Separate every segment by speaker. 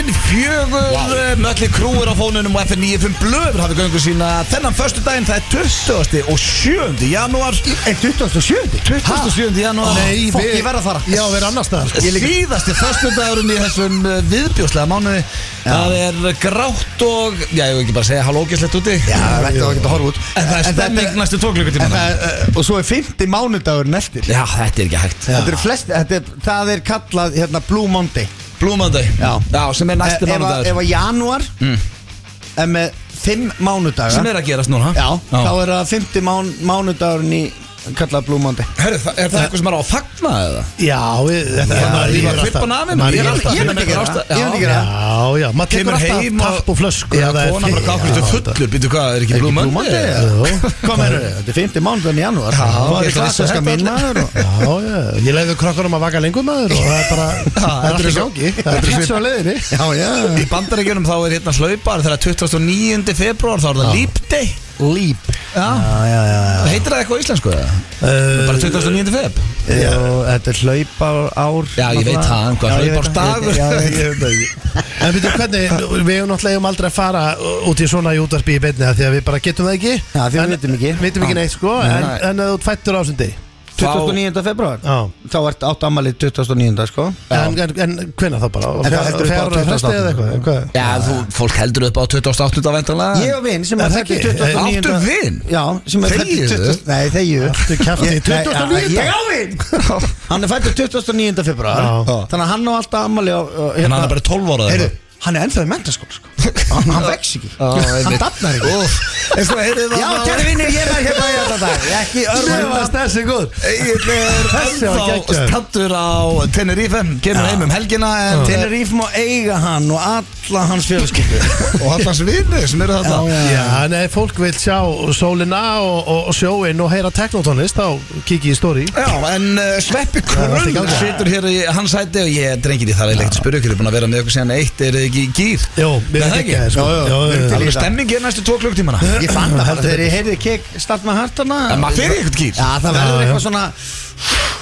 Speaker 1: fjögur wow. Mölli krúir á fónunum og FN95 Blöður hafi göngu sína þennan förstu daginn það er 20. og 7. janúar
Speaker 2: En 27.
Speaker 1: 27. janúar
Speaker 2: Nei,
Speaker 1: Fokk,
Speaker 2: við-
Speaker 1: ég verð að fara
Speaker 2: Já, við erum annars staðar, sko.
Speaker 1: Ég líka Síðasti förstu dagurinn í þessum uh, viðbjóslega mánuði Það er grátt og Já, ég vil ekki bara segja halvókislegt úti
Speaker 2: Já, þetta var ekki að horfa út
Speaker 1: En það er stemming næstu
Speaker 2: En
Speaker 1: tóklukkutíma
Speaker 2: það, eh, Og svo er 50 mánudagur nestir
Speaker 1: Já, þetta er ekki hægt
Speaker 2: Þetta er flest, þetta er, það er kallað hérna Blue Monday
Speaker 1: Blúmandi
Speaker 2: Já.
Speaker 1: sem er næstu
Speaker 2: Eh, ef að- Ef
Speaker 1: mánudagur
Speaker 2: að janúar er með 5 mánudagar
Speaker 1: Sem er að gerast núna
Speaker 2: Já, þá er það 50 mán, mánudagurinn í kallað Blue Monday
Speaker 1: Herru, þa- er það eitthvað sem er á að fagna eða?
Speaker 3: Já, við, þetta
Speaker 2: Já, ég
Speaker 3: maður-
Speaker 1: Ég
Speaker 2: er
Speaker 1: var að flippa nafnum
Speaker 3: maður
Speaker 1: Ég
Speaker 3: er
Speaker 1: er
Speaker 3: alltaf-
Speaker 1: alltaf
Speaker 2: ég myndi ekki gera það, ég myndi ekki gera það.
Speaker 3: Já, já, maður
Speaker 1: Tekur
Speaker 3: kemur
Speaker 1: alltaf
Speaker 3: heim
Speaker 1: tapp
Speaker 3: tapp og flösku
Speaker 1: Já,
Speaker 3: ef það er
Speaker 1: konan bara
Speaker 3: fimm-
Speaker 1: kákustu
Speaker 3: Já,
Speaker 1: fullur Býtu hvað, er ekki
Speaker 2: Ekki
Speaker 1: Blue
Speaker 2: Blue
Speaker 1: Monday?
Speaker 2: Monday,
Speaker 1: eða?
Speaker 3: Jú.
Speaker 2: Hvað meður þau? Þetta er 50 mánudagur í janúar
Speaker 1: Já, ég ætla að
Speaker 2: Það er
Speaker 1: lesa
Speaker 2: klassiska
Speaker 1: þetta.
Speaker 2: minn maður og-
Speaker 3: Já, já, ég leiði krökkunum að vaka lengur maður og það er bara, það er
Speaker 2: Þetta
Speaker 3: allt
Speaker 2: er
Speaker 3: í
Speaker 2: svo
Speaker 3: gangi
Speaker 2: Þetta er pizza á leiðinni Já, já
Speaker 1: Í bandarækjunum þá er hérna hlaupar Þegar 29. februar þá er það Leap Day
Speaker 2: Leap
Speaker 1: Já,
Speaker 3: Já, já, já
Speaker 1: heitir það eitthvað á íslensku eða?
Speaker 3: Uh,
Speaker 1: Bara 29. feb
Speaker 2: Og þetta er hlaupár
Speaker 1: Já, ég veit það, en hvað, hlaupársdagur?
Speaker 2: Já, ég
Speaker 3: Ég veit það ekki. En veitum hvernig, við hefum náttúrulega eigum aldrei að fara út í svona í útvarpi í beinni af Því að við bara getum það ekki
Speaker 2: Já, því við
Speaker 3: En-
Speaker 2: vitum ekki.
Speaker 3: Vitum
Speaker 2: Já.
Speaker 3: ekki neitt sko, en,
Speaker 1: Nei.
Speaker 3: en að þú ert fættur á þessum degi
Speaker 2: 29. februar
Speaker 3: Já.
Speaker 2: Þá ert átt ammalið 29. sko
Speaker 3: En, en, en hvenær þá bara?
Speaker 2: En það heldur upp á
Speaker 3: Fjárra fresti
Speaker 2: 28.
Speaker 3: eða eitthvað? eitthvað?
Speaker 1: Já, þú, fólk heldur upp á 28. vendanlega
Speaker 2: Ég og vinn sem
Speaker 3: Er
Speaker 2: er
Speaker 3: það
Speaker 2: fæddur
Speaker 3: ekki?
Speaker 2: 29.
Speaker 1: Áttu vin?
Speaker 2: Já, sem er fæddur
Speaker 1: Þegiðu?
Speaker 2: 20. Nei, þegju
Speaker 3: Aftur kjafti, 29.
Speaker 2: Ég á vinn Hann er fættur 29. februar
Speaker 3: Já.
Speaker 2: Þannig að hann á alltaf ammali
Speaker 1: Þannig að hann Hérna er bara 12 ára
Speaker 2: Heyrðu, hann er ennþá í mentaskóla sko. Hann hann vex ekki Hann dafnar ekki
Speaker 1: ekki
Speaker 2: Já, kæri vinnir, ég var hérna í alltaf dag Ekki örfum
Speaker 3: þessi góð
Speaker 1: Egil er
Speaker 3: Þessi var
Speaker 1: ennþá
Speaker 3: geggjaður.
Speaker 1: stattur á Tenerife Kemur heim um helgina en
Speaker 2: Tenerife má eiga hann og alla hans fjölskyldu
Speaker 1: Og allans vinni sem eru
Speaker 2: Já,
Speaker 1: þetta
Speaker 2: já.
Speaker 3: Já, en ef fólk vil sjá sólina og, og, og sjóin og heyra teknotónlist þá kikið í stóri
Speaker 1: Já, en uh, Sveppi
Speaker 3: það er allt
Speaker 1: Krull
Speaker 3: í gangi.
Speaker 1: situr hér í hans hætti og ég drengir í það er leikt spyrja ykkur, ég er búin að vera með ykkur síðan eitt, er þið ekki í gýr?
Speaker 3: Jó, mér
Speaker 1: Nei,
Speaker 3: er
Speaker 1: það
Speaker 3: ekki
Speaker 1: ekki.
Speaker 3: sko.
Speaker 2: Jó, jó, við erum til í
Speaker 1: Alveg
Speaker 2: það.
Speaker 1: stemmingi er næstu tvo klukktímana
Speaker 2: Ég fann það bara þegar ég heyrði kikk start með hartana
Speaker 1: En maður fyrir eitthvað gýr
Speaker 2: Já, það
Speaker 3: Já,
Speaker 2: verður
Speaker 3: já.
Speaker 2: eitthvað svona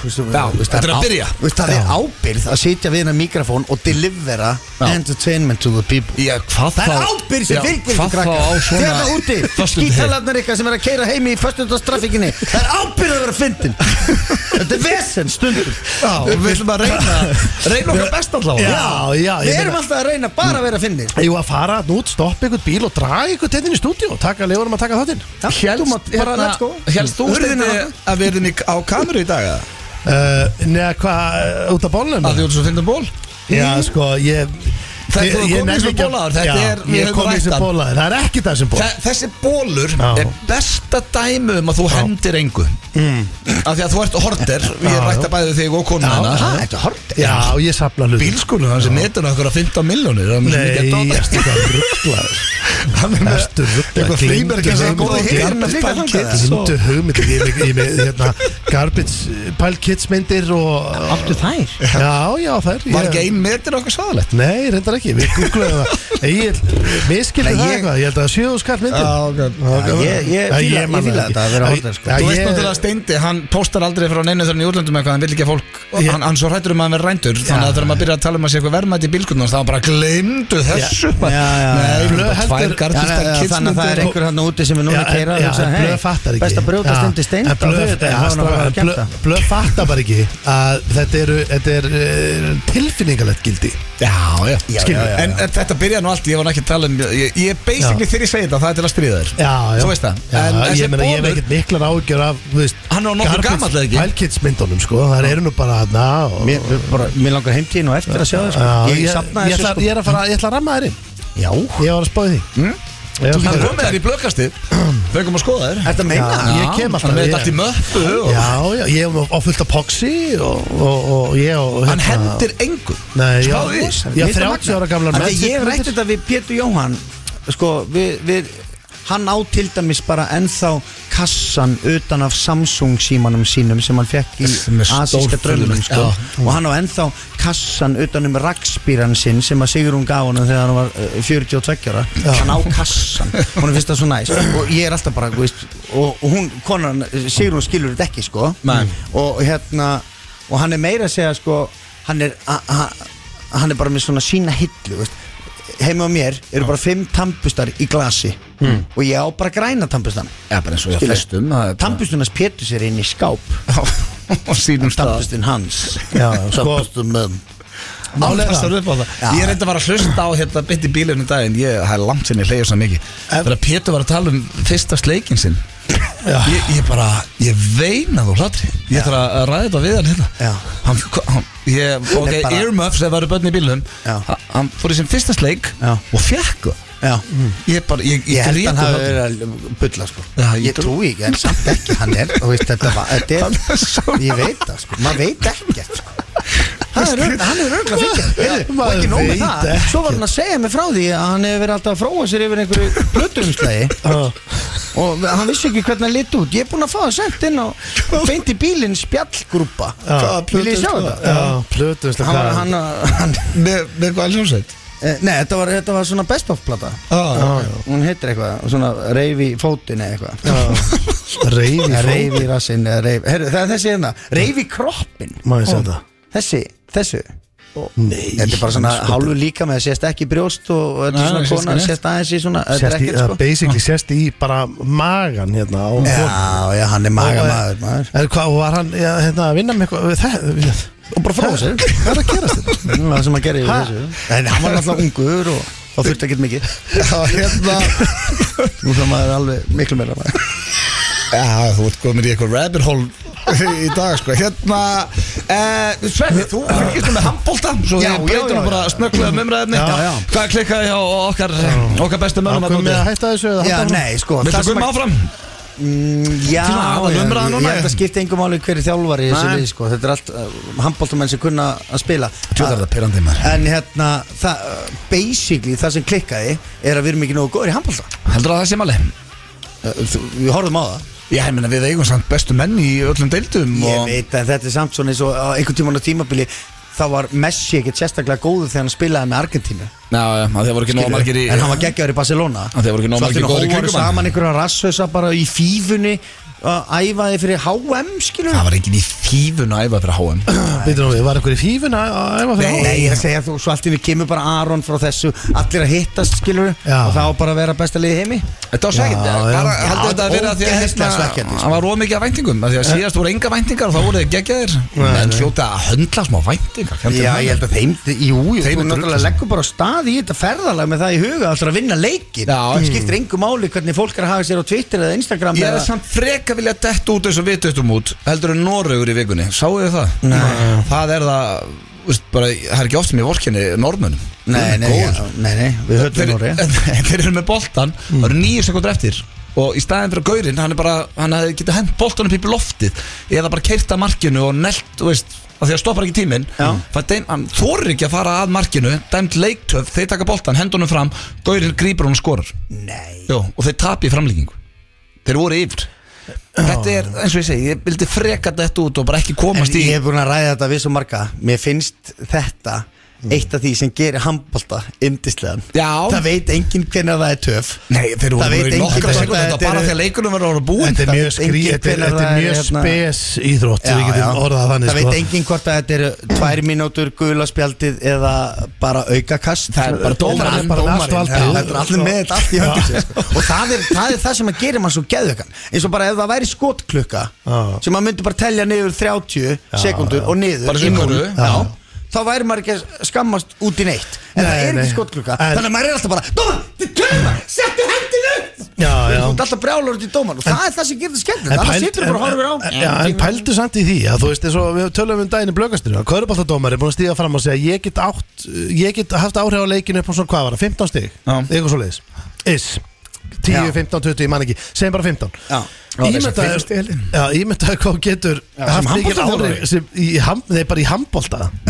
Speaker 1: Já, þetta er að byrja
Speaker 2: Á- Veist, það er ábyrð að sitja við hennar mikrofón og delivera entertainment to the people
Speaker 1: Já, hvað
Speaker 2: Það er ábyrð sem fylgir
Speaker 1: Hvað þá á svona
Speaker 2: Þegar það Hérna úti,
Speaker 1: föstudag?
Speaker 2: skítalarnar ykkar sem er að keira heimi í föstundastræfíkinni Það er ábyrð að vera fyndin Þetta er vesen stundum
Speaker 1: Já, við ætlum að reyna Reyna okkar best allavega
Speaker 3: Já, já,
Speaker 2: Við
Speaker 3: ég
Speaker 2: erum alltaf að reyna bara að vera fyndin
Speaker 3: Jú að fara þarna út, stoppa ykkur bíl og draga ykkur teinninn í stúdíu Takka leifurum að taka þáttinn
Speaker 1: Hélst
Speaker 2: bara let's go.
Speaker 1: Hélst þú
Speaker 2: Hurðin
Speaker 1: steindi
Speaker 2: er
Speaker 1: að við erum í- á kameru í dag eða?
Speaker 3: uh, Neða hvað, uh, út af bólnum
Speaker 1: Að þið voru svo fyndum ból?
Speaker 3: Já, sko, ég
Speaker 1: Það-
Speaker 3: ég-
Speaker 1: þú
Speaker 3: ég
Speaker 1: komið í
Speaker 3: nenni
Speaker 1: þessum
Speaker 3: ekki að-
Speaker 1: bólaður, þetta
Speaker 3: Já,
Speaker 1: er- við
Speaker 3: Ég
Speaker 1: höfum
Speaker 3: kom í
Speaker 1: rætt
Speaker 3: þessu
Speaker 1: hann.
Speaker 3: bólaður, það er ekki þessum ból
Speaker 1: Þe- Þessi bólur
Speaker 3: Já.
Speaker 1: er besta dæmi um að þú hendir engu
Speaker 2: Mm.
Speaker 1: Af því að þú ert horter Við
Speaker 3: Já,
Speaker 1: erum rætt
Speaker 3: já.
Speaker 1: að bæði þig og konu
Speaker 2: Ha,
Speaker 1: hennar
Speaker 2: Þetta er hortið
Speaker 3: Já, ég sapna hlut
Speaker 1: Bílskúlum hans er metur okkur að 15 miljónir
Speaker 3: Nei, erstu hvað rugglaður
Speaker 1: Hann er með
Speaker 3: Erstu rugglaður
Speaker 1: Eitthvað flýmer kannski að góða hérna líka
Speaker 3: Glindu hugmynd Ég er með- ég er með hérna, garbage eh, pile kids myndir og
Speaker 2: Áttu þær?
Speaker 3: Já, já, það er
Speaker 1: Var ekki ein metur okkur svaðalegt
Speaker 3: Nei, reyndar ekki, við googlaðum það Ég
Speaker 2: Nei,
Speaker 3: miskildi það
Speaker 2: ég-
Speaker 3: eitthvað, ég held að það sjöðu skall myndir
Speaker 1: Já, ok.
Speaker 2: Já, ég- ég
Speaker 3: Já,
Speaker 2: fíla- ég
Speaker 3: man
Speaker 2: fíla
Speaker 3: það ekki.
Speaker 2: þetta að vera
Speaker 3: Já,
Speaker 2: hortnar, sko.
Speaker 3: já,
Speaker 1: Þú veist
Speaker 3: ég-
Speaker 1: náttúrulega að Steindi, hann póstar aldrei frá neinu þörn í úrlöndum eitthvað, hann vil ekki að fólk
Speaker 3: Ég-
Speaker 1: hann, hann svo hrættur um að hann vera rændur þannig að þegar maður byrjar að tala um að sé eitthvað verðmætt í bílskundunum þá hann bara gleymdu þessu
Speaker 2: Já, já, já.
Speaker 1: Nei,
Speaker 3: Blöð
Speaker 1: bara tvær
Speaker 2: Já,
Speaker 3: heldur-
Speaker 2: já,
Speaker 1: gardistar
Speaker 2: já, Þannig að það er
Speaker 1: kidsmyndir
Speaker 2: einhver hann úti sem er núna
Speaker 3: Já,
Speaker 2: að
Speaker 3: en-
Speaker 2: keira og
Speaker 3: já,
Speaker 2: hugsa,
Speaker 3: en
Speaker 2: hey,
Speaker 3: Blöð fattar ekki
Speaker 2: Best að brjóta
Speaker 3: Já,
Speaker 2: stundi stein
Speaker 3: en Blöð- já, strákar, Blöð- Blöð fattar bara ekki að þetta eru, þetta er eh, tilfinningalegt gildi
Speaker 1: Já, já,
Speaker 3: Skilur.
Speaker 1: já, já. En, en þetta byrja nú allt, ég var nú ekki að tala um ég, ég basically þegar ég segi þetta, það er til að stríða þér
Speaker 3: Já, já
Speaker 1: Þú veist það.
Speaker 3: já,
Speaker 1: En þessi
Speaker 3: Ég meina, ég hef
Speaker 1: bolur-
Speaker 3: ekkert miklar ágjör af, þú veist
Speaker 1: Hann er nokkuð gamall, eða ekki?
Speaker 3: Pælkitsmyndunum, sko, það eru nú bara na, og,
Speaker 2: Mér, bara, mér langar heimtíðin og eftir að sjá það sko.
Speaker 3: Já,
Speaker 2: Ég
Speaker 3: ég,
Speaker 2: sapnaði
Speaker 3: ég,
Speaker 2: þessu
Speaker 3: ætla,
Speaker 2: sko
Speaker 3: ég, er að fara, ég ætla að ramma þér inn
Speaker 2: Já
Speaker 3: Ég var að spáði því
Speaker 1: Hm?
Speaker 3: mm?
Speaker 1: Hann kom með þér í blökastið Þau kom að skoða þér
Speaker 2: Þetta meina
Speaker 3: Já,
Speaker 2: það?
Speaker 3: ég kem alltaf,
Speaker 1: Hann með
Speaker 3: ég-
Speaker 1: þetta allt í möppu og
Speaker 3: Já, já, ég hef á fullt af poxi og, og, og ég og hérna-
Speaker 1: Hann hendir engu
Speaker 3: Nei, já,
Speaker 1: Spáðu því.
Speaker 3: já,
Speaker 2: Mér finnst það
Speaker 3: 30 ára
Speaker 2: magnað.
Speaker 3: gamlar
Speaker 2: Af því að
Speaker 3: menn-
Speaker 2: Ég hef rætt þetta við Pétur Jóhann Sko, við, við Hann á til dæmis bara ennþá kassan utan af Samsung símanum sínum sem hann fekk í
Speaker 1: Sem er
Speaker 2: asíska
Speaker 1: stórfurðulegt,
Speaker 2: drömmum sko.
Speaker 1: já.
Speaker 2: og hann á ennþá kassan utan um rakspýran sinn sem að Sigrun gaf honum þegar hann var eh, 42 ára hann á kassan, hún finnst það svo næst og ég er alltaf bara, þú veist og og hún, konan, eh, Sigrun skilur þetta ekki sko
Speaker 1: Nei.
Speaker 2: og hérna og hann er meira að segja sko hann er, a, a, hann er bara með svona sína hillu veist. heima á mér eru bara fimm tampustar í glasi og ég á bara græna tampustan
Speaker 1: Já, bara eins og ég
Speaker 2: Skilur.
Speaker 1: Hmm. flestum það er bara-
Speaker 2: Tampustunars pétur sér inn í skáp
Speaker 1: Og sínum stað
Speaker 2: Tampustun hans Tampustun með
Speaker 1: Málega
Speaker 3: Málega.
Speaker 1: passar upp á það
Speaker 2: Já.
Speaker 1: Ég reyndi bara að hlusta á hérna bytt í bílunum daginn Ég það er langt sinni hleyja svo mikið Þegar Pétur var að tala um fyrsta sleikin sinn ég, ég bara, ég veinaði úr hlátri Ég þarf að ræða þetta við hann hérna
Speaker 2: Já.
Speaker 1: hann, hann, ég, Ok,
Speaker 2: er bara-
Speaker 1: earmuffs ef það eru börn í bílunum
Speaker 2: Já.
Speaker 1: Hann- Hann fór í sem fyrsta sleik
Speaker 2: Já.
Speaker 1: Og fjekk það.
Speaker 2: Já
Speaker 1: Ég bara, ég, um
Speaker 2: Ég
Speaker 1: ég,
Speaker 2: held
Speaker 1: grét
Speaker 2: hann
Speaker 1: úr
Speaker 2: hafi
Speaker 1: hlátri.
Speaker 2: verið að bulla sko
Speaker 1: Já, ég
Speaker 2: Ég,
Speaker 1: trú-
Speaker 2: trúi ekki, en samt ekki hann er Þú veist, þetta var,
Speaker 1: Hann
Speaker 2: þetta
Speaker 1: er svo-
Speaker 2: er Ég veit það sko, maður veit ekkert sko Hann er örugglega- hann er örgla fyrir Og
Speaker 3: Maður
Speaker 2: ekki nóg með
Speaker 3: veit
Speaker 2: það
Speaker 3: ekkert.
Speaker 2: Svo var hann að segja mig frá því að hann hefur verið alltaf að fróa sér yfir einhverju blöduumslægi Og hann vissi ekki hvernig hann lit út Ég er búinn að fá það sent inn á Beint í bílinn spjallgrúpa Vil ég sjá þetta?
Speaker 3: Plötumsla
Speaker 2: Hann, var- hann, hann,
Speaker 1: Með, með hvað hljómsveit?
Speaker 2: eh, nei, þetta var, þetta var svona best of plata
Speaker 1: Ah.
Speaker 2: Hún heitir eitthvað, svona reyfi fótinn eða eitthvað
Speaker 3: Reyfi
Speaker 2: Eða Reif í rassinn eða reif Herru, það er þessi hérna Reif í kroppin
Speaker 3: Má ég sjá þetta?
Speaker 2: Þessi, þessu
Speaker 3: Nei
Speaker 2: Þetta er bara svona hálfu líka með Sérst ekki í brjóst og, og þetta
Speaker 1: Nei,
Speaker 2: er svona
Speaker 1: nei, sést ekki neitt.
Speaker 2: kona Sérst aðeins í svona Þetta er
Speaker 3: Sérst í,
Speaker 2: ekkert
Speaker 3: sko.
Speaker 2: sko
Speaker 3: basically sérst í bara magan hérna á
Speaker 2: Já, já, hann er maga maður maður
Speaker 3: En hvað, var hann já, hérna, að vinna með eitthvað við það? Við,
Speaker 2: Og bara fróða sér
Speaker 3: hvað er að gerast þetta?
Speaker 2: Það var sem að gera í
Speaker 3: Ha?
Speaker 2: þessu En hann var náttúrulega ungur og þá þurfti ekki mikið
Speaker 1: Já, hérna
Speaker 2: Nú það maður alveg miklu meira maður
Speaker 1: Já, þú ert komin í eitthvað rabbit hole í dag, sko Hérna, uh, Svenni, þú fylgist með handbólta Svo
Speaker 2: Já,
Speaker 1: ég breytur
Speaker 2: já,
Speaker 1: nú
Speaker 2: já,
Speaker 1: bara
Speaker 2: já.
Speaker 1: snögglega um umræðinni
Speaker 2: Já, já.
Speaker 1: Hvað klikkaði hjá okkar, okkar bestu mönnum
Speaker 3: Ákveðum við að
Speaker 1: úti?
Speaker 3: hætta þessu eða
Speaker 2: Já,
Speaker 3: halda áfram?
Speaker 2: nei, sko
Speaker 1: Viltu
Speaker 2: það sem
Speaker 1: guðma
Speaker 2: að-
Speaker 1: áfram?
Speaker 2: Mm, Já,
Speaker 1: Svona aðal
Speaker 2: já,
Speaker 1: umræða
Speaker 2: ég
Speaker 1: núna,
Speaker 2: ég held
Speaker 1: já.
Speaker 2: að skipta engum máli hverju þjálfari í þessu
Speaker 1: Nei.
Speaker 2: lið, sko. Þetta er allt handbóltamenn sem kunna að spila
Speaker 1: Tjóðar það perandi maður
Speaker 2: En hérna, það, uh, basically það sem klikkaði er að við erum ekki nógu góður í handbólta
Speaker 1: Heldur það sé máli?
Speaker 2: Uh, þú- Við horfum á það
Speaker 1: Já, ég meina við eigum samt bestu menn í öllum deildum
Speaker 2: Ég
Speaker 1: og...
Speaker 2: veit að þetta er samt svona eins og á einhvern tímann á tímabili þá var Messi ekkert sérstaklega góður þegar hann spilaði með Argentínu
Speaker 1: Já, já, af því að það voru ekki nóg margir í
Speaker 2: En hann var geggjaður í Barcelona
Speaker 1: Að þeir voru ekki nógu margir góðir í
Speaker 2: Svo allt í
Speaker 1: kringum
Speaker 2: einu
Speaker 1: hann.
Speaker 2: hóvaru saman einhverja rasshausa bara í fífunni að æfaði fyrir HM skilur
Speaker 1: Það var enginn í fífun að æfa fyrir HM
Speaker 3: Býtum við, var einhver í fífun að að æfa
Speaker 2: Nei,
Speaker 3: fyrir háa?
Speaker 2: ég er að segja þú, svo allt í við kemur bara Aron frá þessu, allir að hittast skilur
Speaker 3: Já.
Speaker 2: og þá bara að vera besta liði heimi
Speaker 1: Þetta var svekkjandi,
Speaker 3: Já, já.
Speaker 1: bara
Speaker 2: Já,
Speaker 1: heldur þetta að vera því að
Speaker 2: ógeðslega
Speaker 1: hérna-
Speaker 2: svekkjandi, sko.
Speaker 1: Það var ómikið af væntingum, af því að síðast voru enga væntingar og þá voru þið geggjaðir En hljóta að höndla smá væntingar kenndi
Speaker 2: Já,
Speaker 1: hann.
Speaker 2: ég held að þeim, jú,
Speaker 1: Þeim
Speaker 2: jú þú
Speaker 1: er
Speaker 2: náttúrulega
Speaker 1: drullið.
Speaker 2: leggur bara á stað í þetta ferðalag með það í huga alltaf að vinna leikin
Speaker 1: Já.
Speaker 2: það skiptir engu máli hvernig fólk er að hafa sér á Twitter eða Instagram
Speaker 1: Ég er
Speaker 2: eða,
Speaker 1: samt freka vilja dett út eins og við dettum út Heldur en Norraugur í vikunni, sáu þið það? Nei Það er það, veist, bara, það er ekki oft sem ég vorkenni normunum
Speaker 2: nei, nei, já, nei, nei, við höfum
Speaker 1: Þeir,
Speaker 2: Nóri
Speaker 1: þeir eru með boltan, það
Speaker 2: Mm.
Speaker 1: eru nýju sekundur eftir Og í staðin fyrir gaurinn, hann er bara, hann hefði getið hent boltan upp í loftið Eða bara keirt að markinu og nelt, þú veist, af því að stoppar ekki tíminn
Speaker 2: Já.
Speaker 1: Það deim, hann þorir ekki að fara að markinu, dæmt leiktöf, þeir taka boltan, hendunum fram Gaurinn grípur hún og skorar
Speaker 2: Nei,
Speaker 1: Jó, og þeir tapi í framlíkingu Þeir voru yfir Þetta er, eins og ég segi, ég vildi freka þetta út og bara ekki
Speaker 2: en
Speaker 1: komast í
Speaker 2: ég hef búin að ræða þetta við svo marga mér finnst þetta eitt af því sem gerir handbolta yndislegan
Speaker 1: Já.
Speaker 2: það veit enginn hvernig það er töf
Speaker 1: Nei, þeir voru
Speaker 2: Það
Speaker 1: bara
Speaker 2: veit
Speaker 1: í
Speaker 2: enginn
Speaker 1: nokkra
Speaker 2: hvort
Speaker 1: sekundur
Speaker 2: þetta
Speaker 1: Þetta var bara
Speaker 2: eru-
Speaker 1: þegar leikunum verður að vera búin
Speaker 3: Þetta er
Speaker 2: Það
Speaker 3: mjög
Speaker 2: veit
Speaker 3: skrí,
Speaker 2: enginn
Speaker 3: þetta er-
Speaker 2: hvenær
Speaker 3: þetta er
Speaker 2: það er
Speaker 3: mjög
Speaker 2: hérna-
Speaker 3: spes íþrótt Við getum orðað þannig sko.
Speaker 2: það veit enginn hvort að þetta eru tvær mínútur gulaspjaldið eða bara aukakast
Speaker 1: Það er bara dómarinn,
Speaker 2: Það er
Speaker 3: bara
Speaker 2: dómarinn.
Speaker 3: allt valdið.
Speaker 2: Já, það er allir með þetta allt í höndum sér sko. og það er, það er það sem að gera mann svo geðvökan eins og bara ef það væri skotklukka
Speaker 3: Já.
Speaker 2: sem maður myndi bara telja niður 30 sekundur
Speaker 1: Bara
Speaker 2: og niður
Speaker 1: sem
Speaker 2: í
Speaker 1: í körfu.
Speaker 2: núll.
Speaker 1: Já.
Speaker 2: Já. þá væri maður ekki að skammast út í neitt en
Speaker 3: Nei,
Speaker 2: það er
Speaker 3: nei.
Speaker 2: ekki skotklukka
Speaker 3: En-
Speaker 2: þannig að maður er alltaf bara dómar, þið döma, settu hendinu
Speaker 3: Já, já
Speaker 2: þú ert alltaf brjálur út í dómar og það er það sem gerir það skemmt
Speaker 3: En
Speaker 2: annars
Speaker 3: pælt-
Speaker 2: situr bara og horfir á
Speaker 3: en- Já, en pældu samt í því að þú veist eins og við tölum um daginn í blöggastunum að Körubaltadómar er búin að stíða fram og segja ég get, átt, ég get haft áhrif á leikinu upp á svona hvað var það, 15 stig
Speaker 1: Já.
Speaker 3: eitthvað svo leiðis, is 10, 15, 20, ég man ekki, segjum bara 15
Speaker 2: Já.
Speaker 1: Já, þessar fimm stig,
Speaker 3: Ímyndaðu
Speaker 1: Elín.
Speaker 3: Já, ímyndaðu hvað þú getur
Speaker 2: Já, sem
Speaker 3: haft mikil
Speaker 2: handboltaþjálfari.
Speaker 3: áhrif sem í ham- nei, bara í handbolta
Speaker 2: Já.
Speaker 3: sem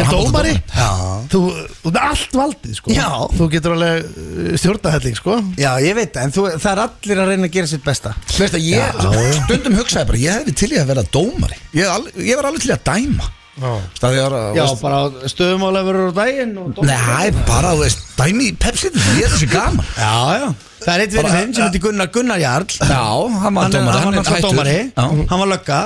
Speaker 1: Bara handboltadómari.
Speaker 3: dómari
Speaker 2: Já.
Speaker 3: þú, þú er allt valdið sko
Speaker 2: Já.
Speaker 3: þú getur alveg uh, stjórnahelling sko
Speaker 2: Já, ég veit það, en þú, það er allir að reyna að gera sitt besta
Speaker 1: Þú veist að ég
Speaker 3: Já.
Speaker 1: stundum hugsaði bara Ég hefði til í að vera dómari Ég, al, ég var alveg til í að dæma Það er
Speaker 2: Já,
Speaker 1: veist,
Speaker 2: bara stöðumálefur á daginn og
Speaker 1: Nei, bara þú veist, dæmi í pepsið Ég er þessi gaman
Speaker 2: Já, já Það er eitt verið þeim sem heitir Gunnar Gunnar Jarl
Speaker 1: Já, hann var
Speaker 2: Hann er-
Speaker 1: dómari, hann
Speaker 2: Hann var
Speaker 1: er
Speaker 2: náttúrulega
Speaker 1: hættur.
Speaker 2: dómari
Speaker 1: Já.
Speaker 2: Hann var lögga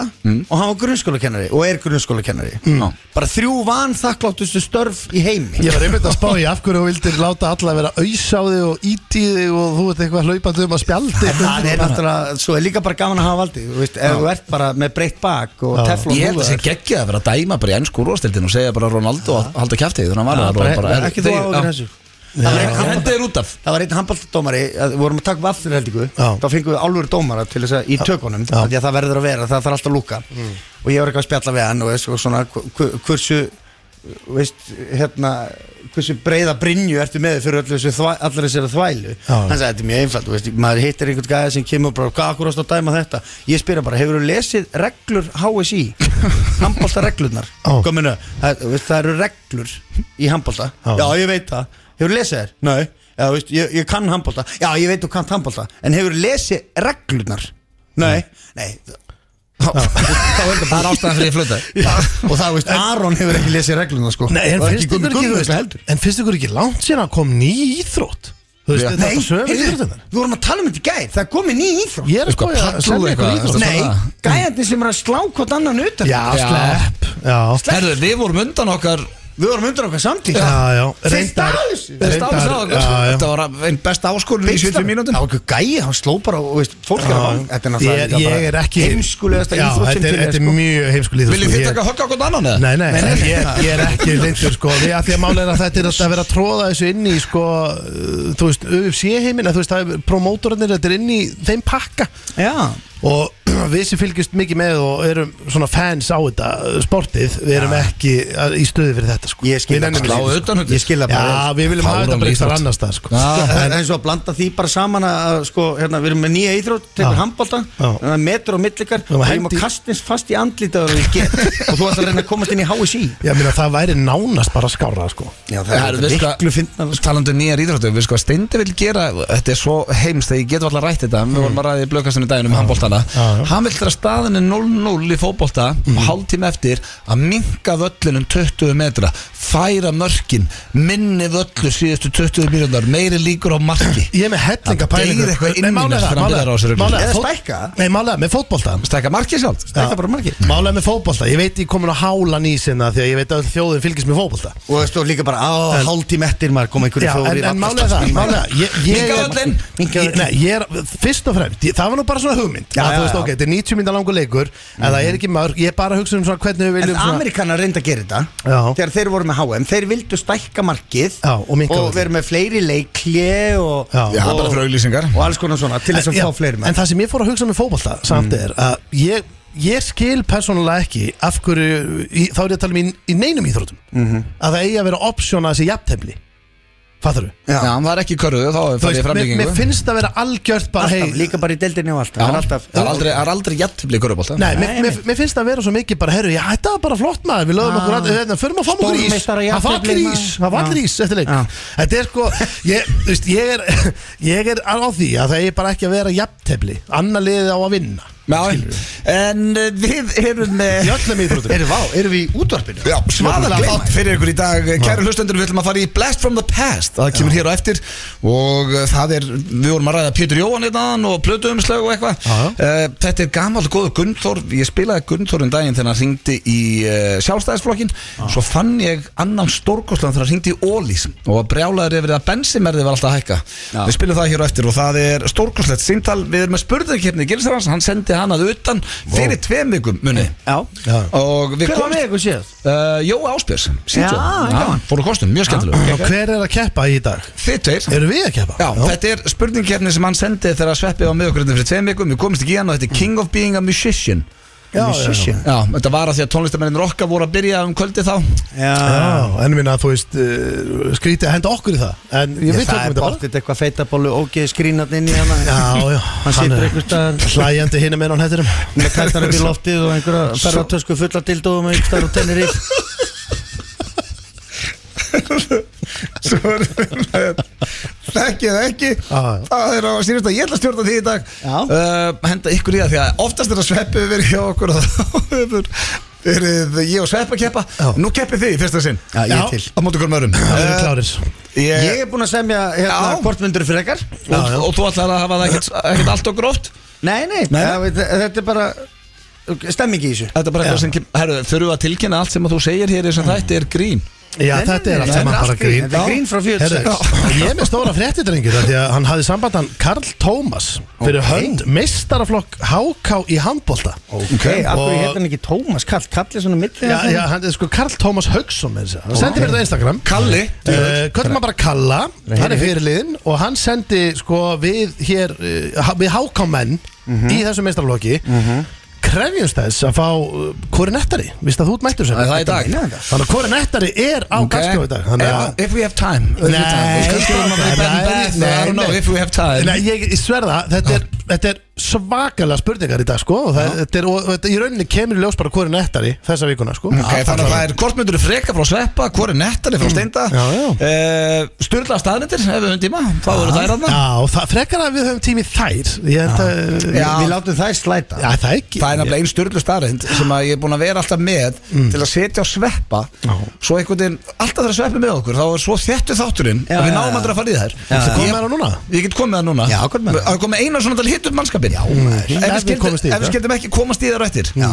Speaker 2: Og hann var grunnskólakennari Og er grunnskólakennari
Speaker 1: Mm.
Speaker 2: Bara þrjú van þakkláttustu störf í heimi
Speaker 3: Ég var einmitt að spá í af hverju þú vildir láta alla vera auðs á þig og ít í þig og þú ert eitthvað hlaupandi um að spjaldi
Speaker 2: Það er náttúrulega Svo er líka bara gaman að hafa valdi Þú veist, Ef þú ert bara með breytt bak Og
Speaker 3: Já.
Speaker 2: teflon
Speaker 1: Ég held að það sé geggjað að vera að dæma bara í ennsku úrvastildin og segja bara Ronaldo að halda kæftið þannig að
Speaker 2: Já,
Speaker 1: hann var
Speaker 2: bara-
Speaker 1: það bara
Speaker 2: ekki þú
Speaker 1: þeir-
Speaker 2: áhyggjur
Speaker 1: já.
Speaker 2: þessu. Það var einn
Speaker 1: Já,
Speaker 2: handbolta-
Speaker 1: Hendið er út af
Speaker 2: Það var einn handbóltadómari, við vorum að taka vaflur held ykkur
Speaker 3: Já.
Speaker 2: Þá fengum við álfur dómara til þess að í tökunum
Speaker 3: Já. Mm.
Speaker 2: af Því að það verður að vera, það þarf alltaf að lúka Og ég var eitthvað að spjalla við hann og veist, og svona hv- hv- Hversu, veist, hérna Hversu breiða brinju ertu með fyrir öllu þessu, þvæ- allir þessari þvælu
Speaker 3: Já.
Speaker 2: Hann sagði, þetta er mjög einfalt, þú veist, maður hittir einhvern gæða sem kemur bara Hvað akkur ást að dæma þetta? Ég spyr hann bara, hefur þú lesið reglur HSI? handbólta
Speaker 3: Já.
Speaker 2: Kominu, það, þú veist, það eru reglur í handbólta
Speaker 3: Já.
Speaker 2: Já, ég veit það Hefur lesið þér? Nei Já, veist, ég, ég kann handbólta Já, ég veit þú kann handbólta En hefur lesið reglurnar? Nei Nei Þá þá er þetta
Speaker 1: Það er
Speaker 2: bara
Speaker 1: ástæðan fyrir ég flöta
Speaker 2: ástæðan Og það, veist, Aron hefur ekki lesið reglurnar, sko
Speaker 3: Nei, en
Speaker 2: Og
Speaker 3: finnst
Speaker 2: Gummi
Speaker 3: ykkur ekki, þú
Speaker 2: Guðmunds
Speaker 3: veist, en finnst ykkur ekki langt síðan að kom ný íþrótt Þú veist,
Speaker 1: Já.
Speaker 3: þetta
Speaker 2: Nei,
Speaker 3: er sögur
Speaker 2: heyrðu,
Speaker 3: íþróttinnar
Speaker 2: við vorum að tala um þetta í gær Það er komið ný íþrótt
Speaker 3: Ég er
Speaker 1: Sko,
Speaker 3: sko að
Speaker 1: pallur
Speaker 3: selja ykkur
Speaker 1: eitthvað,
Speaker 3: íþrótt
Speaker 1: veistu
Speaker 2: Nei,
Speaker 1: það-
Speaker 2: gæjarnir sem er að slá hvort annan utan
Speaker 3: Já,
Speaker 1: Já.
Speaker 3: slepp Já,
Speaker 1: Herðu, við vorum undan okkar
Speaker 2: Við vorum undan okkar samtík
Speaker 3: já, já
Speaker 2: Þeir stálu þessu. Þeir
Speaker 1: stálu
Speaker 3: reyndar-
Speaker 1: sér á okkur.
Speaker 3: já, já.
Speaker 1: Þetta var einn besta áskorun í 70 mínútum
Speaker 2: Það var eitthvað gæi, hann sló bara og veist, fólk er
Speaker 3: Já,
Speaker 2: að fá Þetta er
Speaker 3: ég,
Speaker 2: náttúrulega
Speaker 3: ég er ekki
Speaker 2: heimskulegasta
Speaker 3: Já,
Speaker 2: íþrótt sem
Speaker 3: þetta
Speaker 2: til
Speaker 3: er-
Speaker 2: er,
Speaker 3: Þetta er
Speaker 2: sko.
Speaker 3: mjög heimskuleg íþrótt
Speaker 1: Viljum
Speaker 3: sko.
Speaker 1: þið
Speaker 3: Ég-
Speaker 1: taka högg á hvort annan eða?
Speaker 3: Nei, nei,
Speaker 2: Nei, nei.
Speaker 3: Ég, ég er ekki lindur sko því að því að málega er að þetta er að vera að tróða þessu inn í sko, uh, þú veist, UFC heiminn að þú veist, það er promótorarnir, þetta er inn í þeim pakka
Speaker 2: Já,
Speaker 3: og við sem fylgjast mikið með og erum svona fans á þetta uh, sportið, við erum ekki uh, í stöði fyrir þetta sko
Speaker 2: ég skil það
Speaker 3: Við nennum
Speaker 2: bara.
Speaker 1: Slá
Speaker 3: ekki.
Speaker 1: utan hundið.
Speaker 2: Ég skil það bara
Speaker 3: Já, við viljum hafa þetta
Speaker 1: Fáránleg
Speaker 3: bara eitthvað
Speaker 1: íþrótt.
Speaker 3: annars það sko
Speaker 2: Það er eins og að blanda því bara saman að að, sko, hérna, við erum með nýja íþrótt, tekur
Speaker 3: Já.
Speaker 2: handbólta
Speaker 3: Já.
Speaker 2: hérna, metur og millikar
Speaker 3: erum
Speaker 2: og
Speaker 3: að
Speaker 2: ég má
Speaker 3: hendi-
Speaker 2: kastins fast í andlitaður og ég get og þú ætlar að reyna að komast inn í HSI
Speaker 3: Ég meina það væri nánast bara skárra sko
Speaker 2: Já,
Speaker 1: Það er
Speaker 2: miklu finnar
Speaker 1: Talandi um nýjar íþróttu Við sko að Steindi vil gera Þetta er svo heimst Þegar ég get alltaf rætt þetta Við vorum að ræði í blökastunni daginn um handbóltana
Speaker 3: Mm. Já, já. Mm.
Speaker 1: Hann vil þegar staðin er 0-0 í fótbólta Og hálftíma eftir Að minka völlin um 20 metra Færa mörkin Minni völlu síðustu 20 mínúndar Meiri líkur á marki
Speaker 3: Ég er með hellinga
Speaker 1: Það deyr
Speaker 3: pælingu
Speaker 1: eitthvað inn í
Speaker 3: Nei, málega
Speaker 1: mér
Speaker 3: það,
Speaker 1: þegar hann byrjar á þessu rugli.
Speaker 3: málega
Speaker 2: Eða
Speaker 3: það, fót-
Speaker 2: stækka.
Speaker 3: Nei, málega með fótbolta
Speaker 1: Stækka marki sjálf
Speaker 2: Stækka bara margir
Speaker 3: Málega með fótbolta, ég veit ég komin að hálan í sinna því að ég veit að öll þjóðin fylgist með fótbolta
Speaker 2: og það stóð líka bara á
Speaker 3: En-
Speaker 2: hálftíma eftir maður koma einhverju
Speaker 3: Já, en, en málega það málega, ég, ég,
Speaker 1: Minnka völlinn.
Speaker 2: Minnka
Speaker 3: Ég- Nei, ég er fyrst og fremst, ég, það var nú bara svona hugmynd
Speaker 2: Já,
Speaker 3: að,
Speaker 2: já,
Speaker 3: Þú veist,
Speaker 2: já.
Speaker 3: ok, þetta er 90 mynda langur leikur En það er ekki mörg, ég er bara að hugsa um svona hvernig við
Speaker 2: En
Speaker 3: viljum svona,
Speaker 2: Amerikanar reynda að gera þetta
Speaker 3: Já.
Speaker 2: Þegar þeir voru með HM Þeir vildu stækka markið
Speaker 3: Já, og minnka völlinn.
Speaker 2: vera með fleiri leiklje og,
Speaker 3: Já.
Speaker 1: Já,
Speaker 2: og,
Speaker 1: bara fyrir auglýsingar
Speaker 2: og alls konar svona Til þess að
Speaker 3: já,
Speaker 2: fá fleiri
Speaker 3: En
Speaker 2: með
Speaker 3: það sem ég fór að hugsa með fótbolta samt er að ég, ég skil persónulega ekki af hverju, í, þá er ég að tala um í, í neinum íþrótum að það eigi að vera option að þessi jafntefli Fattar þú?
Speaker 1: Já, það er ekki í körfu Þá er það í
Speaker 3: mér,
Speaker 1: framlengingu
Speaker 3: mér finnst það vera algjört bara
Speaker 2: Alltaf,
Speaker 3: hei,
Speaker 2: Líka bara í deildinni og allt
Speaker 1: Já,
Speaker 2: Það er alltaf-
Speaker 1: Það er aldrei- það er aldrei jættibli í körfubólta
Speaker 3: Nei, mér,
Speaker 2: Nei,
Speaker 3: mér, mér finnst það vera svo mikið bara, herru, já, þetta var bara flott maður, við lögum
Speaker 2: Já.
Speaker 3: okkur að, hérna, förum að fá okkur ís,
Speaker 2: Stórmeistara
Speaker 3: það var
Speaker 2: jafntefli,
Speaker 3: allir ís,
Speaker 2: maður. Ah.
Speaker 3: það var allir
Speaker 2: Já.
Speaker 3: ís eftir leik,
Speaker 2: Já.
Speaker 3: þetta er sko, ég, þú veist, ég er, ég er á því að það er bara ekki að vera jafntefli, annar liðið á að vinna,
Speaker 1: Já, En eh, við erum með
Speaker 3: í öllum íþrótum.
Speaker 2: Erum við, erum við í útvarpinu?
Speaker 1: Já, svaðalega
Speaker 2: Gleyma
Speaker 1: þátt fyrir ykkur í dag Kæru hlustendur, við ætlum að fara í Blast from the Past Það kemur hér á eftir Og uh, það er, við vorum að ræða Pétur Jóhann einnaðan Og plötuumslag og eitthvað
Speaker 3: Já, já.
Speaker 1: uh, Þetta er gamall góðu Gunnþór Ég spilaði Gunnþór um daginn þegar hann hringdi í uh, sjálfstæðisflokkin Svo fann ég annan stórkoslan þegar hann hringdi í Ólís Og var brjálaður yfir að bensimerði var alltaf að hækka
Speaker 2: Já.
Speaker 1: Við spilum það hér á eftir og það er stórkoslegt Sýntal, við erum með spurningakeppni Gilsarans, hann sendi hann að utan Fyrir tveim vikum, muni
Speaker 2: Já
Speaker 3: Já.
Speaker 1: Og við
Speaker 2: Hver var
Speaker 1: komumst-
Speaker 2: með ykkur séð?
Speaker 1: Uh, Jói Áspjörs, síðan
Speaker 2: Já, gaman.
Speaker 1: Fóru kostum, mjög
Speaker 3: Og
Speaker 1: skemmtileg
Speaker 3: hver er að keppa í dag?
Speaker 1: Þið tveir
Speaker 3: Eru við að keppa?
Speaker 1: Já, þetta er spurningkefni sem hann sendi þegar Sveppi var með okkur hérna fyrir tveim vikum Við komumst ekki í hann og þetta er King of Being a Musician
Speaker 3: já,
Speaker 2: Musician.
Speaker 1: Já, þetta var að því að tónlistamennin Rokka voru að byrja um kvöldi þá
Speaker 2: Já
Speaker 3: Já, en ég minna, þú veist, uh, skrítið að henda okkur í það, en ég
Speaker 2: Ég
Speaker 3: veit
Speaker 2: það
Speaker 3: okkur
Speaker 2: er
Speaker 3: um þetta bara.
Speaker 2: bortið eitthvað feitabólu ógeð skrínat inn í hana
Speaker 3: Já, já,
Speaker 2: Hann
Speaker 3: hann
Speaker 2: situr
Speaker 3: er-
Speaker 2: einhvers staðar
Speaker 3: Hlæjandi hinum en hann hættir
Speaker 2: með kættar upp í loftið og einhverja
Speaker 1: Svo-
Speaker 2: ferðartösku fulla dildóðum einhvers staðar og tennir í
Speaker 1: Þekki eða ekki
Speaker 3: Já.
Speaker 1: Það er á sínust að ég ætla að stjórna því í dag Eh,
Speaker 2: Já.
Speaker 1: uh, Henda ykkur í það því að oftast er að Sveppi hefur verið hjá okkur og þá hefur Eruð ég og Sveppa keppa
Speaker 3: Já.
Speaker 1: Nú keppið þið í fyrsta sinn
Speaker 2: Já, ég er til.
Speaker 1: Á móti hverjum örum
Speaker 3: Það
Speaker 2: Eh,
Speaker 3: er klárir
Speaker 1: Ég
Speaker 2: Ég er búinn að semja hérna
Speaker 1: Já.
Speaker 2: kortmyndur fyrir ekkar
Speaker 1: Og, og þú ætlar að hafa það ekkert, ekkert allt og gróft
Speaker 2: Nei, nei,
Speaker 1: Nei.
Speaker 2: það- þetta er bara Stemming í þessu
Speaker 1: Þetta er bara eitthvað sem kem- Herru, þurfum við að tilkynna allt sem að þú segir hér Þess að þetta er grín
Speaker 3: Já,
Speaker 2: Nei, nei,
Speaker 3: þetta
Speaker 2: nei,
Speaker 3: er allt
Speaker 2: þetta
Speaker 3: saman
Speaker 2: er
Speaker 3: bara
Speaker 2: allt grín.
Speaker 3: grín
Speaker 2: Þetta er grín frá 46.
Speaker 3: Herðu, Ég er með stóra frétti drengir af Því að hann hafði sambandan Karl Tómas Fyrir
Speaker 2: Ok.
Speaker 3: hönd meistaraflokk HK í handbolta
Speaker 2: Ok, af hverju
Speaker 3: og-
Speaker 2: hérna hann ekki Tómas Kall, Kall er svona milli
Speaker 3: Já, já, hann er sko Karl Tómas Haugsson með þessu Hann sendi mér þetta á Instagram
Speaker 1: Kalli
Speaker 3: Uh, hvernig maður bara kalla, hann er fyrirliðin og hann sendi sko við hér, uh, ha- við hákámenn
Speaker 1: Mhm.
Speaker 3: í þessum meistarflokki krefjumst þess að fá uh, korinettari, vist að þú ert mættur sem
Speaker 1: Það er það í dag
Speaker 3: þannig að korinettari er á okay. í dag þannig að
Speaker 1: Ef- If we have time If we have time.
Speaker 3: Nei. sko,
Speaker 1: Kannski erum að vera í Ben
Speaker 3: Nei,
Speaker 1: Beth,
Speaker 3: nei,
Speaker 1: I don't know
Speaker 3: nei.
Speaker 1: If we have time
Speaker 3: Nei, ég, ég sverða,
Speaker 1: Ah.
Speaker 3: þetta er, þetta er svakalega spurningar í dag sko og, það, þetta er, og þetta í rauninni kemur í ljós bara hvori nettari þessa vikuna sko
Speaker 1: Ok, þannig að það er hvort myndur freka frá sveppa, hvort er nettari frá steinda
Speaker 3: Mm. Já, já.
Speaker 1: uh, Sturla staðnettir, ef við höfum tíma Þá eru þær aðna
Speaker 3: Já, og það, frekar að við höfum tími í þær Ég held að
Speaker 1: Ah. Já.
Speaker 2: Við látum það slæta
Speaker 3: Já, það er ekki
Speaker 1: Það er nefnilega einn styrlu staðrind sem að ég er búin að vera alltaf með til að setja á sveppa svo einhvern veginn, alltaf þegar sveppi með okkur þá er svo þjættu þátturinn
Speaker 2: Já,
Speaker 1: að við
Speaker 2: já,
Speaker 1: náum
Speaker 2: já.
Speaker 1: aldrei að fara í þær
Speaker 3: Þú
Speaker 1: Ég-
Speaker 3: komið með hana núna?
Speaker 1: Ég get komið það núna
Speaker 2: Já, komið með það.
Speaker 1: Það er komið eina svona til að hitta upp mannskapin Já,
Speaker 3: Ef við
Speaker 1: Ef við skildum- ef
Speaker 3: komumst í
Speaker 1: við
Speaker 3: þetta.
Speaker 1: skildum ekki komast í það rættir
Speaker 2: Já.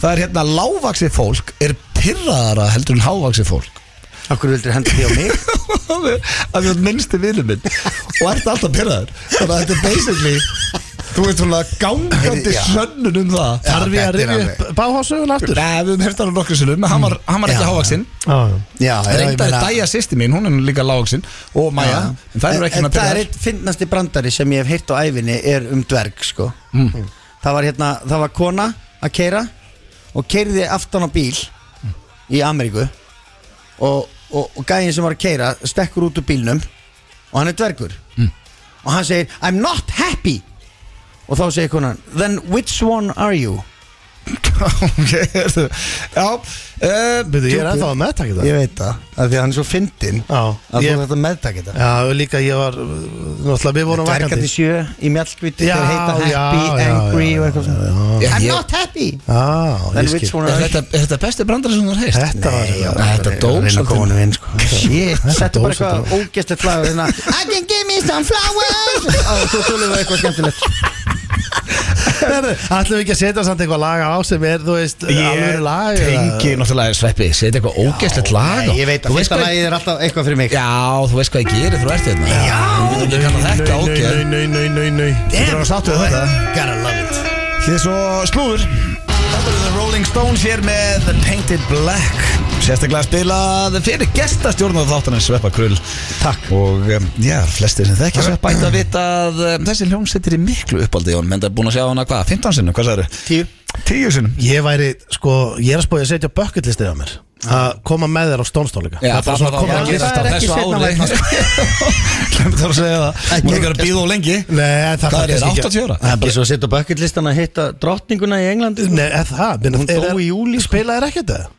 Speaker 1: Það er hérna lávaxið fólk er pyrraðara heldur en hávaxið fólk
Speaker 2: Af hverju vildur henda því á mig?
Speaker 1: Það er- að þú ert minnsti vinur minn og ert alltaf pyrraður þannig að þetta er basically þú veist svona gangandi
Speaker 2: Já.
Speaker 1: sönnun um það
Speaker 3: Þarf ég að
Speaker 2: þetta er
Speaker 3: rifja upp báhásögun aftur?
Speaker 1: Nei, við höfum hert hann nokkur sinnum hann var, hann var ekki
Speaker 2: Já.
Speaker 1: hávaksinn
Speaker 2: Já, já, ég
Speaker 1: reyndar
Speaker 2: meina-
Speaker 1: er dæja sýsti mín, hún er nú líka lágvaksinn og Maja, en það eru ekki
Speaker 2: en
Speaker 1: svona
Speaker 2: það er
Speaker 1: pyrraðar
Speaker 2: eitt finnasti brandari sem ég hef heyrt á æfinni er um dverg sko.
Speaker 1: Mm.
Speaker 2: það var hérna það var kona að keira og keiriði aftan á bíl í Ameríku og, og, og gæðin sem var að keira stekkur út úr bílnum og hann er dvergur
Speaker 1: Mm.
Speaker 2: og hann segir I'm not happy og þá segir konan then which one are you
Speaker 1: Ok, heyrðu. Já, eh,
Speaker 3: Byrðu, ég er ennþá að meðtaka þetta
Speaker 2: veit það, af því að hann er svo fyndin
Speaker 3: Já, ég,
Speaker 2: þetta meðtaka þetta
Speaker 3: já, og líka ég var Náttúrulega, við vorum
Speaker 2: Dvergarnir
Speaker 3: vakandi
Speaker 2: sjö í mjallkvíti
Speaker 3: Já,
Speaker 2: þeir heita happy,
Speaker 3: já, já,
Speaker 2: angry
Speaker 3: já,
Speaker 2: og eitthvað svona
Speaker 1: já,
Speaker 2: I'm
Speaker 1: ég-
Speaker 2: not happy
Speaker 3: Já,
Speaker 2: Then
Speaker 3: ég
Speaker 2: which
Speaker 3: skil
Speaker 2: one
Speaker 1: er
Speaker 2: are
Speaker 1: þetta, er þetta besti brandari sem þú har heist?
Speaker 3: Þetta var
Speaker 1: þetta dóp svolítið.
Speaker 2: vinn sko Shit, þetta er bara
Speaker 3: dóp
Speaker 2: eitthvað ógæstlegt lag hérna, I can give me some flowers Og svo tölum við eitthvað skemmtilegt
Speaker 3: Herðu, Ætlum við ekki að setja samt eitthvað lag á sem er, þú veist, alveg lag
Speaker 1: tengi náttúrulega sveppi, setja eitthvað ógeðslegt lag á.
Speaker 2: Nei, Ég veit
Speaker 1: Þú
Speaker 2: að fyrsta
Speaker 1: hvað-
Speaker 2: lagið er alltaf eitthvað fyrir mig
Speaker 1: Já, þú veist hvað ég gerir, þú ert hérna Já, þú getur kannað þetta ágjör
Speaker 3: Nei, nei, nei, nei, nei
Speaker 1: Þú getur að sáttu við þetta
Speaker 2: Gotta love it
Speaker 1: Þið er svo slúður Þetta eru The Rolling Stones hér með The Painted Black Sérstaklega spilað fyrir gestastjórn á þáttanins Sveppa Krull
Speaker 2: Takk.
Speaker 1: Og um, já, flestir sem þekkja Sveppa ætti að vita að um, þessi hljómsettir í miklu uppaldi Jón Menn það er búin að sjá hana hvað, 15 sinnum, hvað sagður?
Speaker 2: Tíu
Speaker 1: 10 sinnum
Speaker 3: Ég væri, sko, ég er að spóið að setja bucketlistið á mér að koma með þér á stónstónleika
Speaker 1: Já, það var
Speaker 3: koma
Speaker 1: það
Speaker 3: að
Speaker 1: að
Speaker 2: að
Speaker 3: gera
Speaker 1: gerast á
Speaker 2: það er ekki
Speaker 1: þessu
Speaker 2: seinna
Speaker 1: ári
Speaker 2: vænna,
Speaker 1: Glemt að segja það Múið ekki að býða og lengi
Speaker 3: Nei,
Speaker 1: Hvað er
Speaker 3: það kannski
Speaker 1: þetta,
Speaker 3: ekki-
Speaker 1: 80 ára?
Speaker 2: Það er bara svo að setja á bucketlistan að hitta drottninguna í Englandi
Speaker 3: Nei, eða það minna,
Speaker 2: Hún dó
Speaker 3: er-
Speaker 2: í júlí, sko.
Speaker 3: Spilaði þér ekkert það?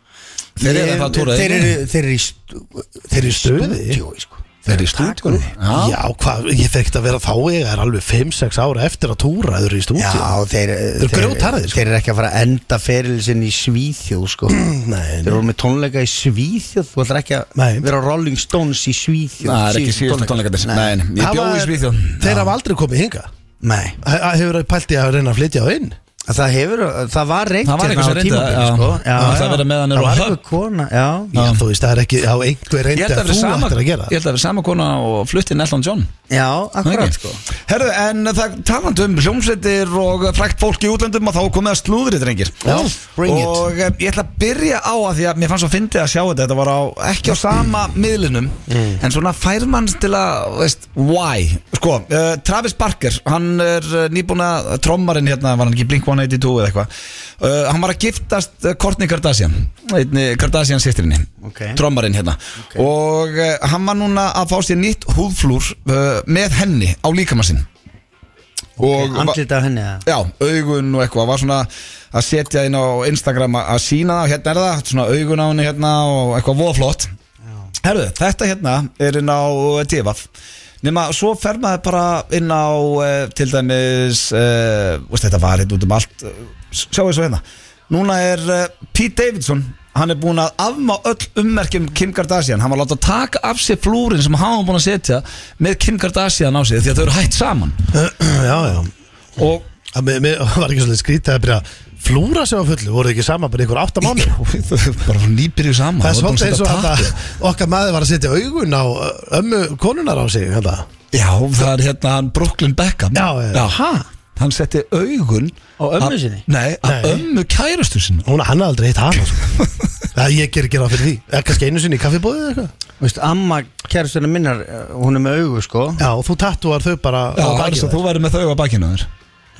Speaker 1: Þeir eru að fara að túra
Speaker 2: Þeir
Speaker 1: í-
Speaker 2: eru- þeir eru í stu-
Speaker 3: Þeir eru í stuði?
Speaker 2: Jú, sko
Speaker 1: Þeir eru í stúkunni
Speaker 3: Já, hvað, ég þekkt að vera þá ég er alveg 5-6 ára eftir að túra þeir eru í stúdíu
Speaker 2: Já, þeir,
Speaker 3: eru grjótharðir, sko.
Speaker 2: þeir eru ekki að fara að enda ferilsinn í Svíþjóð sko.
Speaker 3: Nei,
Speaker 2: Þeir eru með tónleika í Svíþjóð Þú ætlar ekki að
Speaker 3: Nei.
Speaker 2: vera á Rolling Stones í Svíþjóð
Speaker 1: Það er ekki síðustu tónleikarnir Nei, nei, ég
Speaker 3: Hafa
Speaker 1: bjóð í
Speaker 3: þeir-
Speaker 1: Svíþjóð
Speaker 3: Þeir hafa aldrei komið hinga
Speaker 2: Nei,
Speaker 3: Hefur það pælt í að reyna að flytja á inn
Speaker 2: það hefur, það var reynd
Speaker 1: Það var
Speaker 2: hérna
Speaker 1: eitthvað sem
Speaker 2: á
Speaker 1: reyndi,
Speaker 2: tímabili,
Speaker 1: já.
Speaker 2: sko. já,
Speaker 1: Það ætlaði að
Speaker 2: já.
Speaker 1: vera með hann eru
Speaker 2: Það
Speaker 1: á
Speaker 2: var
Speaker 1: höfn.
Speaker 2: eitthvað kona, já
Speaker 3: Já, þú veist, það er ekki á einhver
Speaker 1: Ég
Speaker 3: reyndi
Speaker 1: held að
Speaker 3: að
Speaker 1: vera
Speaker 3: þú
Speaker 1: sama
Speaker 3: ættir að gera
Speaker 1: Ég held að vera sama kona og flutti Nellan John
Speaker 2: Já, akkurat
Speaker 1: Ekki?
Speaker 2: sko
Speaker 1: Herðu, en það talandi um hljómsveitir og frækt fólk í útlöndum og þá er komið að slúðri, drengir
Speaker 2: Já, bring it.
Speaker 1: Og eh, ég ætla að byrja á að því að mér fannst svo fyndið að sjá þetta Þetta var á, ekki á sama miðlinum En svona fær mann til að, veist, why? Sko, uh, Travis Barker, hann er uh, nýbúna trommarinn hérna, var hann ekki Blink-182 eða eitthvað uh, Hann var að giftast uh, Kourtney Kardashian, einni Kardashian sýstirinni
Speaker 2: Ok.
Speaker 1: trommarinn hérna og uh, hann var núna að fá sér nýtt húðflúr uh, með henni á líkamann sinn og okay,
Speaker 2: Andlit af henni eða?
Speaker 1: já, augun og eitthvað var svona að setja inn á Instagram að- að sína það og hérna er það, svona augun á henni hérna og eitthvað voðaflott Herðu, þetta hérna er inn á divaf Nefna, svo fer maður bara inn á eh, uh, til dæmis, uh, veist, þetta var eh, hérna út um allt uh, sjáu þessu hérna Núna er uh, Pete Davidson Hann er búin að afmá öll ummerkjum Kim Kardashian Hann var láta taka af sér flúrin sem hann var búin að setja með Kim Kardashian á sig því að þau eru hætt saman
Speaker 3: já, já
Speaker 1: og
Speaker 3: Það með- með- það var ekki svolítið skrítið að byrja að flúra sem var fullu, voru þið ekki saman bara ykkur átta mánu
Speaker 1: Þau eru bara nýbyrju saman
Speaker 3: Það er
Speaker 1: Þau voru búin
Speaker 3: svolítið
Speaker 1: að
Speaker 3: eins
Speaker 1: setja
Speaker 3: og þetta
Speaker 1: tappi.
Speaker 3: okkar maður var að setja augun á ö, ömmu konunar á sig hérna. þetta.
Speaker 1: Já, það er hérna hann Brooklyn Beckham
Speaker 3: Já, já.
Speaker 1: ha? Hann setti augun
Speaker 2: Á ömmu
Speaker 1: að-
Speaker 2: sinni?
Speaker 1: Nei, að
Speaker 3: Nei.
Speaker 1: ömmu kærustu sinni
Speaker 3: Hún hann hafði aldrei hitt hana sko. Það ég ger ekki ráð fyrir því Eða kannski einu sinni í kaffibóðið eða eitthvað
Speaker 2: Veist, amma kærastunum minnar, eh, hún er með augu sko
Speaker 3: Já, og þú tattúar þau bara
Speaker 1: Já,
Speaker 3: á
Speaker 1: það er
Speaker 3: bakið
Speaker 1: svo
Speaker 3: þér.
Speaker 1: þú væri með þau á bakinu þér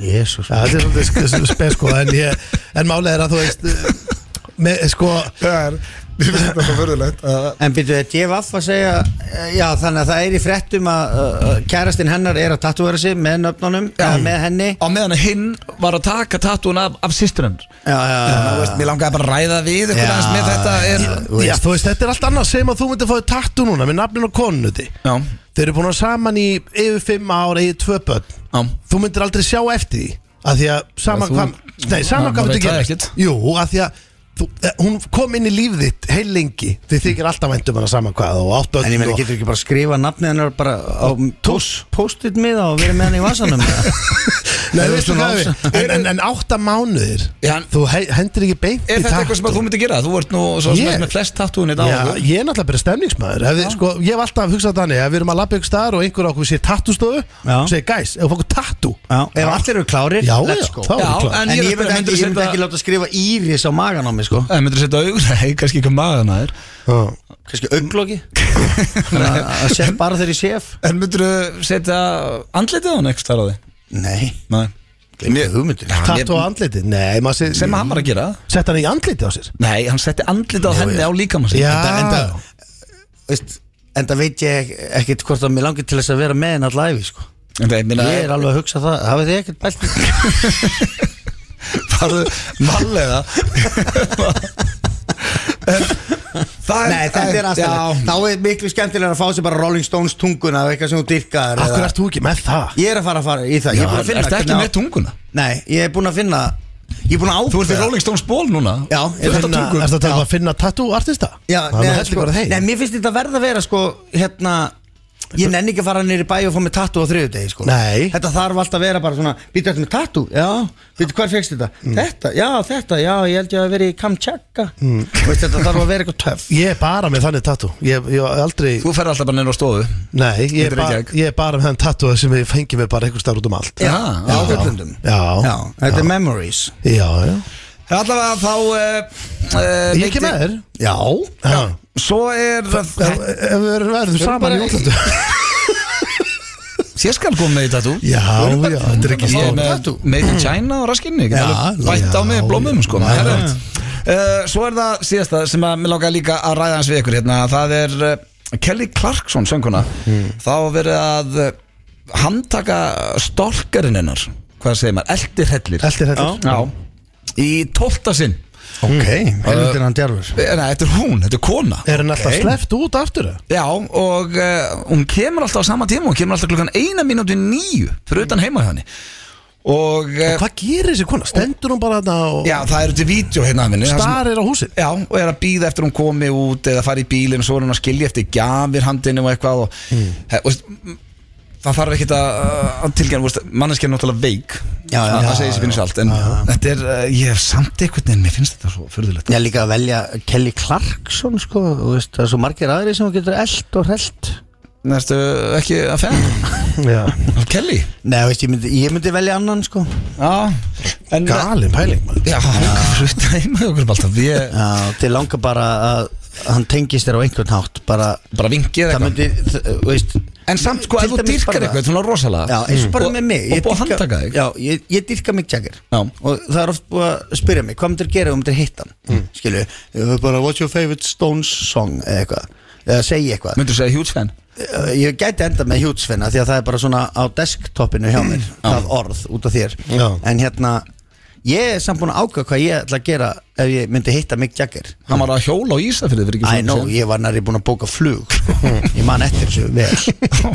Speaker 2: Jésús
Speaker 3: Já, þetta er svolítið sk- sk- spes sko En, ég- en málega er að þú veist ö, með, sko,
Speaker 1: Það er, ég finnst þetta förðulegt
Speaker 2: En byrju, þetta ég vaff að segja eh, Já, þannig að það er í fréttum að uh, kærastinn hennar er að tattúvera sig með nöfnunum, eða með henni
Speaker 1: Á meðan að hinn var að taka tattúin af, af sýstur hennar
Speaker 2: Já, já,
Speaker 1: Þú
Speaker 2: já,
Speaker 1: veist, Mér langaði bara að ræða við
Speaker 2: Já.
Speaker 1: einhvern aðeins með þetta er
Speaker 2: Þú
Speaker 3: já,
Speaker 2: veist.
Speaker 3: þú veist, þetta er allt annað sem að þú myndir fáið tattú núna með nafninu og konunuti
Speaker 1: Já,
Speaker 3: Þeir eru búin að vera saman í yfir fimm ár, yfir tvö börn
Speaker 1: já
Speaker 3: þú myndir aldrei sjá eftir því að því að sama
Speaker 1: þú-
Speaker 3: hvað nei, sama
Speaker 1: Ma-
Speaker 3: hvað
Speaker 1: maður
Speaker 3: myndir
Speaker 1: veit það
Speaker 3: gera
Speaker 1: ekkert.
Speaker 3: jú, að því að þú, eh, hún kom inn í líf þitt heil lengi því þykir alltaf væntum hana sama hvað og átt
Speaker 2: En ég
Speaker 3: börn
Speaker 2: meina,
Speaker 3: og
Speaker 2: getur ekki bara að skrifa nafnið hennar bara á post- post-it miða og verið með henni í vasanum
Speaker 3: Nei,
Speaker 2: Nei,
Speaker 3: veistu hvað við- en, en, en átta mánuðir
Speaker 1: Já, en-
Speaker 3: þú he, hendur ekki beint
Speaker 1: Er
Speaker 3: í
Speaker 1: þetta eitthvað sem að þú
Speaker 3: tattoo.
Speaker 1: myndir gera? Þú ert nú svo sem
Speaker 3: Ég-
Speaker 1: ert með flest tattúin í dag
Speaker 3: Já, ég er náttúrulega bara stemningsmaður Hef, sko, Ég hef alltaf hugsað þannig að við erum að labba ykkur staðar og einhver okkur sér tattústofu
Speaker 2: Já.
Speaker 3: og segir gæs, ef okkur tattú
Speaker 2: Já, ef allir eru klárir,
Speaker 3: Já,
Speaker 2: let's
Speaker 3: já,
Speaker 2: go
Speaker 3: þá-
Speaker 1: Já,
Speaker 3: klart.
Speaker 1: en
Speaker 2: En ég
Speaker 1: ég
Speaker 2: myndi
Speaker 1: myndir að
Speaker 2: ekki, ég myndi ekki
Speaker 1: setja
Speaker 2: láta skrifa íris á magan á mig, sko
Speaker 1: Það myndir að Eh, setja augun, nei, kannski ekki maðan að þér
Speaker 3: Já.
Speaker 2: Kanski augnloki Að sé bara þegar ég séf
Speaker 1: En myndir að setja andlitið á hann eitthvað þar á því?
Speaker 2: Nei,
Speaker 1: Nei
Speaker 2: glemdi hugmyndir
Speaker 3: Tattú á andliti Nei, maður sé-
Speaker 1: Sem hann var að gera
Speaker 3: Sett hann í andliti á sér
Speaker 1: Nei, hann setti andlitið á henni á líkamann sinn.
Speaker 3: Já,
Speaker 2: Enda- enda- veist, en það veit ég ek- ekkert hvort að mér langi til þess að vera með henn allæfi sko.
Speaker 1: En það, ég meina,
Speaker 2: ég er alveg að hugsa það, hafið þið ekkert bælt í-
Speaker 1: farðu mallega Það
Speaker 2: Nei, þetta er aðstæðan
Speaker 1: Já.
Speaker 2: þá er miklu skemmtilega að fá sér bara Rolling Stones tunguna af eitthvað sem þú dyrkaðar
Speaker 3: Akkur ert þú ekki með það?
Speaker 2: ég er að fara að fara í það ég er búin að finna
Speaker 1: Ertu ekki
Speaker 2: hvernig á-
Speaker 1: með tunguna?
Speaker 2: nei, ég er búin að finna ég er búin að ákveða
Speaker 1: Þú ert í Rolling Stones ból núna
Speaker 2: Já,
Speaker 1: Þú
Speaker 2: ég
Speaker 1: ert að
Speaker 2: finna-
Speaker 1: tungu
Speaker 3: Er þetta að tala um að finna tattoo artista?
Speaker 2: Já,
Speaker 3: það er
Speaker 2: nei,
Speaker 3: heldur
Speaker 2: sko,
Speaker 3: bara þeim
Speaker 2: nei, mér finnst þetta verða að vera sko, hérna, ég nenni ekki að fara nýri bæ og fá mig tattu á þriðudegi sko.
Speaker 3: Nei.
Speaker 2: þetta þarf alltaf að vera bara svona býttu eftir með tattu, já, býttu hvar fegst þetta
Speaker 1: Mm.
Speaker 2: þetta, já, þetta, já, ég held ég að vera í Kamchakka, mm. veist þetta þarf að vera eitthvað töff
Speaker 3: Ég er bara með þannig tattoo Ég ég hef aldrei
Speaker 1: Þú fer alltaf bara neina á stofu
Speaker 3: Nei, ég
Speaker 1: Þetta
Speaker 3: er,
Speaker 1: er
Speaker 3: ba
Speaker 1: ekki-
Speaker 3: ég er bara með þann tattoo sem ég fengi mig bara einhvers staðar út um allt
Speaker 1: Já,
Speaker 2: á
Speaker 1: já.
Speaker 2: völlundum
Speaker 3: Já.
Speaker 2: já, þetta er memories
Speaker 3: Já, já
Speaker 1: Allavega þá uh, uh,
Speaker 3: Ég kem með þér
Speaker 2: já,
Speaker 3: Já
Speaker 1: Svo er
Speaker 3: Ef ef við verðum- verðum saman í
Speaker 2: bara-
Speaker 3: útlandu
Speaker 1: Ég skal koma með í tattoo
Speaker 3: Já, já, þetta er
Speaker 1: Ég er
Speaker 3: ekki stóð
Speaker 1: með
Speaker 2: tattoo.
Speaker 1: Made in China á raskinni
Speaker 2: Já,
Speaker 1: Bætt á mig
Speaker 3: já,
Speaker 1: blómum sko
Speaker 3: já,
Speaker 1: maður
Speaker 3: já.
Speaker 1: er rétt. Eh, Svo er það síðasta sem að mér langaði líka að ræða hans við ykkur hérna Það er eh, Kelly Clarkson sönguna
Speaker 3: Hmm.
Speaker 1: Þá er verið að eh, handtaka storkarinn hennar Hvað segir maður? Eldir hellir
Speaker 3: Eltir hellir
Speaker 1: Já Í tólta sinn
Speaker 2: ok, helvitinn hann djarfur
Speaker 1: Eh, Nei, þetta er hún, þetta er kona
Speaker 3: Er hann alltaf
Speaker 2: Ok.
Speaker 3: sleppt út aftur? eða?
Speaker 1: Já, og uh, hún kemur alltaf á sama tíma Hún kemur alltaf klukkan eina mínúti nýju Fyrir utan heima hjá henni Og uh,
Speaker 3: Hvað gerir þessi kona? Stendur hún bara þarna og
Speaker 1: Já, það eru til vídeo hérna af henni þar sem-
Speaker 3: starir á húsið?
Speaker 1: Já, og er að býða eftir hún komi út eða fari í bílinn og svo er hún að skilja eftir gjafir handinu og eitthvað og,
Speaker 2: Hmm.
Speaker 1: mm. he, og, veist, það þarf ekkert að, að tilgjana manneskja er náttúrulega veik
Speaker 2: Já, já,
Speaker 1: það
Speaker 2: já,
Speaker 1: segir sér finnst allt en þetta er, uh, ég hef samt einhvern veginn mér finnst þetta svo fyrðulegt
Speaker 2: Já, líka að velja Kelly Clarkson, sko, þú veist, það er svo margir aðri sem þú getur eld og hreld.
Speaker 1: Næstu ekki að fenn
Speaker 3: Já
Speaker 1: af Kelly
Speaker 2: Nei, veist, ég myndi, ég myndi velja annan sko
Speaker 1: Já, en
Speaker 3: Galin pæling maður.
Speaker 1: Já, frutta heima hjá okkur um balta Við
Speaker 2: Já, þið langar bara að hann tengist þér á einhvern hátt bara,
Speaker 1: bara vingið
Speaker 2: það
Speaker 1: eitthvað
Speaker 2: myndi, þ- þú veist
Speaker 1: En samt sko,
Speaker 2: Til
Speaker 1: ef þú
Speaker 2: dæmis
Speaker 1: dyrkar
Speaker 2: bara-
Speaker 1: eitthvað, þú er rosalega
Speaker 2: Já, eins og bara
Speaker 1: Og-
Speaker 2: með mig
Speaker 1: Og
Speaker 2: ég
Speaker 1: búið að
Speaker 2: dýrka-
Speaker 1: handtaka þig
Speaker 2: Já, ég, ég dyrka mig Jagger
Speaker 1: Já.
Speaker 2: Og það er oft búið að spyrja mig, hvað myndir gera um myndir hitta hann mm. Skilju, þau bara, what's your favorite Stones song eða eitthvað eða segja eitthvað
Speaker 1: Myndur þú segja huge fan?
Speaker 2: Eh, Ég gæti enda með hjútsfinna því að það er bara svona á desktopinu hjá mér það orð út af þér
Speaker 3: Já.
Speaker 2: En hérna, ég er samt búin að ákveða hvað ég ætla að gera ef ég myndi hitta Mick Jagger
Speaker 1: Hann var að hjóla á Ísafirði fyrir ekki
Speaker 2: I know, ég var næri búin að bóka flug sko. Ég man eftir þessu vel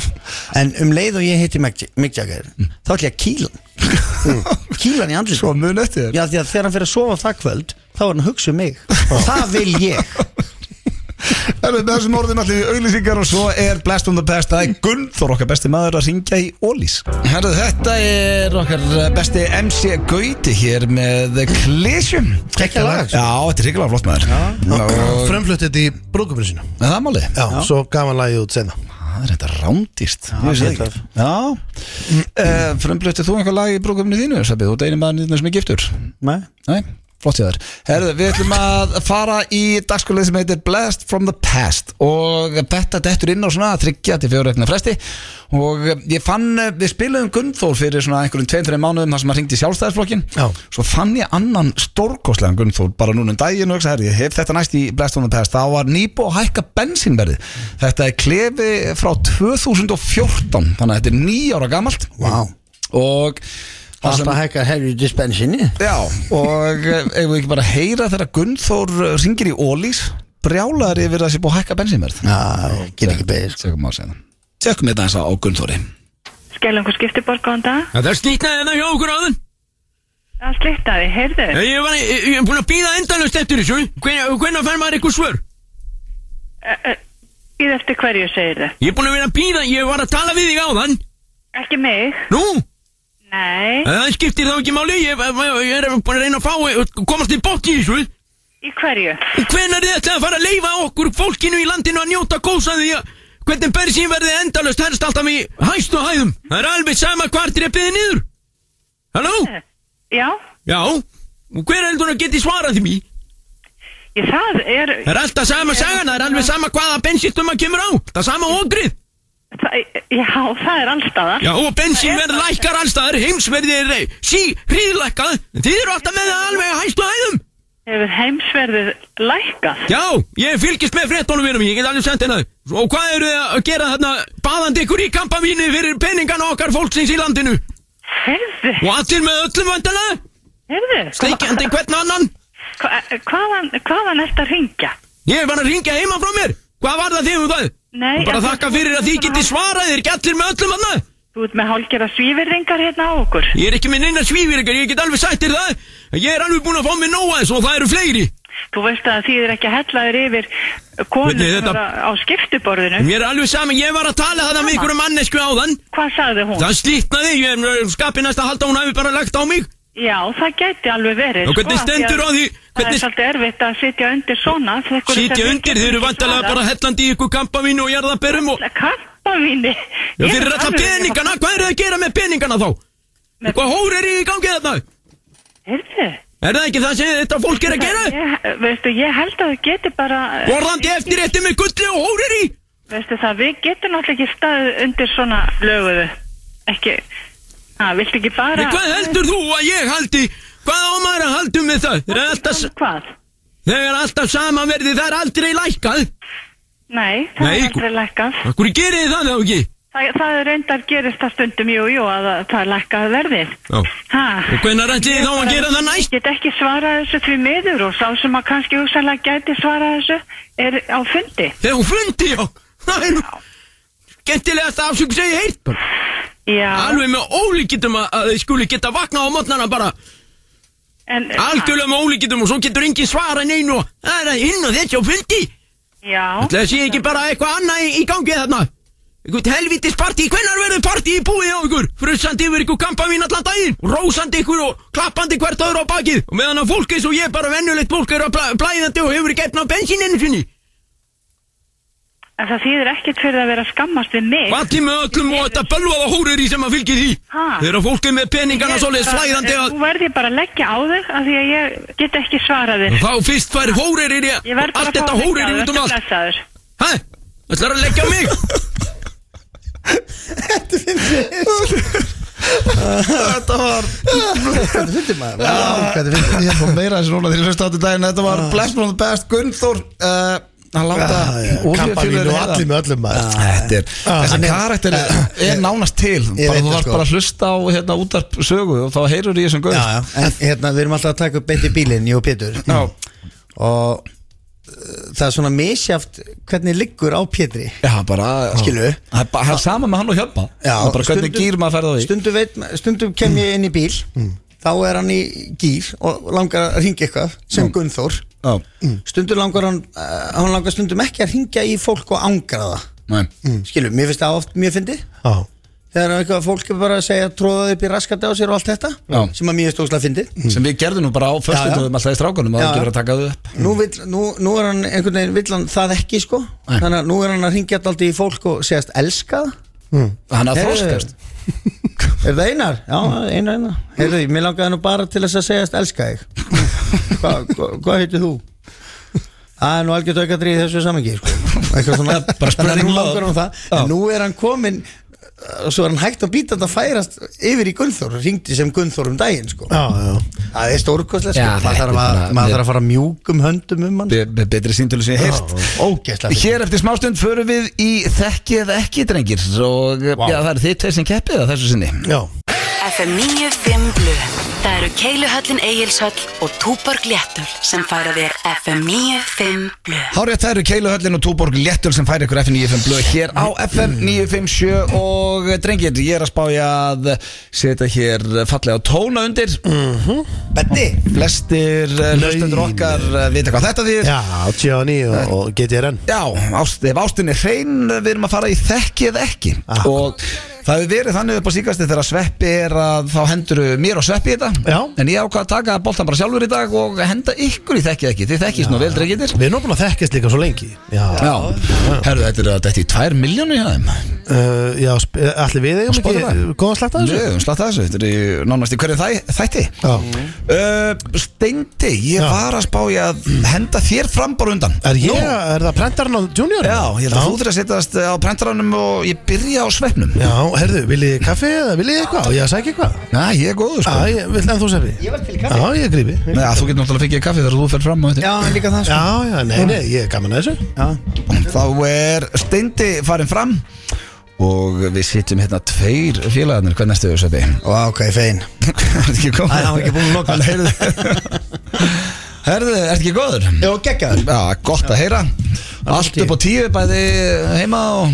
Speaker 2: En um leið og ég heiti Mick Mick Jagger Þá ætla ég að kýla hann. kýlan í andlið
Speaker 1: Svo mun eftir þér
Speaker 2: Já, því að þegar hann fyrir að sofa það kvöld þá er hann að hugsa um mig Það vil ég
Speaker 1: Það er með þessum orðum allir í auglýsingar og svo er Blast on the Past Það er Gunnþór okkar besti maður að ringja í Ólís Herðu, þetta er okkar besti MC Gauti hér með Klísjum
Speaker 3: Gekkja lag.
Speaker 1: Já,
Speaker 2: sko.
Speaker 1: þetta er hryggulega flott maður og,
Speaker 3: Frömmfluttið í brúkuminu sínu
Speaker 1: En það er málið
Speaker 3: Já, svo gaf hann lagið út senna
Speaker 1: Það er þetta rándist Ég vissi
Speaker 2: ég
Speaker 1: það ekki. Já, uh, frumblöftið þú einhver lag í brúkumni þínu Sabið, þú deynir maður nýðna sem er giftur
Speaker 2: Nei,
Speaker 1: Nei, flott ég þar Herðu, við ætlum að fara í dagskulið sem heitir Blast from the Past og betta dettur inn á svona þryggja til fjóra ekna fresti og ég fann, eh, við spilaðum Gunnþór fyrir svona einhverjum 2-3 mánuðum þar sem maður hringdi í sjálfstæðisflokkin
Speaker 3: Já.
Speaker 1: svo fann ég annan stórkostlegan Gunnþór bara núna um daginn og hugsa, herri, ég hef þetta næst í Blast from the Past, þá var nýbú að hækka bensínverði, þetta er klefi frá 2014 þannig að þetta er nýjára gamalt
Speaker 2: vá
Speaker 1: og það sem-
Speaker 2: Alltaf hækkar herri dispensinni
Speaker 1: Já, og eh, eigum við ekki bara að heyra þegar Gunnþór eh, ringir í Ólís brjálar yfir að það sé búið að hækka bensínverð
Speaker 2: Já, ég get ekki beðið
Speaker 1: Tökum á að segja það Tökum þetta eins á Gunnþóri
Speaker 4: Skellangur skiptiborg, góðan dag.
Speaker 5: Það slítnaði hérna hjá okkur áðan
Speaker 4: Það slittaði, heyrðu.
Speaker 5: Ég var, ég, ég er búin að býða endalust eftir þessu Hvenær hven fær maður eitthvað svör?
Speaker 4: Íð eftir hverju segir þið?
Speaker 5: Ég er búin að vera að býða, ég var að tala við þig áðan
Speaker 4: Ekki mig.
Speaker 5: Nú, Eh,
Speaker 4: Nei.
Speaker 5: það skiptir þá ekki máli Ég, ég, ég er búin að reyna að fá komast í bótt í þessu
Speaker 4: Í hverju?
Speaker 5: Hvenær þið ætlaði að fara að leifa okkur fólkinu í landinu að njóta gósa því að hvernig bensín verði endalust helst alltaf í hæstu hæðum Það er alveg sama hvar drepiði niður Halló?
Speaker 4: Já.
Speaker 5: Já, og hver heldur að geti svarað því mér?
Speaker 4: Ég það er...
Speaker 5: Það er alltaf sama sagan, það er alveg sama hvaða bensinstum að kemur á Það er sama ógrið
Speaker 4: Það, já, það er allstaðar.
Speaker 5: Já, og bensinverð lækkar allstaðar, heimsverðið er eh, sí, hríðlækkað En þið eru alltaf með það alveg að hæstu hæðum
Speaker 4: Hefur heimsverðið lækkað?
Speaker 5: Já, ég fylgist með fréttónum vinum, ég get alveg sent hérna Og hvað eru þið að gera þarna baðandi ykkur í kampavínu fyrir peningana okkar fólksins í landinu
Speaker 4: Heyrðu,
Speaker 5: Og allir með öllum vandana,
Speaker 4: heyrðu.
Speaker 5: sleikjandi hvern annan
Speaker 4: Hva, hvaðan, hvaðan ert að ringja?
Speaker 5: Ég var að ringja heima frá mér, hvað var það þig um það?
Speaker 4: Nei, en
Speaker 5: Bara
Speaker 4: þú-
Speaker 5: þakka fyrir að þið geti svarað, þið er ekki allir með öllum annað
Speaker 4: Þú ert með hálgjara svívirðingar hérna á okkur.
Speaker 5: Ég er ekki með neina svífir ykkur, ég get alveg sagt þér það Ég er alveg búin að fá mig nóa þess og það eru fleiri
Speaker 4: Þú veist að því þið er ekki að hella þér yfir konur
Speaker 5: Hvernig,
Speaker 4: sem
Speaker 5: þetta-
Speaker 4: eru á skiptiborðinu.
Speaker 5: Mér er alveg saman, ég var að tala það með ykkur um mannesku áðan
Speaker 4: Hvað sagði hún?
Speaker 5: Það slítnaði, ég er skapið næst að halda að hún hafi bara lagt á mig
Speaker 4: Já, það gæti alveg verið.
Speaker 5: Og hvernig
Speaker 4: sko, af
Speaker 5: stendur
Speaker 4: að
Speaker 5: á því,
Speaker 4: Það er
Speaker 5: hvernig
Speaker 4: svolítið erfitt að sitja undir svona.
Speaker 5: sitja undir, þið eru vantalega bara hellandi í ykkur kampavínu og jarðaberum og
Speaker 4: Kampavíni.
Speaker 5: Já, þeir eru alltaf peningana, hvað eru það að gera með peningana þá?
Speaker 4: Með-
Speaker 5: Hvað hór er í gangi þarna?
Speaker 4: Hérðu.
Speaker 5: Er það ekki það sem þetta fólk er að gera?
Speaker 4: Veistu, ég held að þau geti bara...
Speaker 5: Borðandi eftir eftir með gulli og hór í?
Speaker 4: Veistu það, við getum náttúrulega ekki staðið undir svona löguðu. Ekki... Ha, viltu ekki bara...
Speaker 5: Við Hvað heldur þú að ég haldi? Hvað á maður að haldum með það? Þeir eru alltaf,
Speaker 4: Um Hvað?
Speaker 5: þegar alltaf samanverði, það er aldrei lækkað.
Speaker 4: Nei, það
Speaker 5: Nei,
Speaker 4: er
Speaker 5: gu-
Speaker 4: aldrei lækkað.
Speaker 5: Akkur gerir þið það þá ekki?
Speaker 4: Það, það er reyndar gerist það stundum, jú, jú, að það- það er lækkað verðið.
Speaker 5: Já.
Speaker 4: Ha,
Speaker 5: Og hvernig ætli þið þá að gera það
Speaker 4: Ég
Speaker 5: næst?
Speaker 4: get ekki svarað þessu því miður og sá sem að kannski hugsanlega gæti svarað þessu er á fundi.
Speaker 5: Þegar hún fundi, já. Það er gentilegast afsöku segi heilt bara.
Speaker 4: Já,
Speaker 5: Alveg með ólíkitum að, að þið skuli geta vaknað á mótnana bara.
Speaker 4: en,
Speaker 5: Algjörlega með ólíkitum og svo getur engin svara neinu og það er inn og þessi á fundi.
Speaker 4: Já,
Speaker 5: Það sé ekki bara eitthvað annað í, í gangi þarna. Eitthvað helvitis partí, hvenar verður partí í búið á ykkur? Frussandi yfir ykkur kampavín allan daginn, rósandi ykkur og klappandi hvert öðru á bakið. Og meðan að fólk eins og ég, bara vennulegt fólk, er að bla, blæðandi og hefur ekki efna á bensíninu sinni.
Speaker 4: en það þýðir ekkert fyrir að vera að skammast við mig.
Speaker 5: Valli með öllum og þetta bölvaða hórir í sem að fylgir því.
Speaker 4: Ha?
Speaker 5: Þegar fólk er með peningana svoleiðis flæðandi að...
Speaker 4: Þú verði bara að leggja á þig af því að ég get ekki svarað þér.
Speaker 5: Þá fyrst fær hórir í
Speaker 4: Ég verð bara
Speaker 5: allt þetta hórir í út um allt.
Speaker 4: Blessaður.
Speaker 5: Hæ? Það er að leggja á mig?
Speaker 1: Þetta var
Speaker 2: Hvað þið fyndið maður? Hvað þið fyndið?
Speaker 1: Ég er búin meira þessi núna þegar ég hlusta á þetta daginn Þetta var Blast from the Best Gunnþór uh, Hann láta Ah,
Speaker 3: Kampavín og allir með öllum maður
Speaker 1: Þetta er, þessi karakter er, er nánast til
Speaker 2: Ég
Speaker 1: bara þú
Speaker 2: veit það,
Speaker 1: þarf
Speaker 2: sko.
Speaker 1: bara að hlusta á hérna útarp sögu og þá heyrur í þessum gauð
Speaker 2: Já, já, en hérna við erum alltaf að taka upp beitt í bílinn, ég og Pétur
Speaker 1: Já.
Speaker 2: Og uh, það er svona misjaft hvernig liggur á Pétri
Speaker 1: Já, bara
Speaker 2: Skilurðu?
Speaker 1: Það er bara- það er sama með hann og hjálpa Það er bara hvernig gýr maður ferða því Mm.
Speaker 2: stundum, veit, ma- stundum kem ég inn í bíl þá er hann í gýr og langar að ringa eitthvað
Speaker 1: Mm.
Speaker 2: sem Gunnþór
Speaker 1: Já,
Speaker 2: stundum langar hann uh, hann langar stundum ekki að ringa í fólk og angra það
Speaker 1: næ
Speaker 2: skilur, mér finnst það oft mjög fyndi
Speaker 3: Já,
Speaker 2: þegar eitthvað fólk er bara að segja tróða upp í raskati á sér og allt þetta
Speaker 1: Já.
Speaker 2: sem að mér er stókslega fyndi
Speaker 1: Sem við gerðum nú bara á föstudöðum alltaf í strákunum að
Speaker 2: Já,
Speaker 1: það ekki
Speaker 2: já.
Speaker 1: verið að taka þau upp
Speaker 2: nú, vill, nú, nú er hann einhvern veginn vill hann það ekki sko
Speaker 1: Nei.
Speaker 2: þannig að nú er hann að ringja alltaf í fólk og segjast elska það
Speaker 1: Hann að
Speaker 2: Heyrðu,
Speaker 1: þroskast
Speaker 2: Er það einar? Já, einar, einar Heyrðu, mér langaði nú bara til þess að segjast elska þig Hvað hva, hva heitir þú? Það er nú algjört aukatrið í þessu samingi sko. Eitthvað svona
Speaker 1: Bara
Speaker 2: Þannig að
Speaker 1: spurning
Speaker 2: nú
Speaker 1: love.
Speaker 2: langar hann það
Speaker 1: Já.
Speaker 2: En nú er hann komin og svo er hann hægt og bítandi að færast yfir í Gunnþór, ringdi sem Gunnþór um daginn sko.
Speaker 3: já, já
Speaker 2: það er stórkostlega
Speaker 1: Já,
Speaker 2: sko. maður
Speaker 1: þetta
Speaker 2: þarf að,
Speaker 1: er bara-
Speaker 2: maður þarf að fara mjúkum höndum um hann
Speaker 1: Be- be- Betri síntölu sem ég heilt
Speaker 2: ógeðslega fyrir.
Speaker 1: Hér eftir smástund förum við í þekki eða ekki drengir og já, það er þið tveir sem keppið að þessu sinni
Speaker 3: Já,
Speaker 6: FM 95 Blu Það eru Keiluhöllin Egilshöll og Túborg Léttul sem færa þér FM 95 Blu
Speaker 1: Hárið það eru Keiluhöllin og Túborg Léttul sem færi ykkur FM 95 blöð hér á FM 957 og eh, drengir, ég er að spája að setja hér fallega tóna undir Mhm.
Speaker 2: Beddi,
Speaker 1: Flestir eh, hlustendur okkar eh, vita hvað þetta þýðir
Speaker 3: já, Johnny og, og GTRN
Speaker 1: Já, ást, ef ástin er hrein við erum að fara í þekki eða ekki
Speaker 3: Ah.
Speaker 1: og það hefur verið þannig upp á síkasti þegar Sveppi er að þá hendur mér og Sveppi í þetta
Speaker 3: Já.
Speaker 1: en ég ákvað að taka boltan bara sjálfur í dag og henda ykkur í þekki eða ekki þið þekkist nú vel drengitir
Speaker 3: Við erum nú búin að þekkjast líka svo lengi Já,
Speaker 1: Já, herðu þetta er að þetta í tvær miljónu hjá þeim
Speaker 3: uh, já sp- allir við eigum ekki
Speaker 2: hérna?
Speaker 1: Spotify.
Speaker 3: góðan slætt að þessu
Speaker 1: Njöðum, slatt þessu, þetta er í nánast í hverju þæ- þætti
Speaker 2: Mm.
Speaker 3: Já,
Speaker 1: uh, Steindi, ég
Speaker 3: Já.
Speaker 1: var að spá ég að henda þér fram bara undan
Speaker 3: er ég,
Speaker 1: Nú.
Speaker 3: er það prentarinn á junior?
Speaker 1: Já, ég held að þú þurfir að setjast á prentarannum og ég byrja á svefnum
Speaker 3: Já, herðu, viljið þið kaffi eða viljið þið eitthvað? Og ég að sækja eitthvað
Speaker 1: Næ, ég er góður
Speaker 3: Já,
Speaker 1: sko
Speaker 3: ég vil en þú sæfi
Speaker 2: ég var til
Speaker 3: Já,
Speaker 2: kaffi
Speaker 3: ég grípi
Speaker 1: Nei, að þú getur náttúrulega fengið kaffi þegar þú fer fram á þetta
Speaker 2: Já, líka það sko
Speaker 3: Já, já, nei, nei, ég er gaman að þessu
Speaker 2: Já.
Speaker 1: Þá er Steindi farin fram Og við sitjum hérna tveir félagarnir Hvernig erstu þau, Sveppi?
Speaker 2: Vá, ok, fein
Speaker 1: Er þetta ekki góður?
Speaker 2: Æ, hann var ekki búinn að loka.
Speaker 1: Hann heyrði Herðu, ertu ekki góður?
Speaker 2: Já, geggjaður
Speaker 1: Já, gott að heyra Allt
Speaker 2: tíu.
Speaker 1: upp á tíu, bæði heima og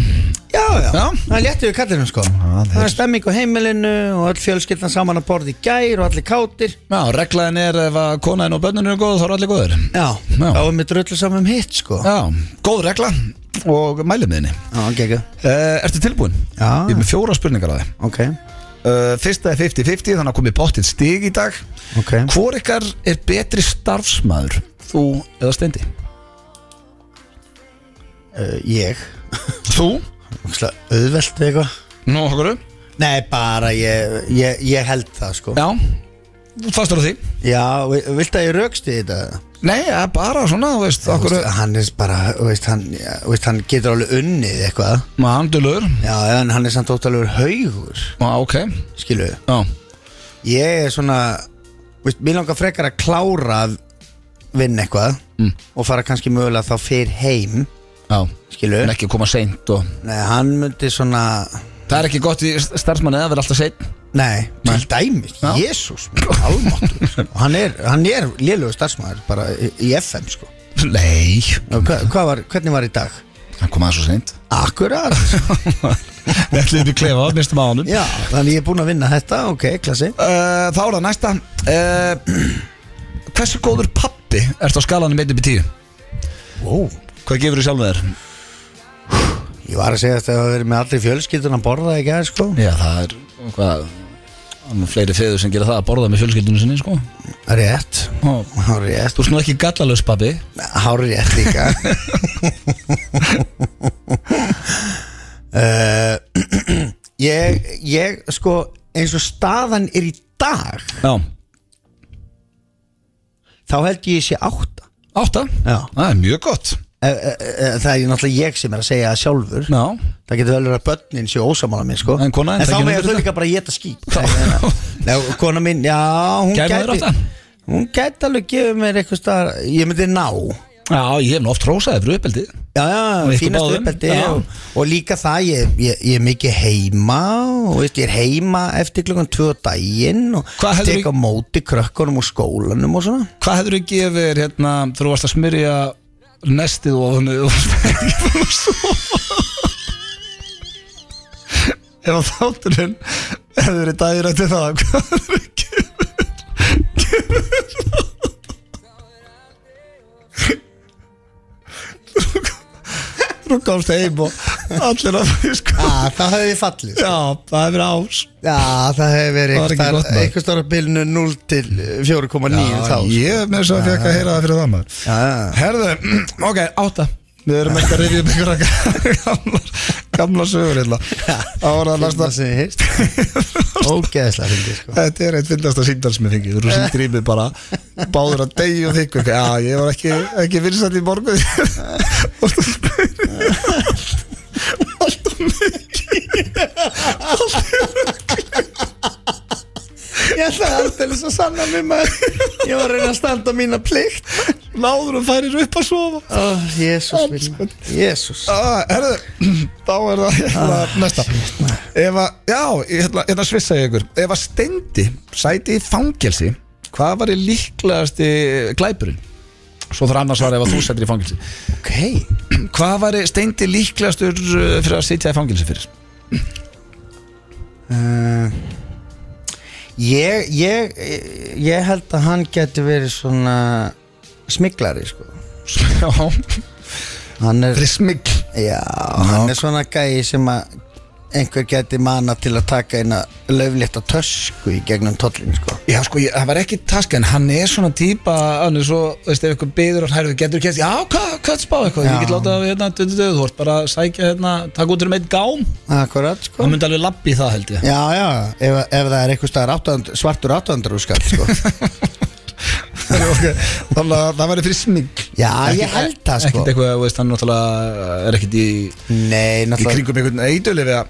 Speaker 2: Já, já,
Speaker 1: Já.
Speaker 2: það er léttur við kallinu sko
Speaker 1: það
Speaker 2: Það
Speaker 1: er-
Speaker 2: er stemming á heimilinu og öll fjölskyldan saman að borði í gær og allir kátir
Speaker 1: Já, reglaðin er ef að konaðin og bönnun eru góð þá eru allir góður
Speaker 2: Já,
Speaker 1: Já.
Speaker 2: þá er mér drullu saman um hitt sko Já,
Speaker 1: Já, góð regla og mælum þinni
Speaker 2: geggjaður
Speaker 1: uh, Ertu tilbúin?
Speaker 2: Já.
Speaker 1: Ég er með fjóra spurningar að þið
Speaker 2: Ok,
Speaker 1: Uh, fyrsta er 50-50 þannig að komið bóttið stig í dag
Speaker 2: ok
Speaker 1: Hvor ykkar er betri starfsmaður þú eða stendi?
Speaker 2: uh, Ég,
Speaker 1: Þú?
Speaker 2: Ókslega auðvelt eitthvað
Speaker 1: Nú, okkur
Speaker 2: Nei, bara ég, ég, ég held það sko
Speaker 1: Já, þú fastur á því
Speaker 2: Já, vi- viltu að ég rauksti þetta?
Speaker 1: Nei, ja, bara svona, þú veist, okkur
Speaker 2: Veist, Hann er bara, þú veist, hann, já, þú veist, hann getur alveg unnið eitthvað
Speaker 1: Mandulur,
Speaker 2: Já, en hann er samt óttalegur haugur,
Speaker 1: já, ok
Speaker 2: skilu
Speaker 1: Já,
Speaker 2: Ég er svona, þú veist, mér langar frekar að klára að vinna eitthvað
Speaker 1: Mm.
Speaker 2: og fara kannski mögulega þá fyrr heim,
Speaker 1: já,
Speaker 2: skilu
Speaker 1: en ekki koma seint og
Speaker 2: Nei, hann myndi svona,
Speaker 1: Það er ekki gott í starfsmanni að vera alltaf seint
Speaker 2: nei, til dæmis,
Speaker 1: Já.
Speaker 2: Jésús, almáttur sko. Og Hann er, hann er lélögur starfsmæður, bara í, í FM, sko
Speaker 1: Nei,
Speaker 2: Og hva, hvað var, hvernig var í dag?
Speaker 1: hann kom aðeins svo seint
Speaker 2: Akkurat
Speaker 1: Við ætlum við klefa, mistum á honum
Speaker 2: Já, þannig ég er búinn að vinna þetta, ok, klassi
Speaker 1: Uh, Þá er það næsta uh, Hversu góður pappi ertu á skalanum 1 upp í 10?
Speaker 2: Ó,
Speaker 1: Hvað gefur þú sjálf með þér?
Speaker 2: ég var að segja þetta að það verið með allir fjölskyldun að borða ekki aðeins, sko
Speaker 1: Já, það er hvað Það er fleiri feður sem gera það að borða með fjölskyldunum sinni sko.
Speaker 2: Rétt,
Speaker 1: Þú
Speaker 2: hárétt,
Speaker 1: ert nú ekki gallalaus pabbi
Speaker 2: hárétt líka uh, Ég, ég, sko, eins og staðan er í dag
Speaker 1: Já,
Speaker 2: þá held ég sé átta
Speaker 1: átta
Speaker 2: Já.
Speaker 1: Það er mjög gott
Speaker 2: Eh, eh, eh, Það er ég náttúrulega ég sem er að segja það sjálfur
Speaker 1: Já,
Speaker 2: Það getur vel verið að börnin séu ósamála minn sko
Speaker 1: En konan þín
Speaker 2: En þá
Speaker 1: tekur undir
Speaker 2: meður þau
Speaker 1: þetta?
Speaker 2: líka bara að geta ský Nei, kona minn, hérna. já hún
Speaker 1: Gæfa þér átta?
Speaker 2: Hún gæti alveg gefið mér eitthvað staðar Ég myndi ná
Speaker 1: já ég hef nú oft rósaði fyrir uppeldi
Speaker 2: Já, já,
Speaker 1: ykkur
Speaker 2: fínast
Speaker 1: báðum,
Speaker 2: uppeldi
Speaker 1: já.
Speaker 2: og, og líka það, ég, ég, ég er mikið heima og veist, ég er heima eftir klukkan tvö á daginn og
Speaker 1: Hvað hefðirðu-
Speaker 2: tek á móti krökkunum og skólanum og svona
Speaker 1: Hvað hefur þú gefið þér hérna þegar þú varst að smyrja nestið ofan og varst ekki búin að sofa Ef að þátturinn hefur verið dagir eftir það hvað hefur kemur kemur Þú komst heim og allir að fisk
Speaker 2: ah, Það hefði fallið sko.
Speaker 1: Já, það hefur ás
Speaker 2: Já, það hefði verið
Speaker 1: Það var ekki
Speaker 2: einhvers
Speaker 1: gott,
Speaker 2: staðar-
Speaker 1: maður.
Speaker 2: einhvers stóra bilinu 0 til eh, 4,9 þá sko.
Speaker 1: Ég með þess að fekk að heyra það fyrir það maður
Speaker 2: Já, já.
Speaker 1: Herðu, ok, átta Við erum ekki að reyðja upp einhverja gamlar, gamla sögur hérna Það var það
Speaker 2: Fyrsta
Speaker 1: næsta
Speaker 2: sem ég heyrst Ógeðslega fyndi sko.
Speaker 1: Þetta er eitt fyndasta síndal sem ég fengið Þú sem drýmið bara Báður að degi og þykku Já, ég var ekki, ekki vinsætt í morgun Og þú spyrir Alltaf
Speaker 2: Ég ætlaði aldrei svo sanna mér maður Ég var að reyna að standa á mína plikt
Speaker 1: náður og færir upp að sofa
Speaker 2: Ó, Jésús minn Jésús
Speaker 1: Ah, herðu, þá er það hérna,
Speaker 2: Ah,
Speaker 1: næsta ef að, já, ég ætla- hérna svissa ég ykkur ef að steindi sæti í fangelsi hvað var í líklegasti glæpurinn svo þarf annars svara ef að þú sætir í fangelsi
Speaker 2: Ok
Speaker 1: hvað var í steindi líklegastur uh, fyrir að sitja í fangelsi fyrir
Speaker 2: Ég, ég, ég held að hann getur verið svona smiglari sko
Speaker 1: já,
Speaker 2: Hann er,
Speaker 1: smikl
Speaker 2: já, hann er svona gæi sem að einhver geti mana til að taka eina löflétta tösku í gegnum tollin sko
Speaker 1: já, sko, ég, það var ekki taska en hann er svona típa hann er svo, veist, ef ykkur byður hann herðu, getur kemst, já, hvað, hvað spá eitthvað
Speaker 2: Já.
Speaker 1: ég get láta hérna, du- du- du, þú vort bara að sækja hérna, takk út um eitt gám
Speaker 2: Akkurat sko
Speaker 1: hann myndi alveg labbi í það held ég
Speaker 2: Já, já, ef, ef það er einhver staðar 800, svartur 800 skall sko.
Speaker 1: okay. Þannig að það væri fyrir smygg
Speaker 2: Já, ég held það sko
Speaker 1: Ekkert eitthvað, þú veist, hann náttúrulega er ekkert í,
Speaker 2: Nei,
Speaker 1: í
Speaker 2: náttúrulega
Speaker 1: kringum einhvern eitölu eða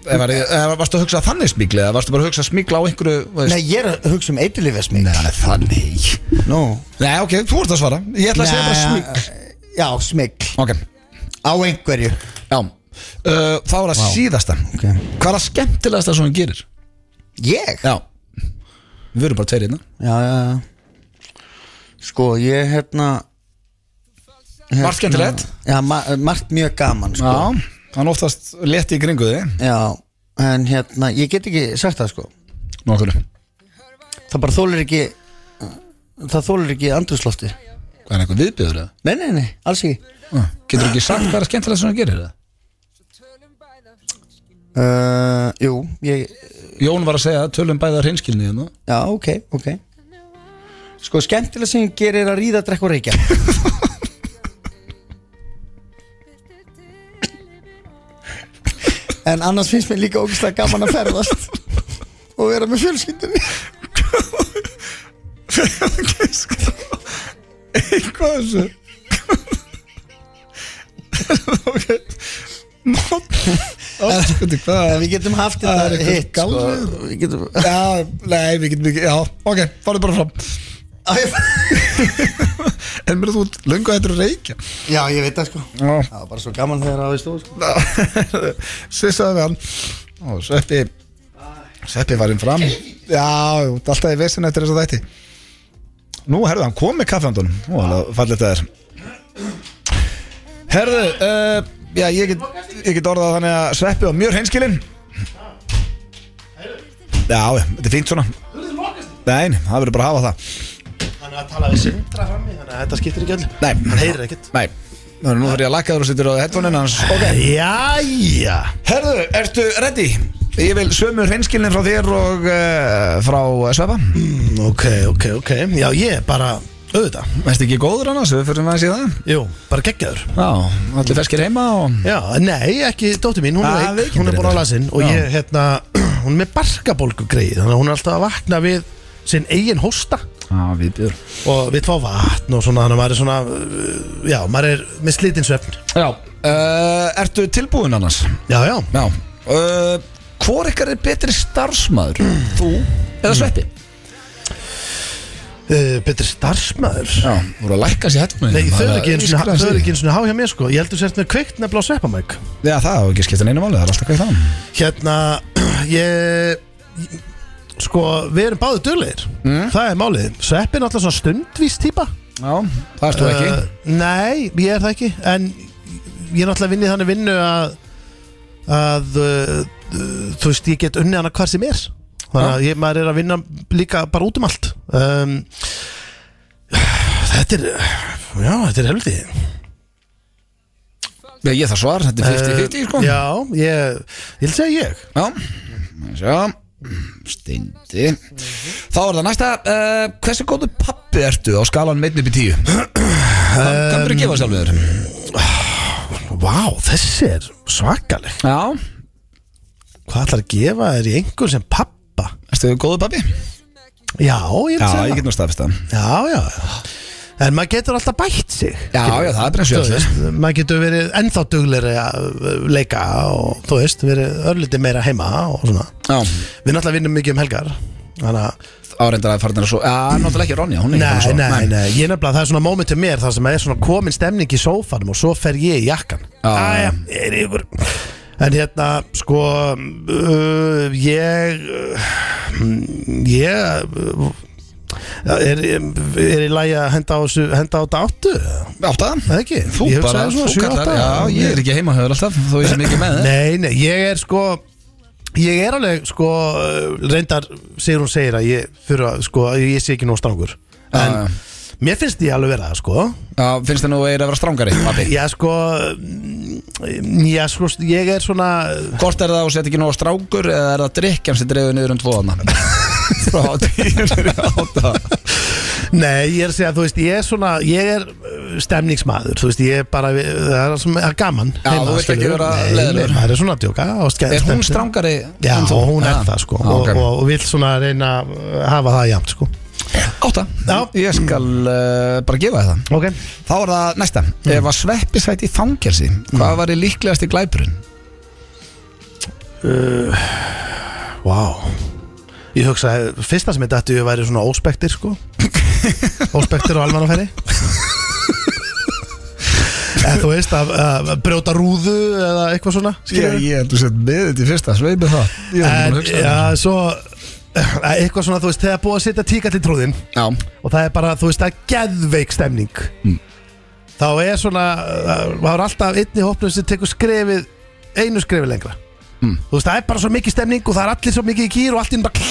Speaker 1: eða var- eða varstu að hugsa þannig smygli eða varstu bara að hugsa smygla á einhverju þú veist?
Speaker 2: Nei, ég er að hugsa um eitilífesmík
Speaker 1: Nei, þannig
Speaker 2: Nú
Speaker 1: Nei, ok, þú ert að svara Ég ætla að segja bara smygg
Speaker 2: Já, smík
Speaker 1: Ok,
Speaker 2: Á einhverju
Speaker 1: já uh, Það var að síðasta
Speaker 2: Ok.
Speaker 1: Hvað er að skemmtilegasta sem hún gerir?
Speaker 2: Ég?
Speaker 1: Já Við erum bara tveir hérna
Speaker 2: Já, já, já Sko, ég hérna
Speaker 1: Margt skemmtilegt
Speaker 2: Já, ma margt mjög gaman sko
Speaker 1: Já, hann oftast leti í kringu þig
Speaker 2: Já, en hérna, ég get ekki sagt það sko
Speaker 1: Nókvæðu
Speaker 2: Það bara þólir ekki Það þólir ekki andrúslofti
Speaker 1: Hvað er eitthvað viðbjöður það?
Speaker 2: Nei, nei, nei, alls ekki
Speaker 1: Getur ekki sagt hvað er að skemmtilegasta sem hún gerir það?
Speaker 2: uh, Jú, ég
Speaker 1: Jón var að segja tölum bæða hreinskilni hérna
Speaker 2: Já, ok, ok Sko, skemmtilega sem ég gerir er að ríða, drekka og reykja En annars finnst mér líka ógustlega gaman að ferðast og vera með fjölskyldunni
Speaker 1: Eitthvað þessu Ok Mótt
Speaker 2: En við getum haft
Speaker 1: Það er
Speaker 2: þetta
Speaker 1: eitthvað
Speaker 2: hitt sko.
Speaker 1: galið.
Speaker 2: Við getum
Speaker 1: Já, nei, við getum ekki Já, ok, farðu bara fram
Speaker 2: Æ,
Speaker 1: En mér þú ert löngu hættur að reykja
Speaker 2: Já, ég veit það sko
Speaker 1: Já.
Speaker 2: Það var bara svo gaman þegar það við stóð sko.
Speaker 1: Svissaði við hann Og Sveppi Sveppi var inn fram Já, jú, þetta er alltaf í vesin eftir þess að þætti Nú, herðu, hann kom með kaffehandunum Nú, alveg fallið þetta er Herðu, uh, já, ég get, ég get orðað þannig að Sveppi var mjög hreinskilinn Já, já, þetta er fínt svona Nei, nei, það verður bara að hafa það
Speaker 3: Hann er að tala við sindra frammi Þannig að þetta skiptir ekki öll
Speaker 1: Nei.
Speaker 3: Hann heyrir ekkert
Speaker 1: Nei, nú þarf ég að lakka þér og sittur á headphone-in hans Ok,
Speaker 3: Jæja
Speaker 1: Herðu, ertu ready? Ég vil sömu hreinskilnin frá þér og uh, frá Svefa
Speaker 3: Mm, Ok, ok, ok Já, ég er bara auðvitað
Speaker 1: Veist ekki góður annars, við fyrir maður að sé það
Speaker 3: Jú, bara geggjaður
Speaker 1: Já, allir feskir heima og
Speaker 3: Já, nei, ekki dóttir mín, hún
Speaker 1: Ah,
Speaker 3: er veik
Speaker 1: veikindir
Speaker 3: Hún er búin á
Speaker 1: þetta.
Speaker 3: lasin og
Speaker 1: Já.
Speaker 3: ég, hérna Hún er með barkabólgu greið Þannig að hún er alltaf að vakna við sinn eigin hósta
Speaker 1: Já, við byrjum
Speaker 3: Og við fá vatn og svona Þannig að maður er svona, uh, já, maður er með slitinsvefn
Speaker 1: Já, uh, ertu tilbúin annars?
Speaker 3: Já, já,
Speaker 1: Já uh, Hvor ykkar er betri starfsmaður? Þú eða Sveppi? Eh,
Speaker 3: uh, betri starfsmaður
Speaker 1: Já, voru að lækka sér hættum
Speaker 3: Nei, þau eru ekki einu sinni- þau eru ekki eins og há hjá mér sko Ég heldur sért með kveikt nefnilega á sveppamæk
Speaker 1: Já, það hafa ekki skipta neina máli, það er alltaf hvað í þann
Speaker 3: Hérna, ég
Speaker 1: Mm.
Speaker 3: Sko, við erum báðið duglegir Það er málið Sveppi er náttúrulega svona stundvís típa
Speaker 1: Já, það erstu ekki
Speaker 3: Uh, Nei, ég er það ekki En ég er náttúrulega vinnið þannig vinnu að að uh, uh, þú veist, ég get unnið hana hvar sem er þannig að ég, maður er að vinna líka bara út um allt um, Þetta er já, þetta er helviti
Speaker 1: Ég, ég þarf svar, þetta er 50-50 sko
Speaker 3: Eh, Já, ég, ég vil segja ég
Speaker 1: Já, sjá Steindi Þá er það næsta uh, Hversu góðu pappi ertu á skalan meitn upp í tíu? Hvað hvað myndir að gefa sjálfum þér?
Speaker 3: Vá, þessi er svakaleg
Speaker 1: Já,
Speaker 3: Hvað ætlar að gefa þér í einhver sem pappa?
Speaker 1: ertu góðu pappi?
Speaker 3: Já, ég vil
Speaker 1: Já,
Speaker 3: segja
Speaker 1: ég
Speaker 3: það
Speaker 1: get nú staðfist það
Speaker 3: Já, já, já En maður getur alltaf bætt sig
Speaker 1: Já, já, það er bara eins
Speaker 3: Þú
Speaker 1: og ég
Speaker 3: veist, maður getur verið ennþá duglegri að uh, leika og þú veist, verið örlítið meira heima og svona.
Speaker 1: alveg.
Speaker 3: Við náttúrulega vinnum mikið um helgar Þannig að,
Speaker 1: Já, áreindar að fara þarna svo Já, náttúrulega ekki Ronja, hún er
Speaker 3: nei,
Speaker 1: ekki
Speaker 3: nei,
Speaker 1: farin að sofa.
Speaker 3: nei, ég nefnilega, það er svona moment til mér þar sem er svona komin stemning í sófanum og svo fer ég í jakkan
Speaker 1: Já.
Speaker 3: Æja, ég er ykkur En hérna, sko, uh, ég, uh, mm, ég, uh, er, er í lagi að henda á, þessu- henda á þetta áttu?
Speaker 1: Átta
Speaker 3: Það er ekki?
Speaker 1: Þú
Speaker 3: Ég hugsaði
Speaker 1: bara,
Speaker 3: svona
Speaker 1: þú
Speaker 3: sjö,
Speaker 1: kallar
Speaker 3: átta.
Speaker 1: Já, ég er ekki heima höfður alltaf Þó ég sem ekki með það
Speaker 3: Nei, nei, ég er sko Ég er alveg sko uh, Reyndar, segir hún segir að ég Fyrir að sko, að ég sé ekki nóg strangur En
Speaker 1: Já, já.
Speaker 3: mér finnst ég alveg vera það sko
Speaker 1: Já, finnst það nú að ég er að vera strángari, pappi?
Speaker 3: Já sko mm, Já sko, ég er svona
Speaker 1: Hvort er það að setja ekki nóg strákur eða er það drikkjan sem dreifur niður um tvoðana? Frá tíunir í átta
Speaker 3: Nei, ég er að segja, þú veist, ég er svona Ég er uh, stemningsmaður Þú veist, ég er bara, það er svona það er gaman
Speaker 1: Já, þú vilt ekki
Speaker 3: skilurðu.
Speaker 1: vera
Speaker 3: Nei,
Speaker 1: leiðinlegur.
Speaker 3: Nei, maður er svona að djóka og skemmt-
Speaker 1: Er hún
Speaker 3: skemmt-
Speaker 1: strángari?
Speaker 3: Já,
Speaker 1: en þú?
Speaker 3: hún er
Speaker 1: Já.
Speaker 3: það sko
Speaker 1: Já, Ah, ok.
Speaker 3: og, og, og vill svona reyna að hafa það jæmt sko
Speaker 1: Átta,
Speaker 3: Já.
Speaker 1: ég skal uh, bara gefa þér það
Speaker 3: Ok
Speaker 1: Þá er það næsta Ef að sveppi sætt í fangelsi Hvað var í líklegasti glæpurinn?
Speaker 3: Vá Ég hugsaði, fyrsta sem ég dætti ég væri svona óspektir sko Óspektir og almannafæri En þú veist að, að brjóta rúðu eða eitthvað svona skilurðu?
Speaker 1: ég heldur sett með þetta í fyrsta Sveipið það
Speaker 3: En já, svo eh, Eitthvað svona, þú veist, þegar búið að setja tíka til trúðin
Speaker 1: Já,
Speaker 3: Og það er bara, þú veist, það er geðveik stemning Þá er svona eh, Það er alltaf einni hópnum sem tekur skrefið Einu skrefið lengra Þú veist, það er bara svo mikið stemning og það er allir svo mikið í kýr og allir bara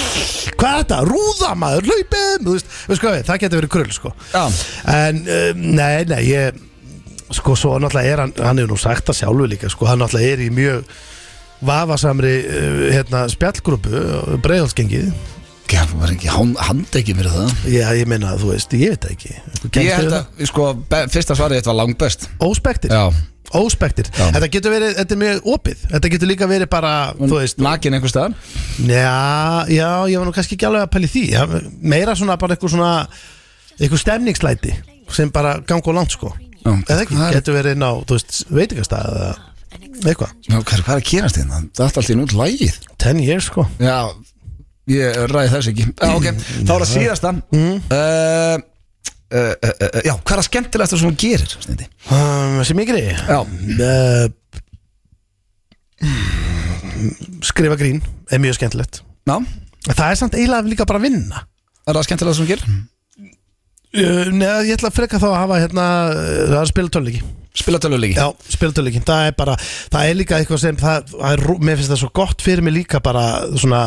Speaker 3: Hvað er þetta? Rúða maður, hlaupum Þú veist, veist hvað, við, það getur verið krull, sko
Speaker 1: já,
Speaker 3: En, um, nei, nei, ég Sko, svo náttúrulega er hann Hann hefur nú sagt það sjálfur líka, sko Hann náttúrulega er í mjög vafasamri uh, hérna, spjallgrúpu, breiðhalsgengið
Speaker 1: já hún var ekki, hann handi ekki mér það
Speaker 3: Já, ég meina, þú veist, ég veit það ekki Þú
Speaker 1: Ég
Speaker 3: kemst
Speaker 1: held
Speaker 3: yfir það?
Speaker 1: að, sko, be- fyrsta svarið þetta var langbest
Speaker 3: Óspektir,
Speaker 1: Já,
Speaker 3: óspektir
Speaker 1: Já.
Speaker 3: Þetta getur verið, þetta er mjög opið Þetta getur líka verið bara, þú veist
Speaker 1: nakin einhvers staðar
Speaker 3: Já, já, ég var nú kannski ekki alveg að pæli því já, Meira svona bara eitthvað svona Eitthvað stemningslæti Sem bara gangu á langt sko
Speaker 1: Já,
Speaker 3: Eða ekki,
Speaker 1: hvað er-
Speaker 3: getur verið inn á, þú veist, veitingastæð Eða eitthvað,
Speaker 1: Já, hvað, hvað er að kýrast hérna? Það er alltaf í nút lægið
Speaker 3: 10 years sko
Speaker 1: Já, ég ræði þess ekki Já, ok, þá er það síðasta mm. uh, uh, uh, uh, Já, hvað er að skemmtilegast sem hún gerir? Steindi?
Speaker 3: um, Sem ég greið
Speaker 1: Já,
Speaker 3: uh, Skrifa grín Er mjög skemmtilegt
Speaker 1: já,
Speaker 3: Það er samt eiginlega líka bara að vinna
Speaker 1: er það skemmtilegast sem hún gerir?
Speaker 3: Uh, Neða, ég ætla að freka þá að hafa hérna, uh, það er að spila tölviki
Speaker 1: Spila tölvuleiki
Speaker 3: Já, spila tölviki, það er bara það er líka eitthvað sem, það, það er, rú- mér finnst það svo gott fyrir mig líka bara svona,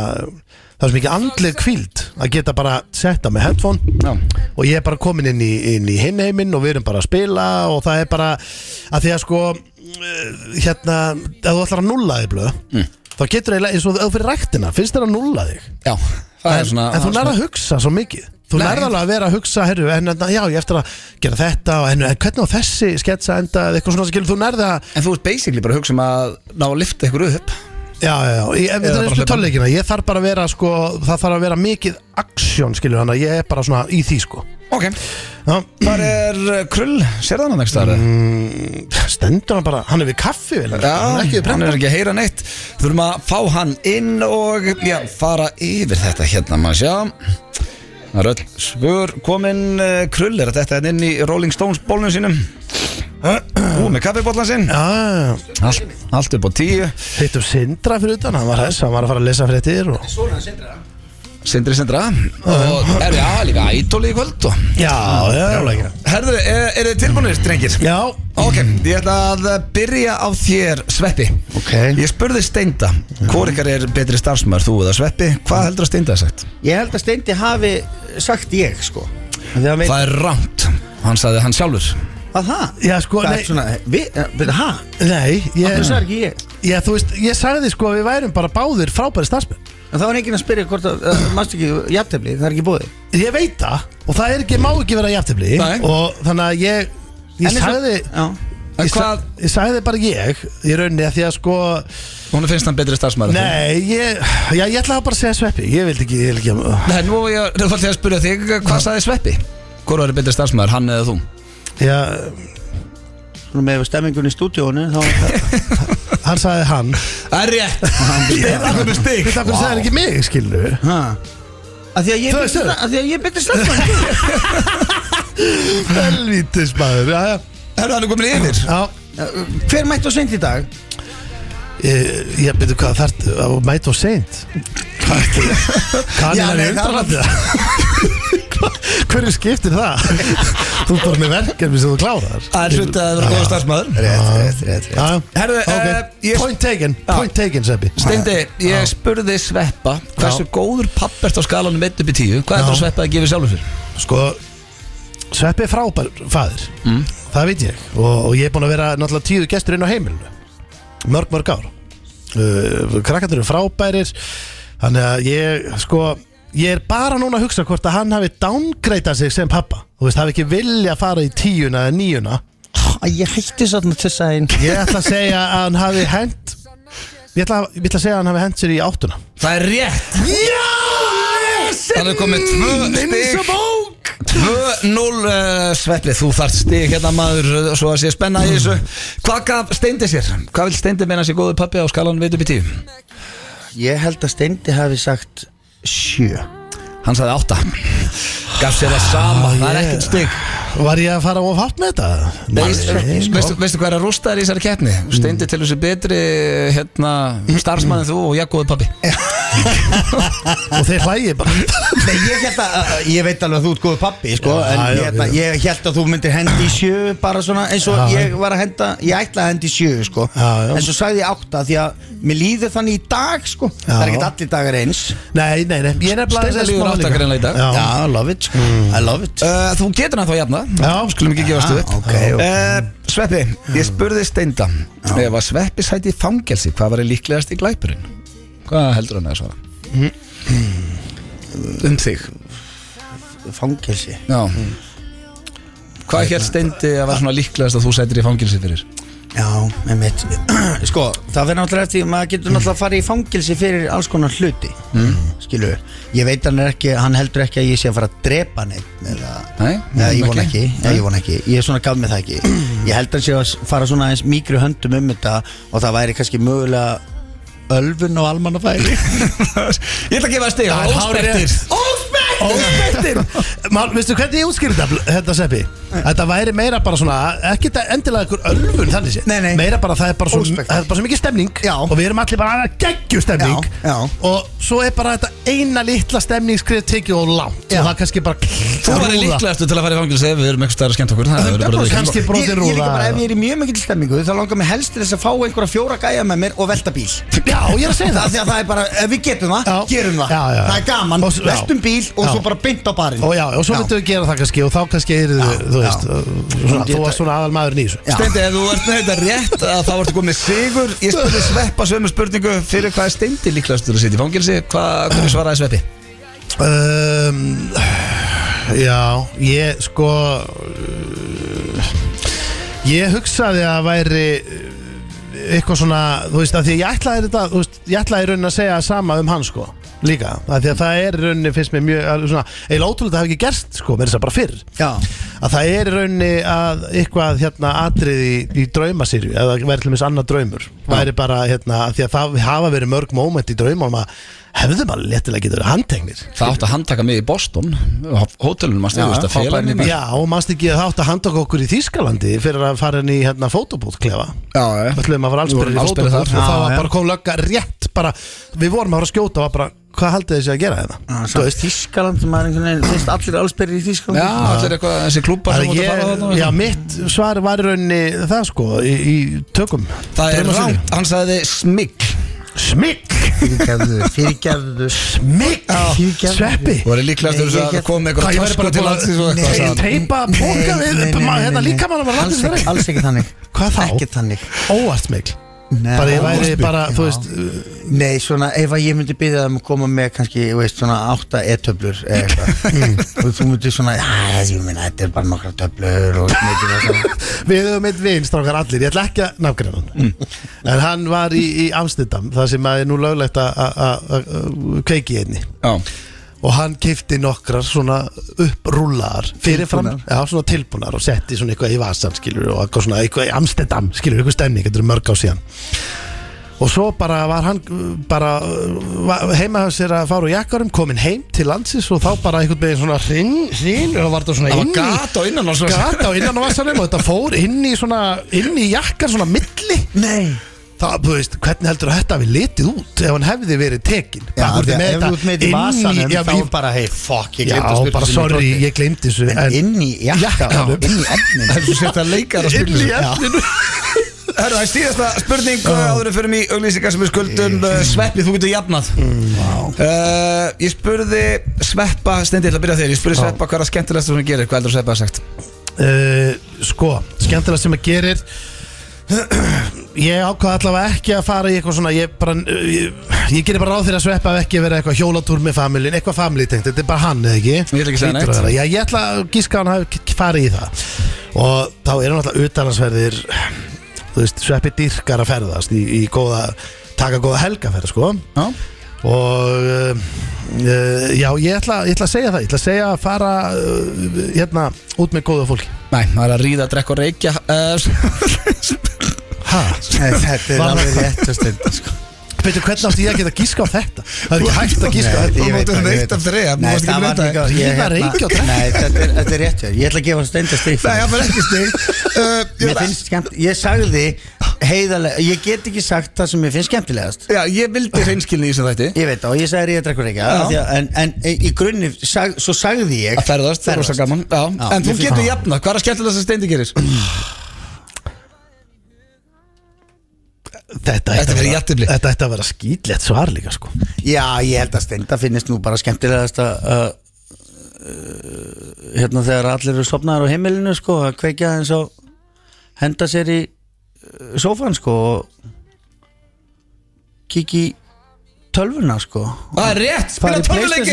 Speaker 3: það er svo mikið andleg kvíld að geta bara setta með headphone
Speaker 1: Já,
Speaker 3: og ég er bara komin inn í, inn í hinheiminn og við erum bara að spila og það er bara að því að sko eh, hérna, ef þú ætlar að nulla þig blöð
Speaker 1: Mm.
Speaker 3: þá getur eiginlega, eins og ef þú fyrir ræktina finnst þér að nulla þig
Speaker 1: já það
Speaker 3: en,
Speaker 1: er svona
Speaker 3: en þú
Speaker 1: Ah, svona-
Speaker 3: nærða að hugsa svo mikið Þú
Speaker 1: Nei.
Speaker 3: nærða alveg að vera að hugsa, herru, en, en já, ég eftir að gera þetta og en, en hvernig á þessi sketsa enda eða eitthvað svona skilur, þú nærða,
Speaker 1: En þú ert basically bara að hugsa um að ná að lifta ykkur upp
Speaker 3: já, já, já, ég, ef
Speaker 1: Eða
Speaker 3: þetta
Speaker 1: bara
Speaker 3: er eins
Speaker 1: hlaupa.
Speaker 3: og tölleikina, ég þarf bara að vera, sko, það þarf að vera mikið aksjón, skilur, þannig að ég er bara svona í því, sko.
Speaker 1: Ok,
Speaker 3: Já,
Speaker 1: hvað er uh, krull? Sér það hann ekki staðar?
Speaker 3: stendur hann bara, hann er við kaffi, vel,
Speaker 1: Já,
Speaker 3: hann er ekki við
Speaker 1: hann
Speaker 3: brenna.
Speaker 1: er ekki að heyra neitt Þurfum að fá hann inn og já, fara yfir þetta hérna maður sjá Það er öll svör komin uh, krull er þetta hérna inn í Rolling Stones bólnum sínum Ú, með kaffibóllan sinn
Speaker 3: Já, já, já.
Speaker 1: allt, allt upp á tíu
Speaker 3: hittum Sindra fyrir utan, hann var þess, hann var að fara að lesa fréttir og...
Speaker 1: Sindri Sindra Og er já, líka ædoli í kvöld og...
Speaker 3: Já, já, já
Speaker 1: Herðu, er, er þið tilbúinir, drengir?
Speaker 3: Já,
Speaker 1: Ok, ég ætla að byrja á þér, Sveppi
Speaker 2: Ok.
Speaker 1: Ég spurði Steinda Hvor ykkar er betri starfsmæður, þú eða Sveppi Hvað heldur að Steinda hafi sagt?
Speaker 2: Ég held að Steindi hafi sagt ég sko Þegar við,
Speaker 1: Það er rámt Hann sagði hann sjálfur
Speaker 2: að það
Speaker 3: Já, sko,
Speaker 2: Það
Speaker 3: nei.
Speaker 2: er svona, við, við, ha?
Speaker 3: nei
Speaker 2: Það
Speaker 3: ég,
Speaker 2: sagði ekki ég
Speaker 3: Já, þú veist, ég sagði sko að við værum bara báðir frábæri starfsmenn
Speaker 2: En það var enginn að spyrja hvort að, uh, mástu ekki, jafntefli, það er ekki bóði
Speaker 3: Ég veit það og það er ekki, má ekki vera jafntefli
Speaker 1: Nei.
Speaker 3: og þannig að ég, ég sagði
Speaker 2: Já,
Speaker 1: En
Speaker 3: ég, sa-
Speaker 1: hvað-
Speaker 3: ég sagði bara ég í rauninni að því að sko
Speaker 1: Hún finnst hann betri starfsmæður
Speaker 3: Nei, ég, já, ég ætlaði bara að segja sveppi Ég vildi ekki, ég vildi ekki
Speaker 1: Nei, nú er ég reyðfaldið að spyrja þig Hvað sagði Sveppi? Hvor er betri starfsmæður, hann eða þú?
Speaker 3: já,
Speaker 2: svona með stemmingun í stúdíónu þá var það
Speaker 3: Hann sagði hann
Speaker 1: Það er rétt Steinda komið stig
Speaker 3: Þetta hvernig sagði hann ekki mig, skilur við
Speaker 2: Ha? Að því að ég
Speaker 3: Það er
Speaker 2: betri
Speaker 3: stöðu.
Speaker 2: sta- að því að ég betri slagsmann
Speaker 3: Helvítis maður, já, já
Speaker 1: Herðu, hann er komin yfir
Speaker 3: Já,
Speaker 2: Hver mættu á seint í dag?
Speaker 3: ég, ég byrju hvað þart að mæta og seint Hvað
Speaker 1: Já,
Speaker 3: er
Speaker 1: nei, það
Speaker 3: hann
Speaker 1: var-
Speaker 3: undanandi það? Hverju skiptir það? þú er bara með verkefni sem þú klárar
Speaker 1: Það er hluti að vera góða starfsmæður
Speaker 2: Rétt, rétt, rétt, rétt.
Speaker 3: Já,
Speaker 1: Herðu,
Speaker 3: ok,
Speaker 1: eh, ég-
Speaker 3: point taken, point taken, Sveppi
Speaker 1: Steindi, ég spurði Sveppa Hversu góður papp ert á skalanum 1 upp í 10 Hvað
Speaker 3: Já.
Speaker 1: er Sveppa að gefa sjálfur fyrir?
Speaker 3: Sko Sveppi er frábær fæður Það veit ég og, og ég er búin að vera náttúrulega tíu gestur inn á heimilinu Mörg, mörg ár uh, Krakkandur eru frábærir Þannig að ég, sko Ég er bara núna að hugsa hvort að hann hafi downgreitað sig sem pappa Þú veist, hafi ekki vilja að fara í tíuna eða níuna
Speaker 2: Æ, Ég hætti svona til sæn
Speaker 3: Ég ætla að segja að hann hafi hent Ég ætla, ég ætla að segja að hann hafi hent sér í áttuna
Speaker 1: Það er rétt
Speaker 3: Já,
Speaker 1: Hann er komið tvö stig 2-0 uh, Sveppi, þú þart stig hérna maður eh, Svo að sé spenna í þessu Hvað gaf Steindi sér? Hvað vil Steindi meina sér góður pappi á skalanum 1 upp í 10?
Speaker 2: Ég held að Steindi hafi sagt sjö
Speaker 1: Hann sagði 8 Gaf sér það sama, það er ekkert stig
Speaker 3: Var ég að fara of hátt með þetta? sko.
Speaker 1: Veistu, sko, veistu, veistu hvað er að rústa þér í þessari keppni? Steindi til þessu betri hérna, starfsmann en þú og ég góður pappi
Speaker 3: Og þeir hlægi bara
Speaker 2: Nei, ég held að, að- ég veit alveg að þú ert góð pappi, sko,
Speaker 3: Já,
Speaker 2: en
Speaker 3: já,
Speaker 2: ég, held að,
Speaker 3: já.
Speaker 2: ég held að þú myndir hendi í sjö, bara svona, eins og ég var að henda, ég ætla að hendi í sjö, sko,
Speaker 3: Já, já.
Speaker 2: en svo sagði ég átta, því að mér líður þannig í dag, sko, það er ekkert allir dagar eins.
Speaker 3: Nei, nei, nei, ég er nefnilega
Speaker 1: Steinar líður áttakarinn í dag.
Speaker 3: Já, Mm. já.
Speaker 2: I love it, sko, I love it.
Speaker 1: Uh, þú getur hann þá jafna
Speaker 3: Já.
Speaker 1: Skulum ekki gefast upp
Speaker 2: ok, ok.
Speaker 1: Uh, Sveppi, ég spurði Steinda Ef að Sveppi sæti í fangelsi Hvað var líklegast í glæpurinn? Hvað heldur hann að svara? Um þig
Speaker 2: Fangelsi.
Speaker 1: Já Hvað hér Steindi að var svona líklegast að þú sætir í fangelsi fyrir?
Speaker 2: Já, með mitt, sko, það verður náttúrulega eftir, maður getur náttúrulega að fara í fangelsi fyrir alls konar hluti, mm. skilu, ég veit hann er ekki, hann heldur ekki að ég sé að fara að drepa neitt, eða...
Speaker 1: Nei,
Speaker 2: Nei, ég vona ekki, Nei, ég vona ekki Ég er svona gaf mig það ekki Ég held að sé að fara svona eins mikru höndum um þetta og það væri kannski mögulega ölfun og almannafæri
Speaker 1: Ég ætla að gefa það stig
Speaker 3: Það er
Speaker 1: Óspektir
Speaker 3: hárrétt. Óspettir Man, veistu hvernig ég útskýrði þetta, þetta seppi? Þetta væri meira bara svona ekki þetta endilega ykkur ölfun þannig sé
Speaker 2: Nei, nei.
Speaker 3: Meira bara það er bara svo,
Speaker 2: Óspektir.
Speaker 3: það er bara svo mikið stemning
Speaker 2: Já.
Speaker 3: Og við erum allir bara að geggju stemning
Speaker 2: Já, já.
Speaker 3: Og svo er bara þetta eina litla stemningskrið tekið og langt
Speaker 2: Já.
Speaker 3: Og það er kannski bara
Speaker 1: Þú var líklegastu til að fara í fangelsi ef við erum eitthvað stærra skemmt okkur Það verður bara að viðurkenna.
Speaker 3: Kannski
Speaker 2: Ég,
Speaker 3: brotin
Speaker 2: ég líka bara, ef
Speaker 3: rúða
Speaker 2: ég er í mjög mikill stemmingu þá langar mér helst til þess að fá einhverja fjóra gæja með mér og velta bíl
Speaker 3: Já, ég er að segja
Speaker 2: Það
Speaker 3: það
Speaker 2: því að það er bara, ef við getum það,
Speaker 3: Já.
Speaker 2: gerum það
Speaker 3: Já, já, já.
Speaker 2: Það er gaman,
Speaker 3: Og s- já.
Speaker 2: veltum bíl og
Speaker 3: Já.
Speaker 2: svo bara beint á barinn
Speaker 3: Og já, og svo myndum við gera það kannski og þá kannski er þið,
Speaker 2: Já,
Speaker 3: þú
Speaker 2: já.
Speaker 3: veist, svona, þú varst svona aðal maðurinn í þessu
Speaker 2: Já.
Speaker 1: Steindi, ef þú ert með þetta rétt að þá ertu komið sigur Ég spurði Sveppa sömu spurningu fyrir hvað er Steindi líklegast til að sitja í fangelsi Hvað hverju svaraði Sveppi?
Speaker 3: Um, já, ég sko uh, Ég hugsaði að væri uh, eitthvað svona, þú veist, að því að ég ætlaði þetta, þú veist, ég ætlaði í rauninni að segja sama um hann, sko, líka, að því að það er í rauninni, finnst mér mjög, alveg svona, eiginlega ótrúlega það hafi ekki gerst, sko, mér er það bara fyrr
Speaker 2: Já.
Speaker 3: að það er í rauninni að eitthvað, hérna, atriði í, í draumasýrju, eða verið til mér annar draumur, væri bara, hérna, að því að það hafa verið mörg moment í draumum að hefðum alveg léttilega getur handteknir
Speaker 1: Það átti að handtaka mig í Boston Hótelunum að stegu, þetta félagin í bæ
Speaker 3: Já, og mannst ekki að það átt að handa okkur í Þýskalandi fyrir að fara inn í hérna fótobúð klefa
Speaker 1: já.
Speaker 3: Það
Speaker 1: Við
Speaker 3: ætlum að fara
Speaker 1: vorum
Speaker 3: allsbyrðir í
Speaker 1: allsbergir
Speaker 3: fótobúð og
Speaker 1: þar.
Speaker 3: þá
Speaker 2: Já,
Speaker 3: var
Speaker 2: já.
Speaker 3: bara kom lögga rétt bara, við vorum að fara að skjóta og var bara hvað haldið þessi að gera hérna?" þetta?
Speaker 1: Ah,
Speaker 2: Þú veist Þískaland sem maður einhvern veginn finnst allir allsperri í Þískaland
Speaker 1: Já, allir eitthvað þessi klúpa sem
Speaker 3: Að
Speaker 1: út að fara
Speaker 3: Ég,
Speaker 1: þarna
Speaker 3: já, mitt svar var í rauninni það sko í, í tökum
Speaker 1: Það er
Speaker 3: Draumasögu.
Speaker 1: rámt, hann sagði smikk
Speaker 3: Smygg
Speaker 2: Fyrirgefðu, fyrirgefðu
Speaker 3: Smygg
Speaker 2: fyrirgefðu.
Speaker 3: Sveppi
Speaker 1: Þú er líklega
Speaker 2: Nei,
Speaker 1: eftir þess
Speaker 2: ég
Speaker 1: að
Speaker 2: get-
Speaker 1: koma með
Speaker 3: Hvað,
Speaker 1: eitthvað
Speaker 3: ég væri bara
Speaker 1: tösku til
Speaker 3: búin að-
Speaker 1: landsins og
Speaker 3: Nei,
Speaker 1: eitthvað
Speaker 3: ég
Speaker 1: sagði hann.
Speaker 3: teipa póka við hérna líka mann var
Speaker 2: Alls
Speaker 3: landið
Speaker 2: ekki, alls ekki þannig
Speaker 3: Hvað þá?
Speaker 2: Ekki þannig
Speaker 3: Óvart smygg
Speaker 2: Nei,
Speaker 3: Bara ég væri
Speaker 2: óspurn.
Speaker 3: bara, þú
Speaker 2: Já.
Speaker 3: veist uh,
Speaker 2: Nei, svona, ef að ég myndi byrja það um að koma með kannski, þú veist, svona átta e-töflur eða eitthvað mm. og þú myndi svona, já, þessi, ég meina, þetta er bara nokkra töflur og myndi það svona
Speaker 3: Við höfum einn vin, strákar allir, ég ætla ekki að nafngreina hann
Speaker 1: Mm.
Speaker 3: En hann var í, í Amstendam, það sem að er nú löglegt að- að að- að kveiki í einni
Speaker 1: Já,
Speaker 3: Og hann kifti nokkrar svona upprúlaðar fyrirfram Já, svona tilbúnar og setti svona eitthvað í vasan, skilur Og eitthvað svona eitthvað í Amstendam, skilur, eitthvað stemning, þetta er mörg á síðan Og svo bara var hann uh, bara uh, var heima hjá sér að fara úr jakkarum, komin heim til landsins og þá bara einhvern veginn svona hrinn, hrinn og var það svona
Speaker 1: það var
Speaker 3: inn í-
Speaker 1: gat á innan og svo
Speaker 3: gata á innan á vassanum og þetta fór inn í svona inn í jakkan svona milli
Speaker 2: Nei
Speaker 3: það, þú veist, hvernig heldur þetta hafi litið út ef hann hefði verið tekin
Speaker 2: Já,
Speaker 3: Bara, þú
Speaker 2: því
Speaker 3: veist,
Speaker 2: að ef
Speaker 3: með þetta
Speaker 2: þú ert með þetta í
Speaker 3: inn
Speaker 2: vasanum,
Speaker 3: já,
Speaker 2: þá
Speaker 3: ég-
Speaker 2: bara, hey, fuck, ég
Speaker 3: já,
Speaker 2: glemdi að spyrja
Speaker 3: bara
Speaker 2: þessu
Speaker 3: sorry,
Speaker 2: í
Speaker 3: ég gleymdi þessu
Speaker 2: kroppin. En inn í jakka,
Speaker 3: Já.
Speaker 2: inn í efnin
Speaker 1: Það er svo setja leikar að spila
Speaker 3: inn í
Speaker 1: þessu.
Speaker 3: efninu
Speaker 1: Herra, það er síðasta spurning uh. áður en förum í auglýsingar sem við skuldum uh, Sveppi, þú getur jafnað uh, Ég spurði Sveppa, stendi, ég ætla að byrja á þér Ég spurði Sveppa hvað er að skemmtilegast sem hún gerir, hvað heldur Sveppa að sagt
Speaker 3: Uh, sko, skemmtilega sem að gerir ég ákvað allavega ekki að fara í eitthvað svona ég, bara, ég, ég gerir bara ráð fyrir að sveppa ef ekki að vera eitthvað hjólatúr með familin eitthvað familítengt, þetta er bara hann eða ekki
Speaker 1: ætla ekki að segja
Speaker 3: Hlýtur
Speaker 1: neitt.
Speaker 3: vera. Já, ég ætla að gíska að hann hafi k- farið í það og þá er hann alltaf utalansverðir þú veist, sveppi dyrkar að ferðast í, í góða, taka góða helgaferð sko
Speaker 1: Já,
Speaker 3: og uh, uh, já, ég ætla, ég ætla að segja það ég ætla að segja að fara uh, hérna, út með góða fólki
Speaker 1: næ, það er að ríða, drekka og reykja Eh, uh,
Speaker 3: Hæ?
Speaker 2: Þetta er
Speaker 3: Var-
Speaker 2: alveg rétt að stunda, sko
Speaker 3: Veitu, hvernig átti ég að geta gíska á þetta? Það er ekki hægt að gíska á
Speaker 2: Nei,
Speaker 3: þetta
Speaker 2: ég veit
Speaker 1: Þú mátt
Speaker 2: það, ég
Speaker 1: neitt
Speaker 2: veit það.
Speaker 1: af þrejá, þú
Speaker 2: Nei,
Speaker 1: mást ekki
Speaker 2: það var
Speaker 1: breyta
Speaker 2: líka-
Speaker 1: þér.
Speaker 2: ég-
Speaker 3: Ríða, reykja og drekka.
Speaker 2: Nei, þetta er- þetta er rétt hjá þér. Ég ætla að gefa steinda strík
Speaker 1: Nei, það var ekki stig uh,
Speaker 2: Mér
Speaker 1: ég-
Speaker 2: finnst skemmt, ég sagði heiðarlega, ég get ekki sagt það sem mér finnst skemmtilegast
Speaker 1: Já, ég vildi hreinskilni í þessum þætti
Speaker 2: Ég veit það og ég sagði ég drekkur ekki
Speaker 1: Já.
Speaker 2: af því að- en, en í grunni, sag, svo sagði ég
Speaker 1: Að ferðast, það er rosa gaman Já,
Speaker 2: Já,
Speaker 1: En þú
Speaker 2: ég finn-
Speaker 1: getur jafnað, hvað er að skemmtilegast sem steindi gerir?
Speaker 3: Þetta
Speaker 1: Þetta
Speaker 3: ætti að
Speaker 1: verið
Speaker 3: vera-
Speaker 1: jafntefli.
Speaker 3: Þetta ætti að vera skýtlegt svar líka sko
Speaker 2: Já, ég held að steinda finnist nú bara skemmtilegast að uh, hérna þegar allir eru sopnaðar á heimilinu sko, að kveikja eins og henda sér í uh, sófan sko og kíkja í tölvuna sko
Speaker 1: Það er rétt, spila
Speaker 2: Farið í
Speaker 1: tölvuleiki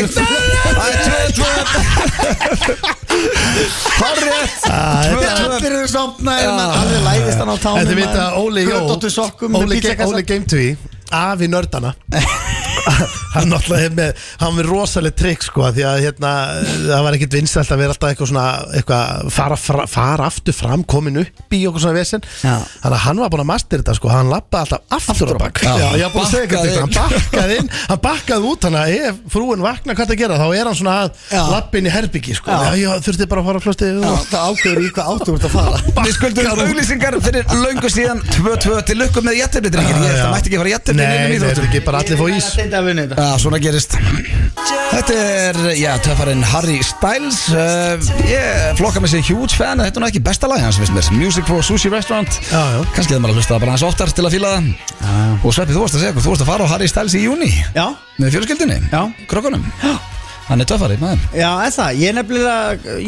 Speaker 1: Það
Speaker 2: PlayStation.
Speaker 1: er tvö, tvö Það er rétt Tvö, tvö
Speaker 2: eru sopnaðir,
Speaker 1: Já.
Speaker 2: maður allir læðist hann á tánum
Speaker 3: En þið veit að
Speaker 2: maður.
Speaker 3: Óli Jó
Speaker 2: Götóttu sokkum með
Speaker 3: Óli, Ge-
Speaker 2: pizzakassa.
Speaker 3: Óli Game 2 Afi nördana Hann náttúrulega hef með Hann með rosaleg trikk sko Því að hérna Það var ekkit vinsælt að vera alltaf eitthvað svona Eitthvað fara, fra, fara aftur fram Komin upp í okkur svona vesen
Speaker 2: Já.
Speaker 3: Þannig að hann var búin að master þetta sko Hann lappaði alltaf aftur á bak
Speaker 1: Já.
Speaker 3: Já, ég var búin að segja ykkur
Speaker 1: Bakkaði
Speaker 3: þetta Hann bakkaði inn Hann bakkaði út Þannig að ef frúin vakna hvað það gera Þá er hann svona
Speaker 2: Já.
Speaker 3: að lappa inn í herbyggi sko
Speaker 2: Já.
Speaker 3: Já, ég þurfti bara að fara á klostið
Speaker 2: Já,
Speaker 3: og-
Speaker 2: Það ákveður í hvað áttu úr þetta að fara
Speaker 1: Við skuldum auglýsingar fyrir löngu síðan 2-2 til lukku með jættirni drengir Ég held að mætti ekki fara jættirni
Speaker 3: Nei,
Speaker 1: nefnum
Speaker 3: þetta er
Speaker 1: íþróttum
Speaker 3: ekki bara allir fóð ís
Speaker 2: Steinda að vinna þetta
Speaker 1: Já, svona gerist Þetta er, já, töffarinn Harry Styles uh, Ég flokka með sér huge fan Þetta er nú ekki besta lag hans, finnst mér Music for a Sushi Restaurant
Speaker 3: Já, já.
Speaker 1: Kannski hefði maður að hlusta það bara hans oftar til að fíla það Og Sveppi, þú varst að segja okkur, þú varst að fara á Harry Styles í júni
Speaker 2: Já,
Speaker 1: Með fjölskyldinni,
Speaker 2: Já.
Speaker 1: krökkunum Hann er töffari, maður
Speaker 2: já, er það, ég nefnilega,